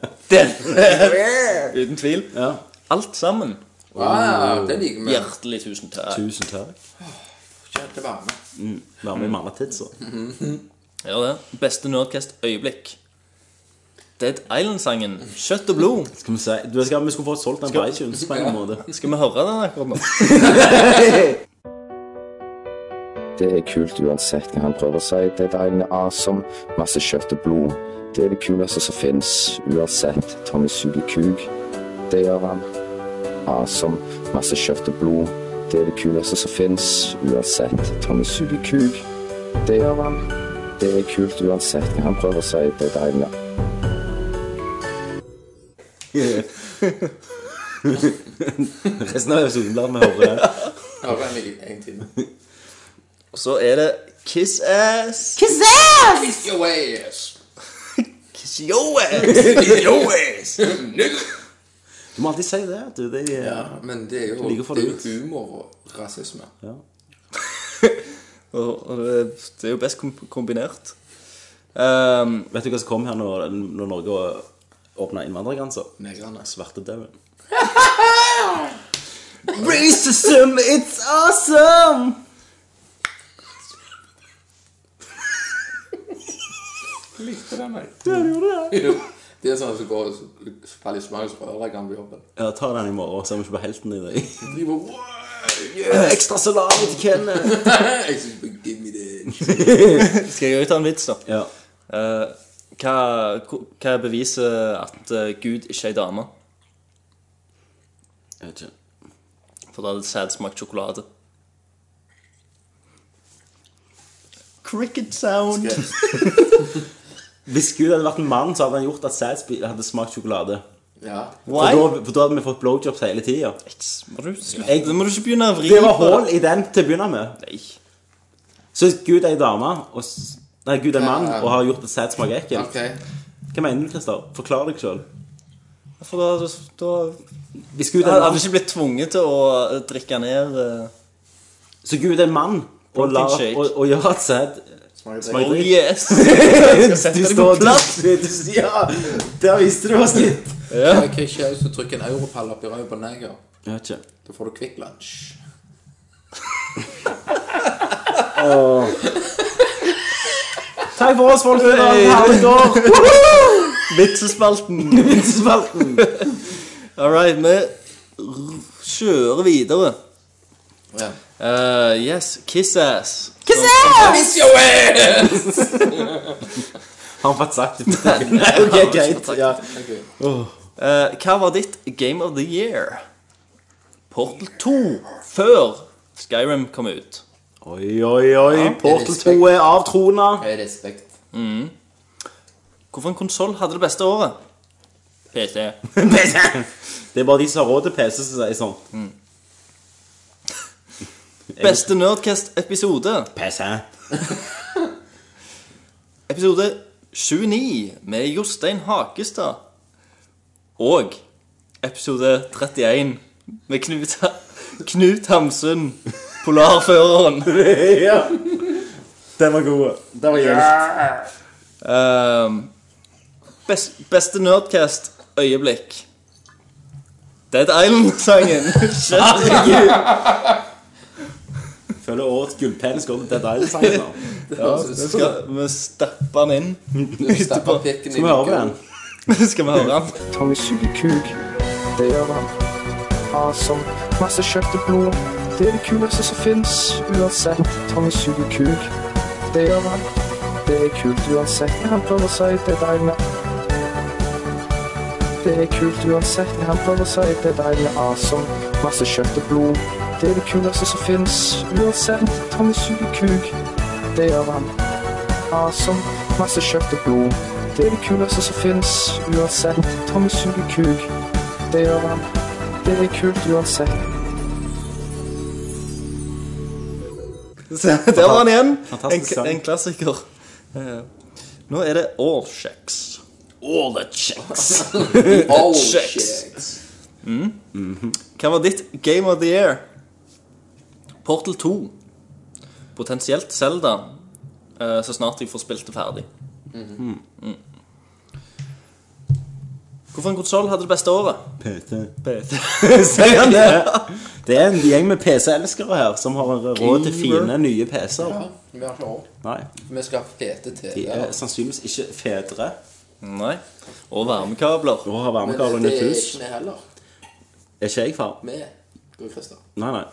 Uten tvil. Ja. Alt sammen. Wow, Ah, det liker vi. Hjertelig tusen takk. Tusen takk. Kjøtt er varme. Vær med i Manna Tidsa. Gjør det. Beste Nerdcast-øyeblikk. Dead Island-sangen. Kjøtt og blod. Skal vi si du, jeg skal, Vi skulle fått solgt den på iTunes på en eller annen måte. Skal vi høre den akkurat nå? Det er kult uansett hva han prøver seg. Det er deilig awesome. Masse kjøtt og blod. Det er det kuleste som fins. Uansett. Tommy suger kuk. Det gjør han. Awesome. Masse kjøtt og blod. Det er det kuleste som fins. Uansett. Tommy suger kuk. Det gjør han. Det er kult uansett hva han prøver å si. Det er deilig. Resten av episoden blir med høre det. Ja, det er en- en time. Og så er det Kiss Ass. Kiss your ass! Kiss Yo Ass. Du må alltid si det. Du, det er, Ja, men det er jo, Ligger for det er ut. jo humor og rasisme. ja. Og, og det, det er jo best kom kombinert. Ehm, Vet du hva som kom her når, når Norge åpna innvandrergrenser? Negrene. Svartedauden. Racism, it's awesome! Likte den, jeg. Ja, du gjorde det. Det er sånn som går og faller i smak og rører kan på jobben. Ja, ta den i morgen, så er vi ikke på helten i dag. De bare, wow, Ekstra salami til Kenneth! yeah. Jeg synes bare, give me that. skal jeg også ta en vits, da? Ja. Eh, hva, hva beviser at eh, Gud ikke er ei dame? Jeg vet ikke. For da hadde sæd smakt sjokolade. Cricket sound. Hvis Gud hadde vært en mann, så hadde han gjort at sæd hadde smakt sjokolade. Ja. For Why? da, for da hadde vi fått blowjobs hele tida. Må du slutte? Jeg- Nå må du ikke begynne å vri Det var på hull i den til å begynne med. Nei. Så hvis Gud er ei dame og s- Nei, Gud er en mann og har gjort at sæd smaker ekkelt. Ok. Hva mener du, Christer? Forklar deg sjøl. For da, da Hvis Gud er Jeg en hadde mann, ikke blitt tvunget til å drikke ned eh, så Gud er en mann og, Protein lar, shake. og, og gjør at sæd Smaker Smaker Oh dritt. yes! Du deg på står plass. du- du- du- Ja! Der viste du oss litt. Ja. Hva skjer hvis du trykker en europall opp i røy på neger? Jeg vet ikke. Da får du quick lunch. Takk for oss, folk. Hey. Herlig år. Vitsespalten. Spalten. All right, vi r- kjører videre. Ja. Eh, yes, kiss ass. Kiss your ass! Har han fått sagt det? Nei, ok, greit. Ja. Ok. Eh, hva var ditt Game of the Year? Portal 2 før Skyrim kom ut. Oi, oi, oi. Portal 2 er avtrona. Hei, respekt. Hvorfor en konsoll hadde det beste året? PC. Det er bare de som har råd til PC, som sier sånn. Beste Nerdcast-episode. PC. Episode 29 med Jostein Hakestad. Og episode 31 med Knut, Ha- Knut Hamsun, polarføreren. ja. Den var god. Den var gjemt. Ehm, best, beste Nerdcast-øyeblikk. Dead Island-sangen. Shit. Føler årets gullpenis går til Dead Island-sangen nå. Ja, så skal vi stappe den inn. Stapper Etterpå. pikken Skal vi høre på den? Skal vi høre den? Tommy suger kuk. Det gjør han. Awesome. Masse kjøtt og blod. Det er det kuleste som fins. Uansett. Tommy suger kuk. Det gjør han. Det er kult uansett hva han prøver å si. Det er deilig. Det er kult uansett hva han prøver å si. Det er deilig. Awesome. Masse kjøtt og blod. Det er det kuleste som fins. Uansett. Tommy suger kuk. Det gjør han awesome. Masse kjøtt og blod. Det er det kuleste som fins. Uansett. Tommy suger kuk. Det gjør han. Det er kult uansett. Så Der var han igjen. Fantastisk en, sang. en klassiker. Eh, Nå er det All Checks. All the Checks. Oh, Shit. shit. Hva var ditt Game of the Year? Portal 2. Potensielt Zelda, eh, så snart jeg får spilt det ferdig. Mm. Hvorfor en konsoll hadde det beste året? PT. Sier han det? Det er en gjeng med PC-elskere her som har råd til fine, nye PC-er. Ja, vi har ikke ord. Nei, Vi skal ha fete til. de er sannsynligvis ikke fedre Nei. Og varmekabler. og har Men varmekabler det under et er hus. ikke vi heller. Er ikke jeg far? Vi går i Christer. Nei, nei.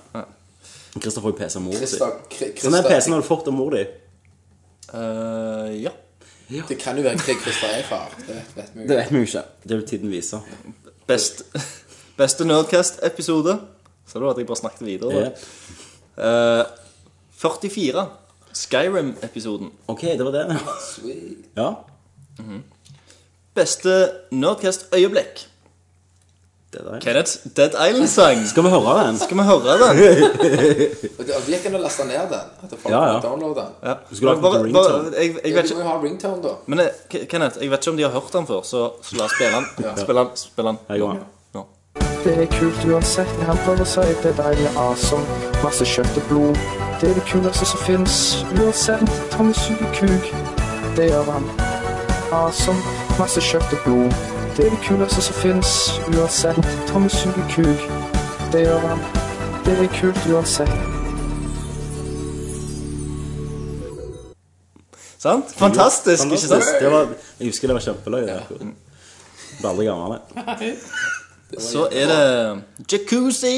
Christer får jo PC av mor si. Christer, Kri- Sånn er Christer PC-en har du fått av mor di. Eh, ja. Det kan jo være Krig Christer er far. Det vet vi jo. Det vet vi jo ikke. Det vil tiden vise. Best, Beste Nerdcast-episode. Så du at jeg bare snakket videre? da? Ja. Eh, 44. Skyrim-episoden. Ok, det var det. Sweet. Ja. Beste Nerdcast-øyeblikk. Det der. ja. Kenneth Dead Island-sang. Skal vi høre den? Skal vi høre den? Og det og det gikk an å laste ned den. At folk Ja, ja. kan downloade den. Ja. skulle lagt den Bare- til bare- ringtone. jeg, Ja, jeg du vet ikke må jo ha ringtone, da. Men eh, K- Kenneth, jeg vet ikke om de har hørt den før, så, så la oss spille den. Spille den. Spille den. Her går den. Nå. Det er kult uansett hva han prøver å si. Det er deilig awesome. Masse kjøtt og blod. Det er det kuleste som fins. Uansett, Tommy suger kuk. Det gjør han. Awesome. Masse kjøtt og blod. Det er det kuleste som fins. Uansett, Tommy suger kuk. Det gjør han. Det er kult uansett. Sant? Fantastisk, ikke sant? Det var, jeg husker det var kjempeløye. det. Ble aldri gammel, jeg. Så er det Jacuzzi.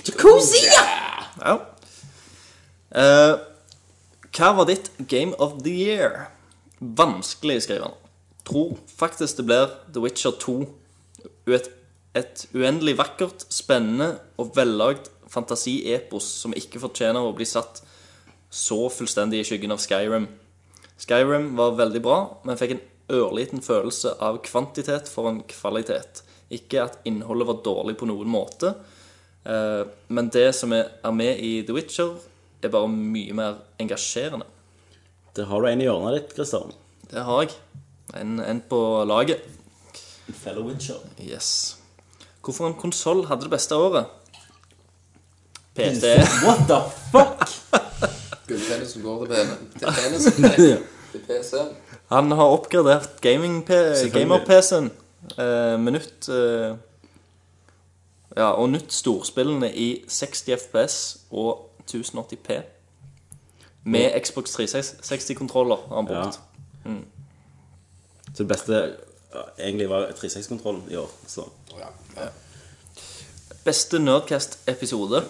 Jacuzzi! Ja. Eh, hva var ditt Game of the Year? Vanskelig, skriver han. Tror faktisk det blir The Witcher 2. Et, et uendelig vakkert, spennende og vellagd fantasiepos som ikke fortjener å bli satt så fullstendig i skyggen av Skyrim. Skyrim var veldig bra, men fikk en ørliten følelse av kvantitet foran kvalitet. Ikke at innholdet var dårlig på noen måte, eh, men det som er er med i The Witcher, er bare mye mer engasjerende. Der har du en i hjørnet ditt, Christer. Det har jeg. En, en på laget. Fellow Witcher. Yes. Hvorfor en konsoll hadde det beste året? PT. What the fuck? Gullpenisen går til penen. Til penisen. Til PC-en. Han har oppgradert gaming- P- gamer-PC-en. eh, med nytt eh, Ja, og nytt storspillene i 60 FPS og 1080P. Med Xbox 360-kontroller har han Ja. brukt. Mm. Så det beste ja, egentlig var 36-kontrollen i år. Så. Beste Nerdcast-episode.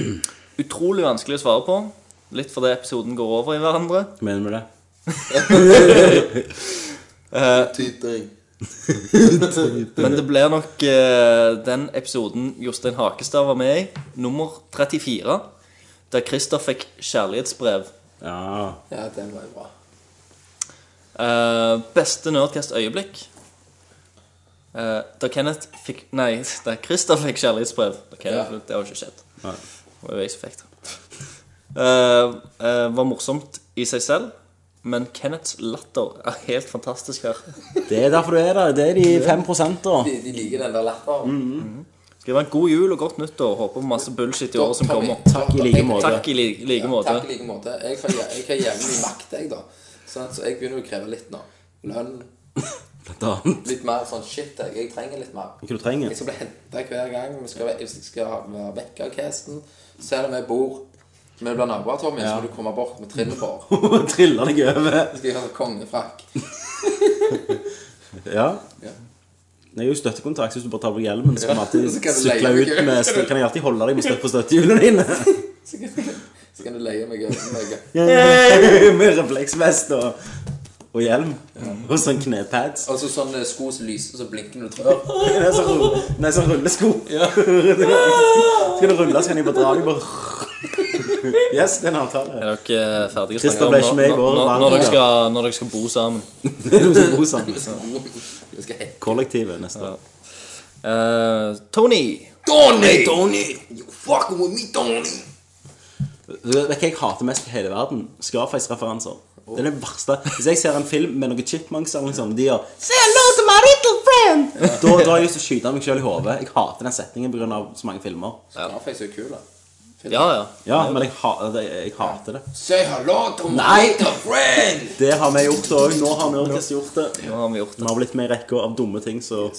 Utrolig vanskelig å svare på. Litt fordi episoden går over i hverandre. Hva mener du med det? Tytring. Men det blir nok eh, den episoden Jostein Hakestad var med i, nummer 34, der Christer fikk kjærlighetsbrev. Ja. Ja, den var jo bra. Eh, beste Nerdcast-øyeblikk? Eh, da Kenneth fikk Nei, da Christer fikk kjærlighetsbrev. Da Ja. Kenneth, Det har jo ikke skjedd. Nei. Det var jo jeg som fikk det. Eh, eh, var morsomt i seg selv, men Kenneths latter er helt fantastisk her. Det er derfor du er der. Det er de fem prosentene. De, de liker den der latteren. Skriv en god jul og godt nyttår. Håper på masse bullshit i året som Tommy, kommer. Takk i like jeg- måte. Takk i li like måte. Takk i like måte. Jeg får jæ- jeg har jævlig mye makt, jeg, da. Sånn, så jeg begynner å kreve litt nå. Lønn. Blant annet. Litt mer sånn shit. Jeg, jeg trenger litt mer. Hva du trenger. Jeg skal bli henta hver gang. Vi skal, jeg skal være vekk av casten. Selv om jeg bor Vi blir naboer, Tommy, så må du komme bort med trillebår. Så Triller deg over. skal jeg ha sånn kongefrakk. Ja. Ja. Det er jo støttekontakt, så hvis du bare tar på hjelmen, så kan, Ja, vi alltid så kan du sykle leie ut deg. med, så kan jeg alltid holde deg med støtt på støttehjulene dine. Så kan- så kan du leie meg over meg. med refleksvest og, og hjelm. Og sånn knepads. Og så sånne sko som lyser, så blinker når du trør. Det er sånn rull- Nei, sånn rullesko. Skal du rulle, så kan jeg bare dra deg bare Yes, det er en avtale. Er dere ferdige? å Christer snakke om ble ikke når- med i vår når- når verden. dere skal- Når dere skal bo sammen. Det er noe som bor sammen. Du skal hekte Kollektivet neste år. Eh, Tony. Donny! Donny! You fucking with me, Donny! Du vet hva jeg hater mest i hele verden? Scarface-referanser. Det er det verste. Hvis jeg ser en film med noen chipmunks eller noe sånt, de gjør Say hello to my little friend! Da, da har jeg lyst til å skyte meg sjøl i hodet. Jeg hater den setningen pga. så mange filmer. Scarface er jo kul, da. Ja, ja. Ja, men jeg, ha, det- jeg hater det. Say hello to my Nei! little friend! Det har vi gjort òg. Nå har Nerdcast gjort det. Nå har vi gjort Vi har blitt med i rekka av dumme ting, så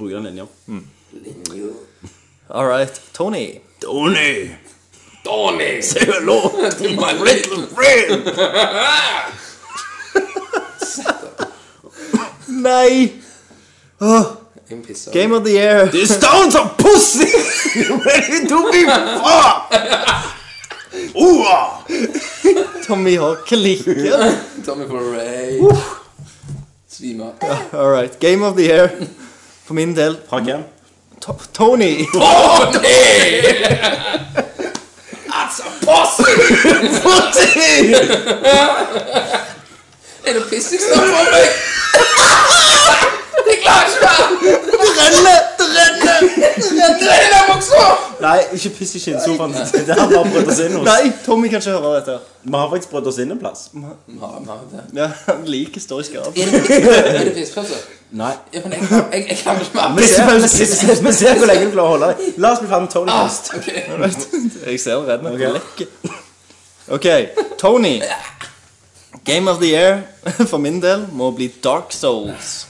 bruker den linja. All right. Tony. Donny! Donny! Say hello To my little friend! Nei! Jeg må pisse. Game of the year. This town's a pussy! Ready to be fucked! ah. Ooh-ah! Tommy har klikker. Tommy for Ray. Svime. All right. Game of the year. For min del Fra hvem? To- Tony! Er det piss jeg snakker om meg? Jeg klarer ikke mer! Det renner! Det renner! Det er det også! Nei, ikke piss i skinnsofaen. Det har bare prøvd oss inn hos. Nei, Tommy kan ikke høre dette. Vi har faktisk prøvd oss inn en plass. Ja, men det- Ja, Han liker står i skap. Er det piss- er det pisspause? Nei. Ja, men jeg, jeg, jeg kan ikke mer. Vi ser, vi ser, vi ser hvor lenge du klarer å holde deg. La oss bli ferdig med Tony Ah, først. ok. Jeg ser redd meg på lekket. Ok, Tony. Game of the year for min del må bli Dark Souls.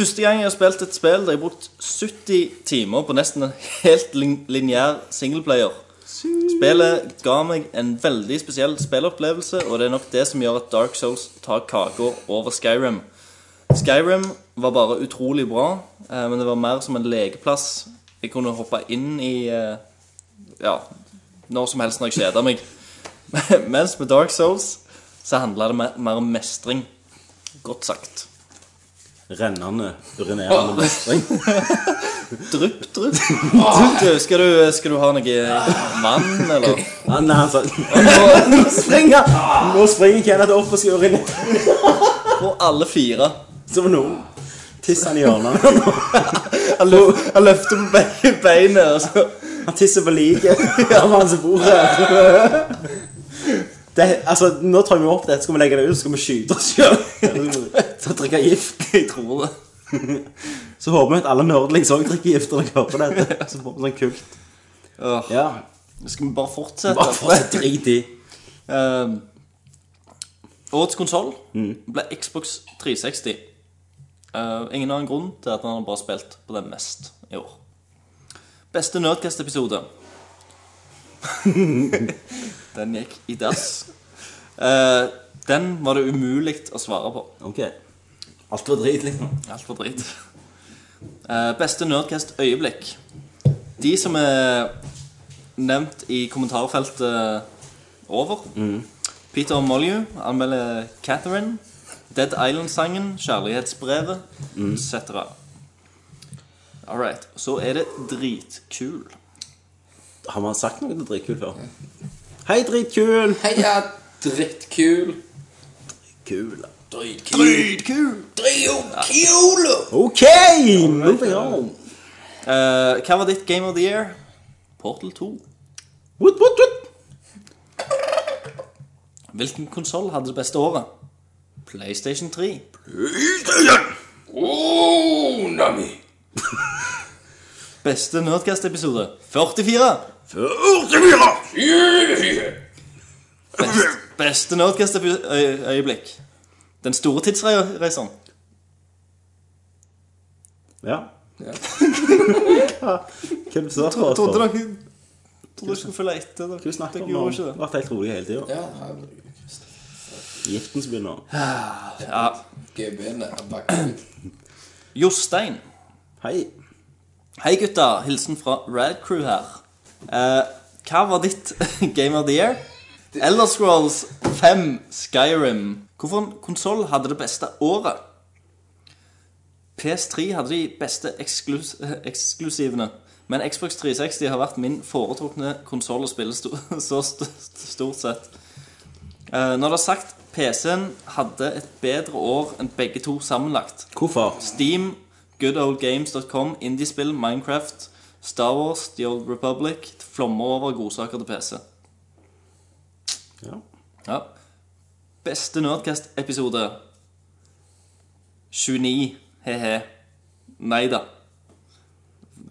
Første gang jeg har spilt et spill der jeg har brukt 70 timer på nesten en helt lin- lineær singleplayer. Spillet ga meg en veldig spesiell spillopplevelse, og det er nok det som gjør at Dark Souls tar kaka over Skyrim. Skyrim var bare utrolig bra, eh, men det var mer som en lekeplass. Jeg kunne hoppe inn i eh, ja, når som helst når jeg kjeder meg. Mens med Dark Souls så handla det mer- mer om mestring. Godt sagt. Rennende, urinerende mestring. Drypp, drypp. Du, skal, du, skal du ha noe eh, vann, eller? Ja, Nei, han altså- sa Nå springer Nå springer Kenneth opp og skal urinere Og alle fire. som noen. Tisser han i hjørnet. Han, løf, han løfter på begge beinet, og så Han tisser på liket av han som bor her. Det, altså, nå tar vi opp dette, skal vi legge det ut, så skal vi skyte oss sjøl. Så drikke gift. Jeg tror det. Så håper vi at alle nerdlings òg drikker gift når de hører på dette. Så får vi sånn kult. Åh, Ja. Skal vi bare fortsette? Bare fortsett drit i. Eh, årets konsoll ble Xbox 360. Eh, ingen annen grunn til at han har bare spilt på den mest i år. Beste Nerdcast-episode. den gikk i dass. Eh, den var det umulig å svare på. Ok. Alt var drit, liksom. Alt var drit. Eh, beste Nerdcast-øyeblikk. De som er nevnt i kommentarfeltet over. Peter Molyu anmelder Catherine. Dead Island-sangen, Kjærlighetsbrevet etc. All right. Så er det dritkul. Har man sagt noe til dritkul før? Hei, dritkul! Heia, drittkul. Kul. Dritkul! Dritkul! Ok! Moving on. Eh, hva var ditt Game of the Year? Portal 2. Woot, woot, woot. Hvilken konsoll hadde det beste året? PlayStation 3. Oh, nami. Beste Nerdcast-episode 44. Best, beste Nerdcast-øyeblikk. Den store tidsreiseren. Ja. Hva hva er det du sa for? Trodde dere Trodde dere skulle følge etter. Du Dere, snakker dere om noe. Det har gjorde ikke det. vært helt rolig hele tiden. Ja, herregud. Giften som begynner. Ja. Gøy begynne. Jeg bare- Jostein. Hei. Hei, gutta. Hilsen fra Rad Crew her. Eh, hva var ditt Game of the Year? Elder Scrolls 5 Skyrim. Hvorfor en konsoll hadde det beste året? PS3 hadde de beste eksklus eksklusivene. Men Xbox 360 har vært min foretrukne konsoll å spille sto- så st stort sett. Eh, når det er sagt, PC-en hadde et bedre år enn begge to sammenlagt. Hvorfor? Steam, goodoldgames.com, indiespill, Minecraft, Star Wars, The Old Republic flommer over godsaker til PC. Ja. Ja. Beste Nerdcast-episode 29. He-he. Nei da.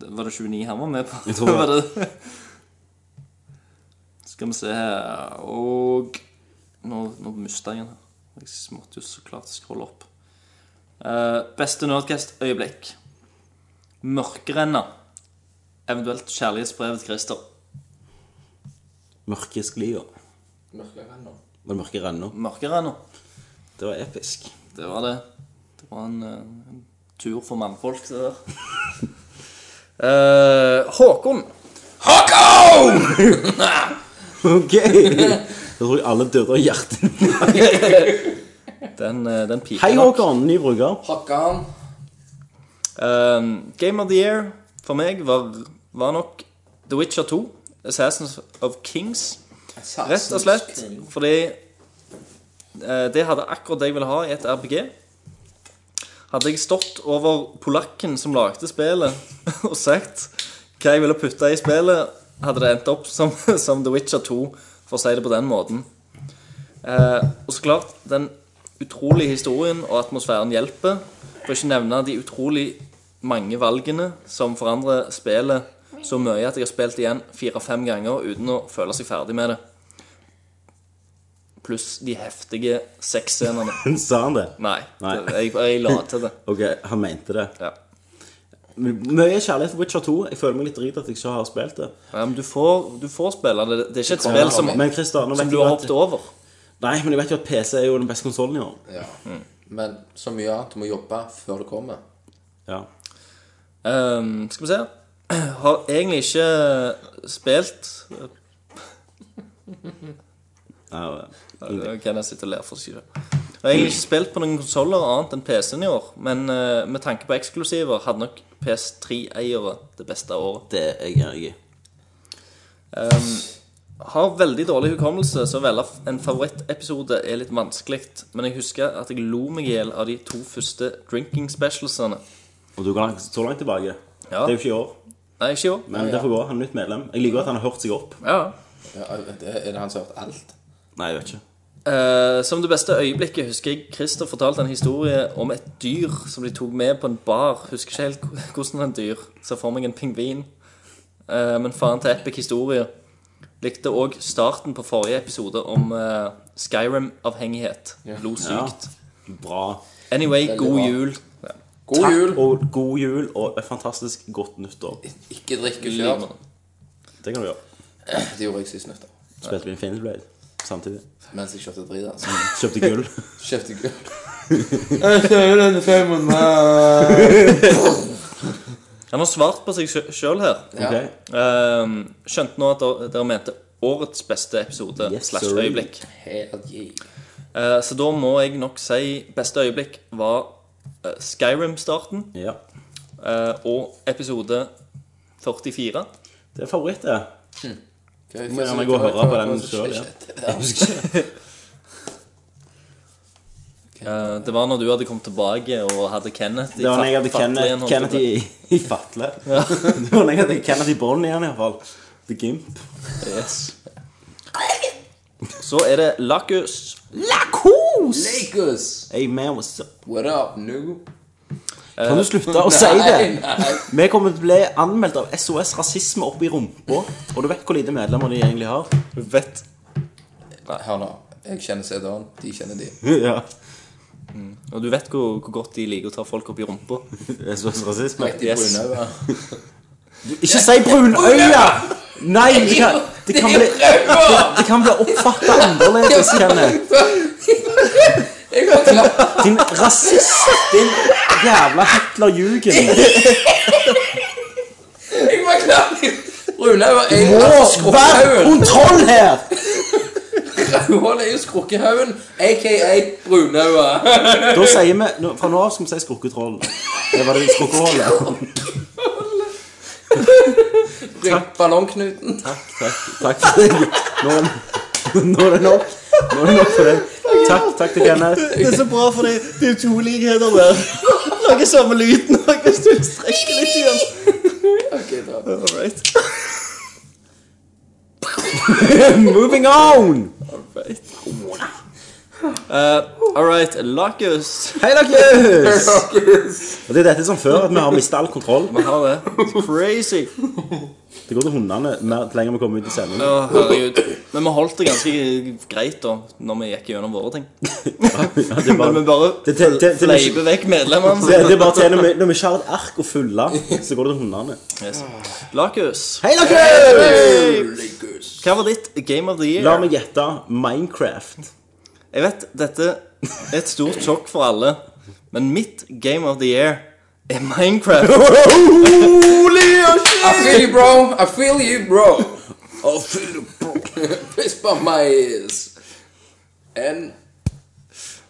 Var det 29 han var med på? Jeg tror det. Var det. Skal vi se her Og Nå, nå mista jeg den her. Jeg måtte jo så klart scrolle opp. Eh, beste Nerdcast-øyeblikk. Mørkerenna. Eventuelt kjærlighetsbrevet til Christer. Mørke sklia. Mørke venner. Var det mørke renna? Mørkerenna. Det var episk. Det var det. Det var en, eh, en tur for mannfolk, det der. Eh, Håkon. Håkon! Ok! Da tror jeg alle døde av hjertet. Den, eh, den piker Hei, nok. Håkon. Ny bruker. Håkon. Um, Game of the Year for meg var, var nok The Witcher 2, Assassins of Kings. Rett og slett fordi eh, det hadde akkurat det jeg ville ha i et RPG. Hadde jeg stått over polakken som lagde spillet og sagt hva jeg ville putte i spillet, hadde det endt opp som, som The Witcher 2, for å si det på den måten. Eh, og så klart, den utrolige historien og atmosfæren hjelper. For ikke å nevne de utrolig mange valgene som forandrer spillet så mye at jeg har spilt igjen fire-fem ganger uten å føle seg ferdig med det. Pluss de heftige sexscenene. Sa han det? Nei, Nei. det- Jeg, jeg la til det. Ok, han mente det. Ja. Men Mye kjærlighet for Witcher 2. Jeg føler meg litt drit at jeg ikke har spilt det. Ja, men du får, du får spille det. Det er ikke et spill som, Men Christer, nå som vet du jeg jo har at hoppet over. Nei, men jeg vet jo at PC er jo den beste konsollen i år. Ja. Mm. Men så mye annet, du må jobbe før det kommer. Ja. Ehm, skal vi se Har egentlig ikke spilt Ja, ja. Øh, Kenneth sitter og ler for seg selv. Har egentlig ikke spilt på noen konsoller annet enn PC-en i år, men eh, med tanke på eksklusiver hadde nok PS3-eiere det beste året. Det er jeg enig i. Ehm, Har veldig dårlig hukommelse, så å velge en favorittepisode er litt vanskelig, men jeg husker at jeg lo meg i hjel av de to første drinking specialsene. Og du går langt, så langt tilbake. Det Ja. er jo ikke i år. Nei, ikke i år. Men det får gå. Han er nytt medlem. Jeg liker at han har hørt seg opp. Ja. Ja, det er det han som har hørt alt? Nei, jeg vet ikke. Eh, som det beste øyeblikket husker jeg Christer fortalte en historie om et dyr som de tok med på en bar. Husker ikke helt h- hvordan en dyr. Ser for meg en pingvin. Eh, men faen til epic historie. Likte òg starten på forrige episode om eh, Skyrim-avhengighet. Lo sykt. Bra. Anyway, god bra. jul. God Takk, jul! og god jul og et fantastisk godt nyttår. Ikke drikke kjør. Det kan du gjøre. Det gjorde jeg sist nyttår. Spilte vi Infinity Blade samtidig. Mens jeg kjøpte drit. Altså. Kjøpte gull. Kjøpte gull. Han har svart på seg sjøl her. Ok. Eh, skjønte nå at dere- dere mente årets beste episode Yes, slash sir. øyeblikk. Hell yeah. Eh, Så da må jeg nok si beste øyeblikk var eh, Skyrim-starten Ja. eh, og episode 44. Det er favoritt, det. Hva- Må gjerne hva- gå og hva- høre på hva- den hva- selv, ja. Shit, det der. Eh, Det var når du hadde kommet tilbake og hadde Kenneth i Det var når jeg hadde fat- fatlien, Kenneth, holdt Kenneth jeg i, i fatle. Det var når jeg hadde Kenneth i bånd igjen, iallfall. The Gimp. på. Yes. Så er det Lakus. Lakers! Hey man, what's up? What up, nu? Kan du slutte å si det? Nei, nei. Vi kommer til å bli anmeldt av SOS Rasisme opp i rumpa. Og du vet hvor lite medlemmer de egentlig har. Vett. Hør nå. Jeg kjenner CD-en, de kjenner de. ja. Og du vet hvor, hvor godt de liker å ta folk opp i rumpa. SOS Rasisme. Riktig Yes. brune øyne. Ikke si brunøya! Nei, det kan, det kan bli det, det kan bli oppfatta annerledes, Kenneth. Jeg har klart Din rasist, din jævla Hitler-jugend. Jeg var klar Brune øyne er Må jo være skrukkehaugen. kontroll her! Rødhål er jo skrukkehaugen, aka brune øyne. Da sier vi nå- Fra nå av skal vi si skrukketrollen. Det var det skrukkeholdet. Rygg Ballongknuten. Takk, takk, takk for det. Nå, er det- nå er det nok. Nå er det nok for det. Takk, takk til Kenneth. Det er så bra, for det, det er to likheter der. Lager samme lyd nå hvis du strekker litt igjen. Ok, da. All right. Moving on! Uh, all right, Lakus. Hei, Lakus! Og Det er dette som før, at vi har mista all kontroll. Vi har det. It's crazy. Det går til hundene mer lenger vi kommer ut i sendingen. Å, herregud. Men vi holdt det ganske greit da Når vi gikk gjennom våre ting. Ja, det, er Men vi bare, bare Det- det- det- det- fleiper vekk medlemmene. det, det sine. er bare til når vi, når vi ikke har et ark å fylle, så går det til hundene. Yes. Lakus, Hei, Lakus! hva var ditt Game of the Year? La meg gjette Minecraft. Jeg vet dette er et stort sjokk for alle, men mitt Game of the Year er Minecraft. I feel you, bro. I feel you, bro. I feel you, bro. Please bump my ears. And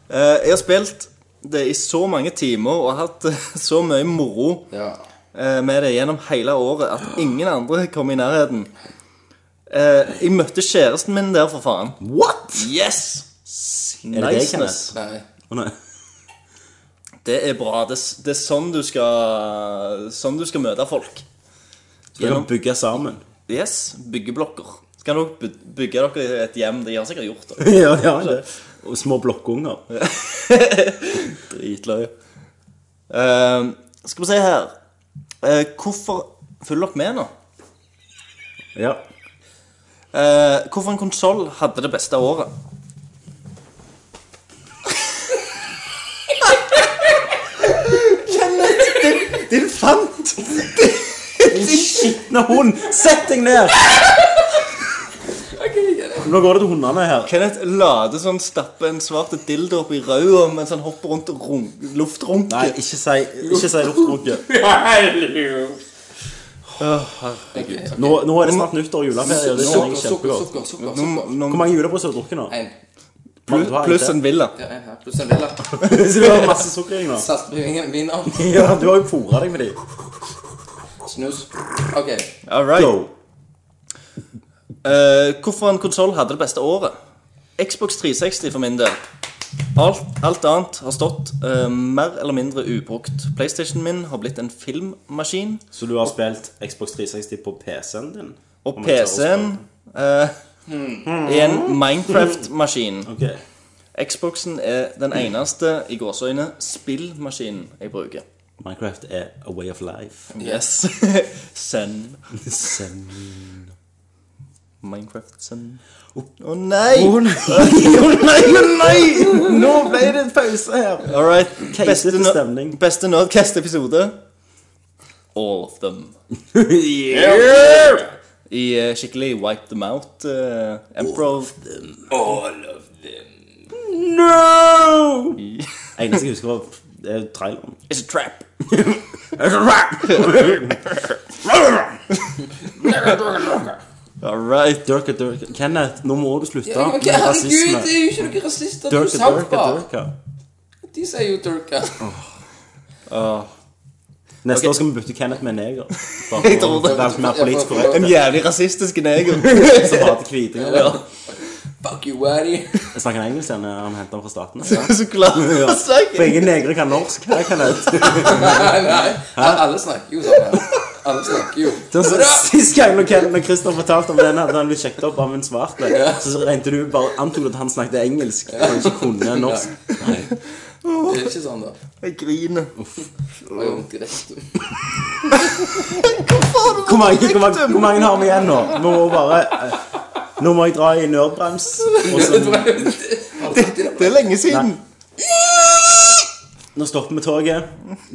Eh, jeg har spilt det i så mange timer og hatt eh, så mye moro Ja. eh, med det gjennom hele året at ingen andre kom i nærheten. Eh, jeg møtte kjæresten min der, for faen. What?! Yes! Er det deg, Niceness. Kenneth? Nei. Å, nei. Det er bra. Det, s- det er sånn du skal Sånn du skal møte folk. Dere kan bygge sammen. Yes, byggeblokker. Så kan dere by- bygge dere et hjem. De har sikkert gjort det. ja, ja, det. Og små blokkunger. Dritløye. Eh, skal vi se her Eh, Hvorfor Følg dere med nå. Ja. Eh, hvorfor en konsoll hadde det beste året? Din fant! Din skitne hund! Sett deg ned! Nå går det til hundene her. Kenneth later som han stapper en svart dildo opp i røda mens han hopper rundt og run luftrunker. Nei, ikke si, ikke si lortrunke. Nå, nå er det snart nyttår og juleferie. og Det kjenner jeg Sukker, sukker, kjempegodt. sukker. sukker, Nå, sukker. nå, Hvor mange julebrus har du drukket nå? En. Mann, du har pluss ikke. en villa. Ja, en her. Pluss en lilla. Så du har masse sukker i deg nå. Saltbevingen vinner. Ja, du har jo fôret deg med de. Snus. OK. All right. Go. Eh, hvorfor en konsoll hadde det beste året? Xbox 360 for min del. Alt, alt annet har stått eh, mer eller mindre ubrukt. PlayStationen min har blitt en filmmaskin, Så du har spilt Xbox 360 på PC-en din? og PC-en eh, er en Minecraft-maskin. Ok. Xboxen er den eneste i gåseøyne spillmaskinen jeg bruker. Minecraft er a way of life. Yes. Send Minecraft send Å nei! Å Oh. nei, å nei, å nei! Nå ble det en pause her! All right. Beste, Keisete no- stemning. beste Nerdcast-episode. All of them. I eh, skikkelig wipe them out. eh, Emperor No! Eneste jeg husker, var det er traileren. is a trap. All right. Durka, durka. Kenneth, nå må du slutte Ja, men med hva- herregud, rasisme. det er jo ikke noen rasister. Det er jo Durka, durka, sampa. durka. De sier jo durka. Neste år skal vi bytte Kenneth med en neger. Bare Jeg tror for å det. være mer politisk korrekt. En jævlig rasistisk neger. Så hater hvitinger. Ja, Fuck you, Waddy. Jeg snakker engelsk igjen. Han henter den fra staten. så klart. Ja. For Snakker. ingen negre kan norsk. Her, Kenneth. Nei, nei. Alle snakker jo sånn. her. Alle snakker jo. Det var så- Sist gang når Ken- når Christian fortalte om den, hadde han blitt sjekket opp av en svart. Så regnet du bare antok du at han snakket engelsk og ikke kunne norsk. Det er ikke sånn, da. Jeg griner. Det var jo vondt i rektum. Hvor mange, hvor, mange, hvor mange har vi igjen nå? Vi må bare eh, Nå må jeg dra i nørdbrems. og så- Det er lenge siden. Nå stopper vi toget,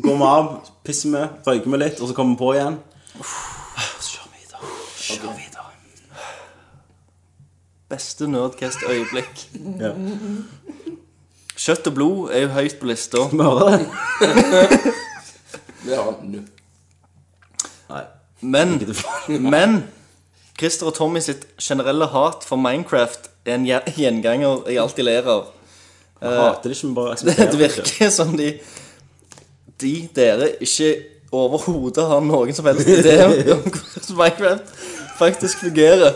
går vi av, pisser vi, røyker vi litt, og så kommer vi på igjen. Så kjører vi videre. Kjører videre. Beste Nerdcast-øyeblikk. Ja. Kjøtt og blod er jo høyt på lista. Vi hører det. Det har han nå. Nei. Men, men Christer og Tommy sitt generelle hat for Minecraft er en gje- gjenganger jeg alltid ler av. Vi hater det ikke, vi bare aksepterer Det virker som de De dere ikke overhodet har noen som helst idé om hvordan Minecraft faktisk fungerer.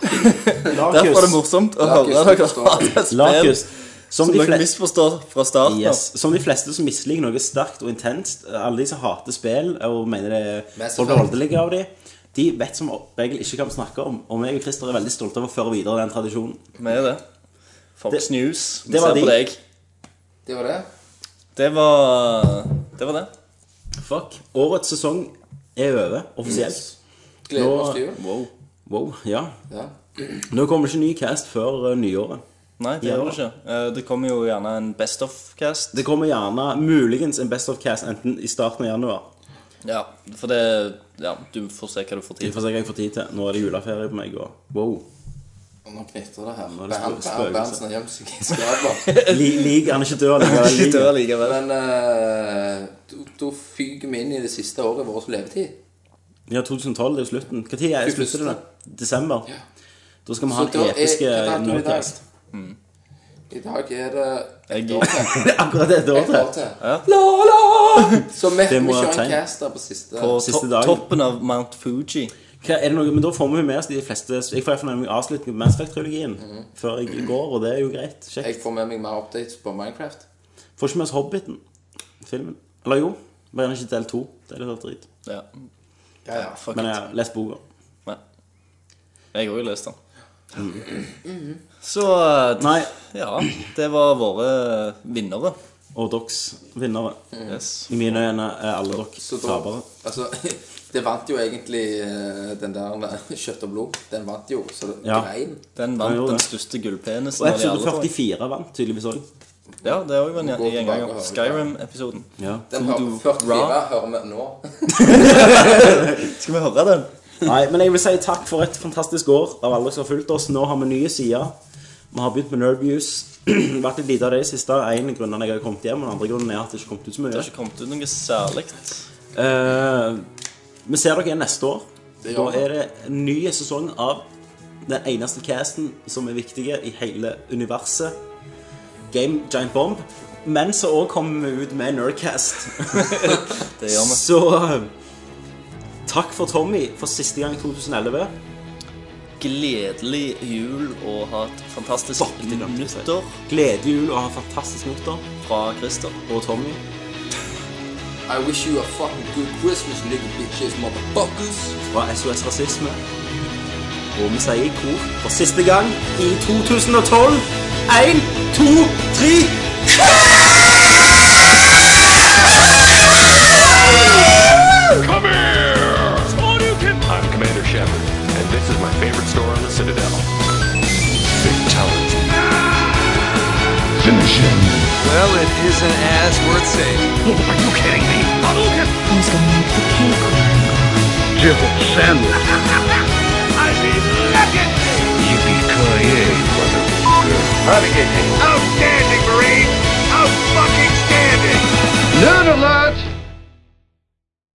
Derfor er det Lakus. morsomt å Lakus, høre dere forstår hate et spill Lakus. Som som de dere fleste misforstår fra starten av. Yes. Som de fleste som misliker noe sterkt og intenst, alle de som hater spill og mener det er Mass folk Effect. er voldelige av de, de vet som regel ikke hva vi snakker om. Og jeg og Christer er veldig stolte av å føre videre den tradisjonen. Vi er det. Fox Det- News. Vi det var ser på de. deg. Det var det. Det var Det var det. Fuck. Årets sesong er over, offisielt. Gleder Nå- oss til jul. Wow. Wow. Ja. Ja. Nå kommer ikke ny cast før eh, nyåret. Nei, det Ja. gjør det ikke. Eh, Det kommer jo gjerne en Best of-cast. Det kommer gjerne muligens en Best of Cast enten i starten av januar. Ja, for det Ja, du får se hva du får Vi tid til. får se hva jeg får tid til. Nå er det juleferie på meg. Og wow. Og nå knitrer det her. Nå er det Bernt- spøkelse. Bernt- Berntsen har gjemt seg i skapet. Li- Lik han er ikke dør likevel. Ikke liker. dør likevel. Men eh, da- da fyker vi inn i det siste året vårt levetid. Ja, 2012 det er jo slutten. Når er det slutter det? da? Desember? Da skal vi ha Så da en er- episk eh, hva dato er det i dag? Nordcast. I dag er det Jeg, Det er akkurat det et år Et år til. til. La, la! Så vi Det må vi jeg kjører en tegne. caster på siste. på Siste to dagen. toppen av Mount Fuji. Hva, er det noe, men da får vi jo med oss de fleste Jeg får iallfall avslutning på Mass Effect-trilogien før jeg går, og det er jo greit. Kjekt. Jeg får med meg mer updates på Minecraft. Får ikke med oss Hobbiten, filmen. Eller jo, bare ikke del to. Det er litt av drit. Ja, Ja, ja. fuck Men it. jeg har lest boka. Ja. Jeg har òg lest den. Så Nei, ja, det var våre vinnere. og doks vinnere. Yes. I mine øyne er alle dere Så da, tapere. altså, det vant jo egentlig eh, den der eh, kjøtt og blod. Den vant jo, så det Ja. grein. Den Ja, jo, vant den det. største gullpenisen Og av de episode alle. tror jeg. 44 vant tydeligvis òg. Ja, det er òg en Gå tilbake og gjenganger. hør det. Skyrim-episoden. Ja. Den Som har du- 44 Ra. hører vi nå. Skal vi høre den? Nei, men jeg vil si takk for et fantastisk år av alle som har fulgt oss. Nå har vi nye sider. Vi har begynt med Nerviews. Vært litt lite av det i siste. En av grunnene jeg har kommet hjem, og den andre grunnen er at det ikke har kommet ut så Det mye. har ikke kommet ut noe særlig. Eh, vi ser dere igjen neste år. Det Da gjør vi. er det en ny sesong av den eneste casten som er viktige i hele universet. Game Giant Bomb. Men så òg kommer vi ut med Nerdcast. Det gjør vi. Så eh, takk for Tommy for siste gang i 2011. Gledelig jul og ha et fantastisk det er langt ut. nyttår Gledelig jul og ha en fantastisk motor. fra Christer. Og Tommy. I wish you a fucking good Christmas, nigga bitches, motherfuckers. fra SOS Rasisme. Og vi sier i kor for siste gang i 2012. Én, to, tre Come here! All you can- I'm Commander Shepard, and this is my favorite store in the Citadel. Fatality. Finish him. Well, it isn't as worth saying. Oh, Are you kidding me? Hadouken! Who's gonna make the cake? Jill Sandwich. I mean, look at me! Yippee-ki-yay, motherfucker. How to get out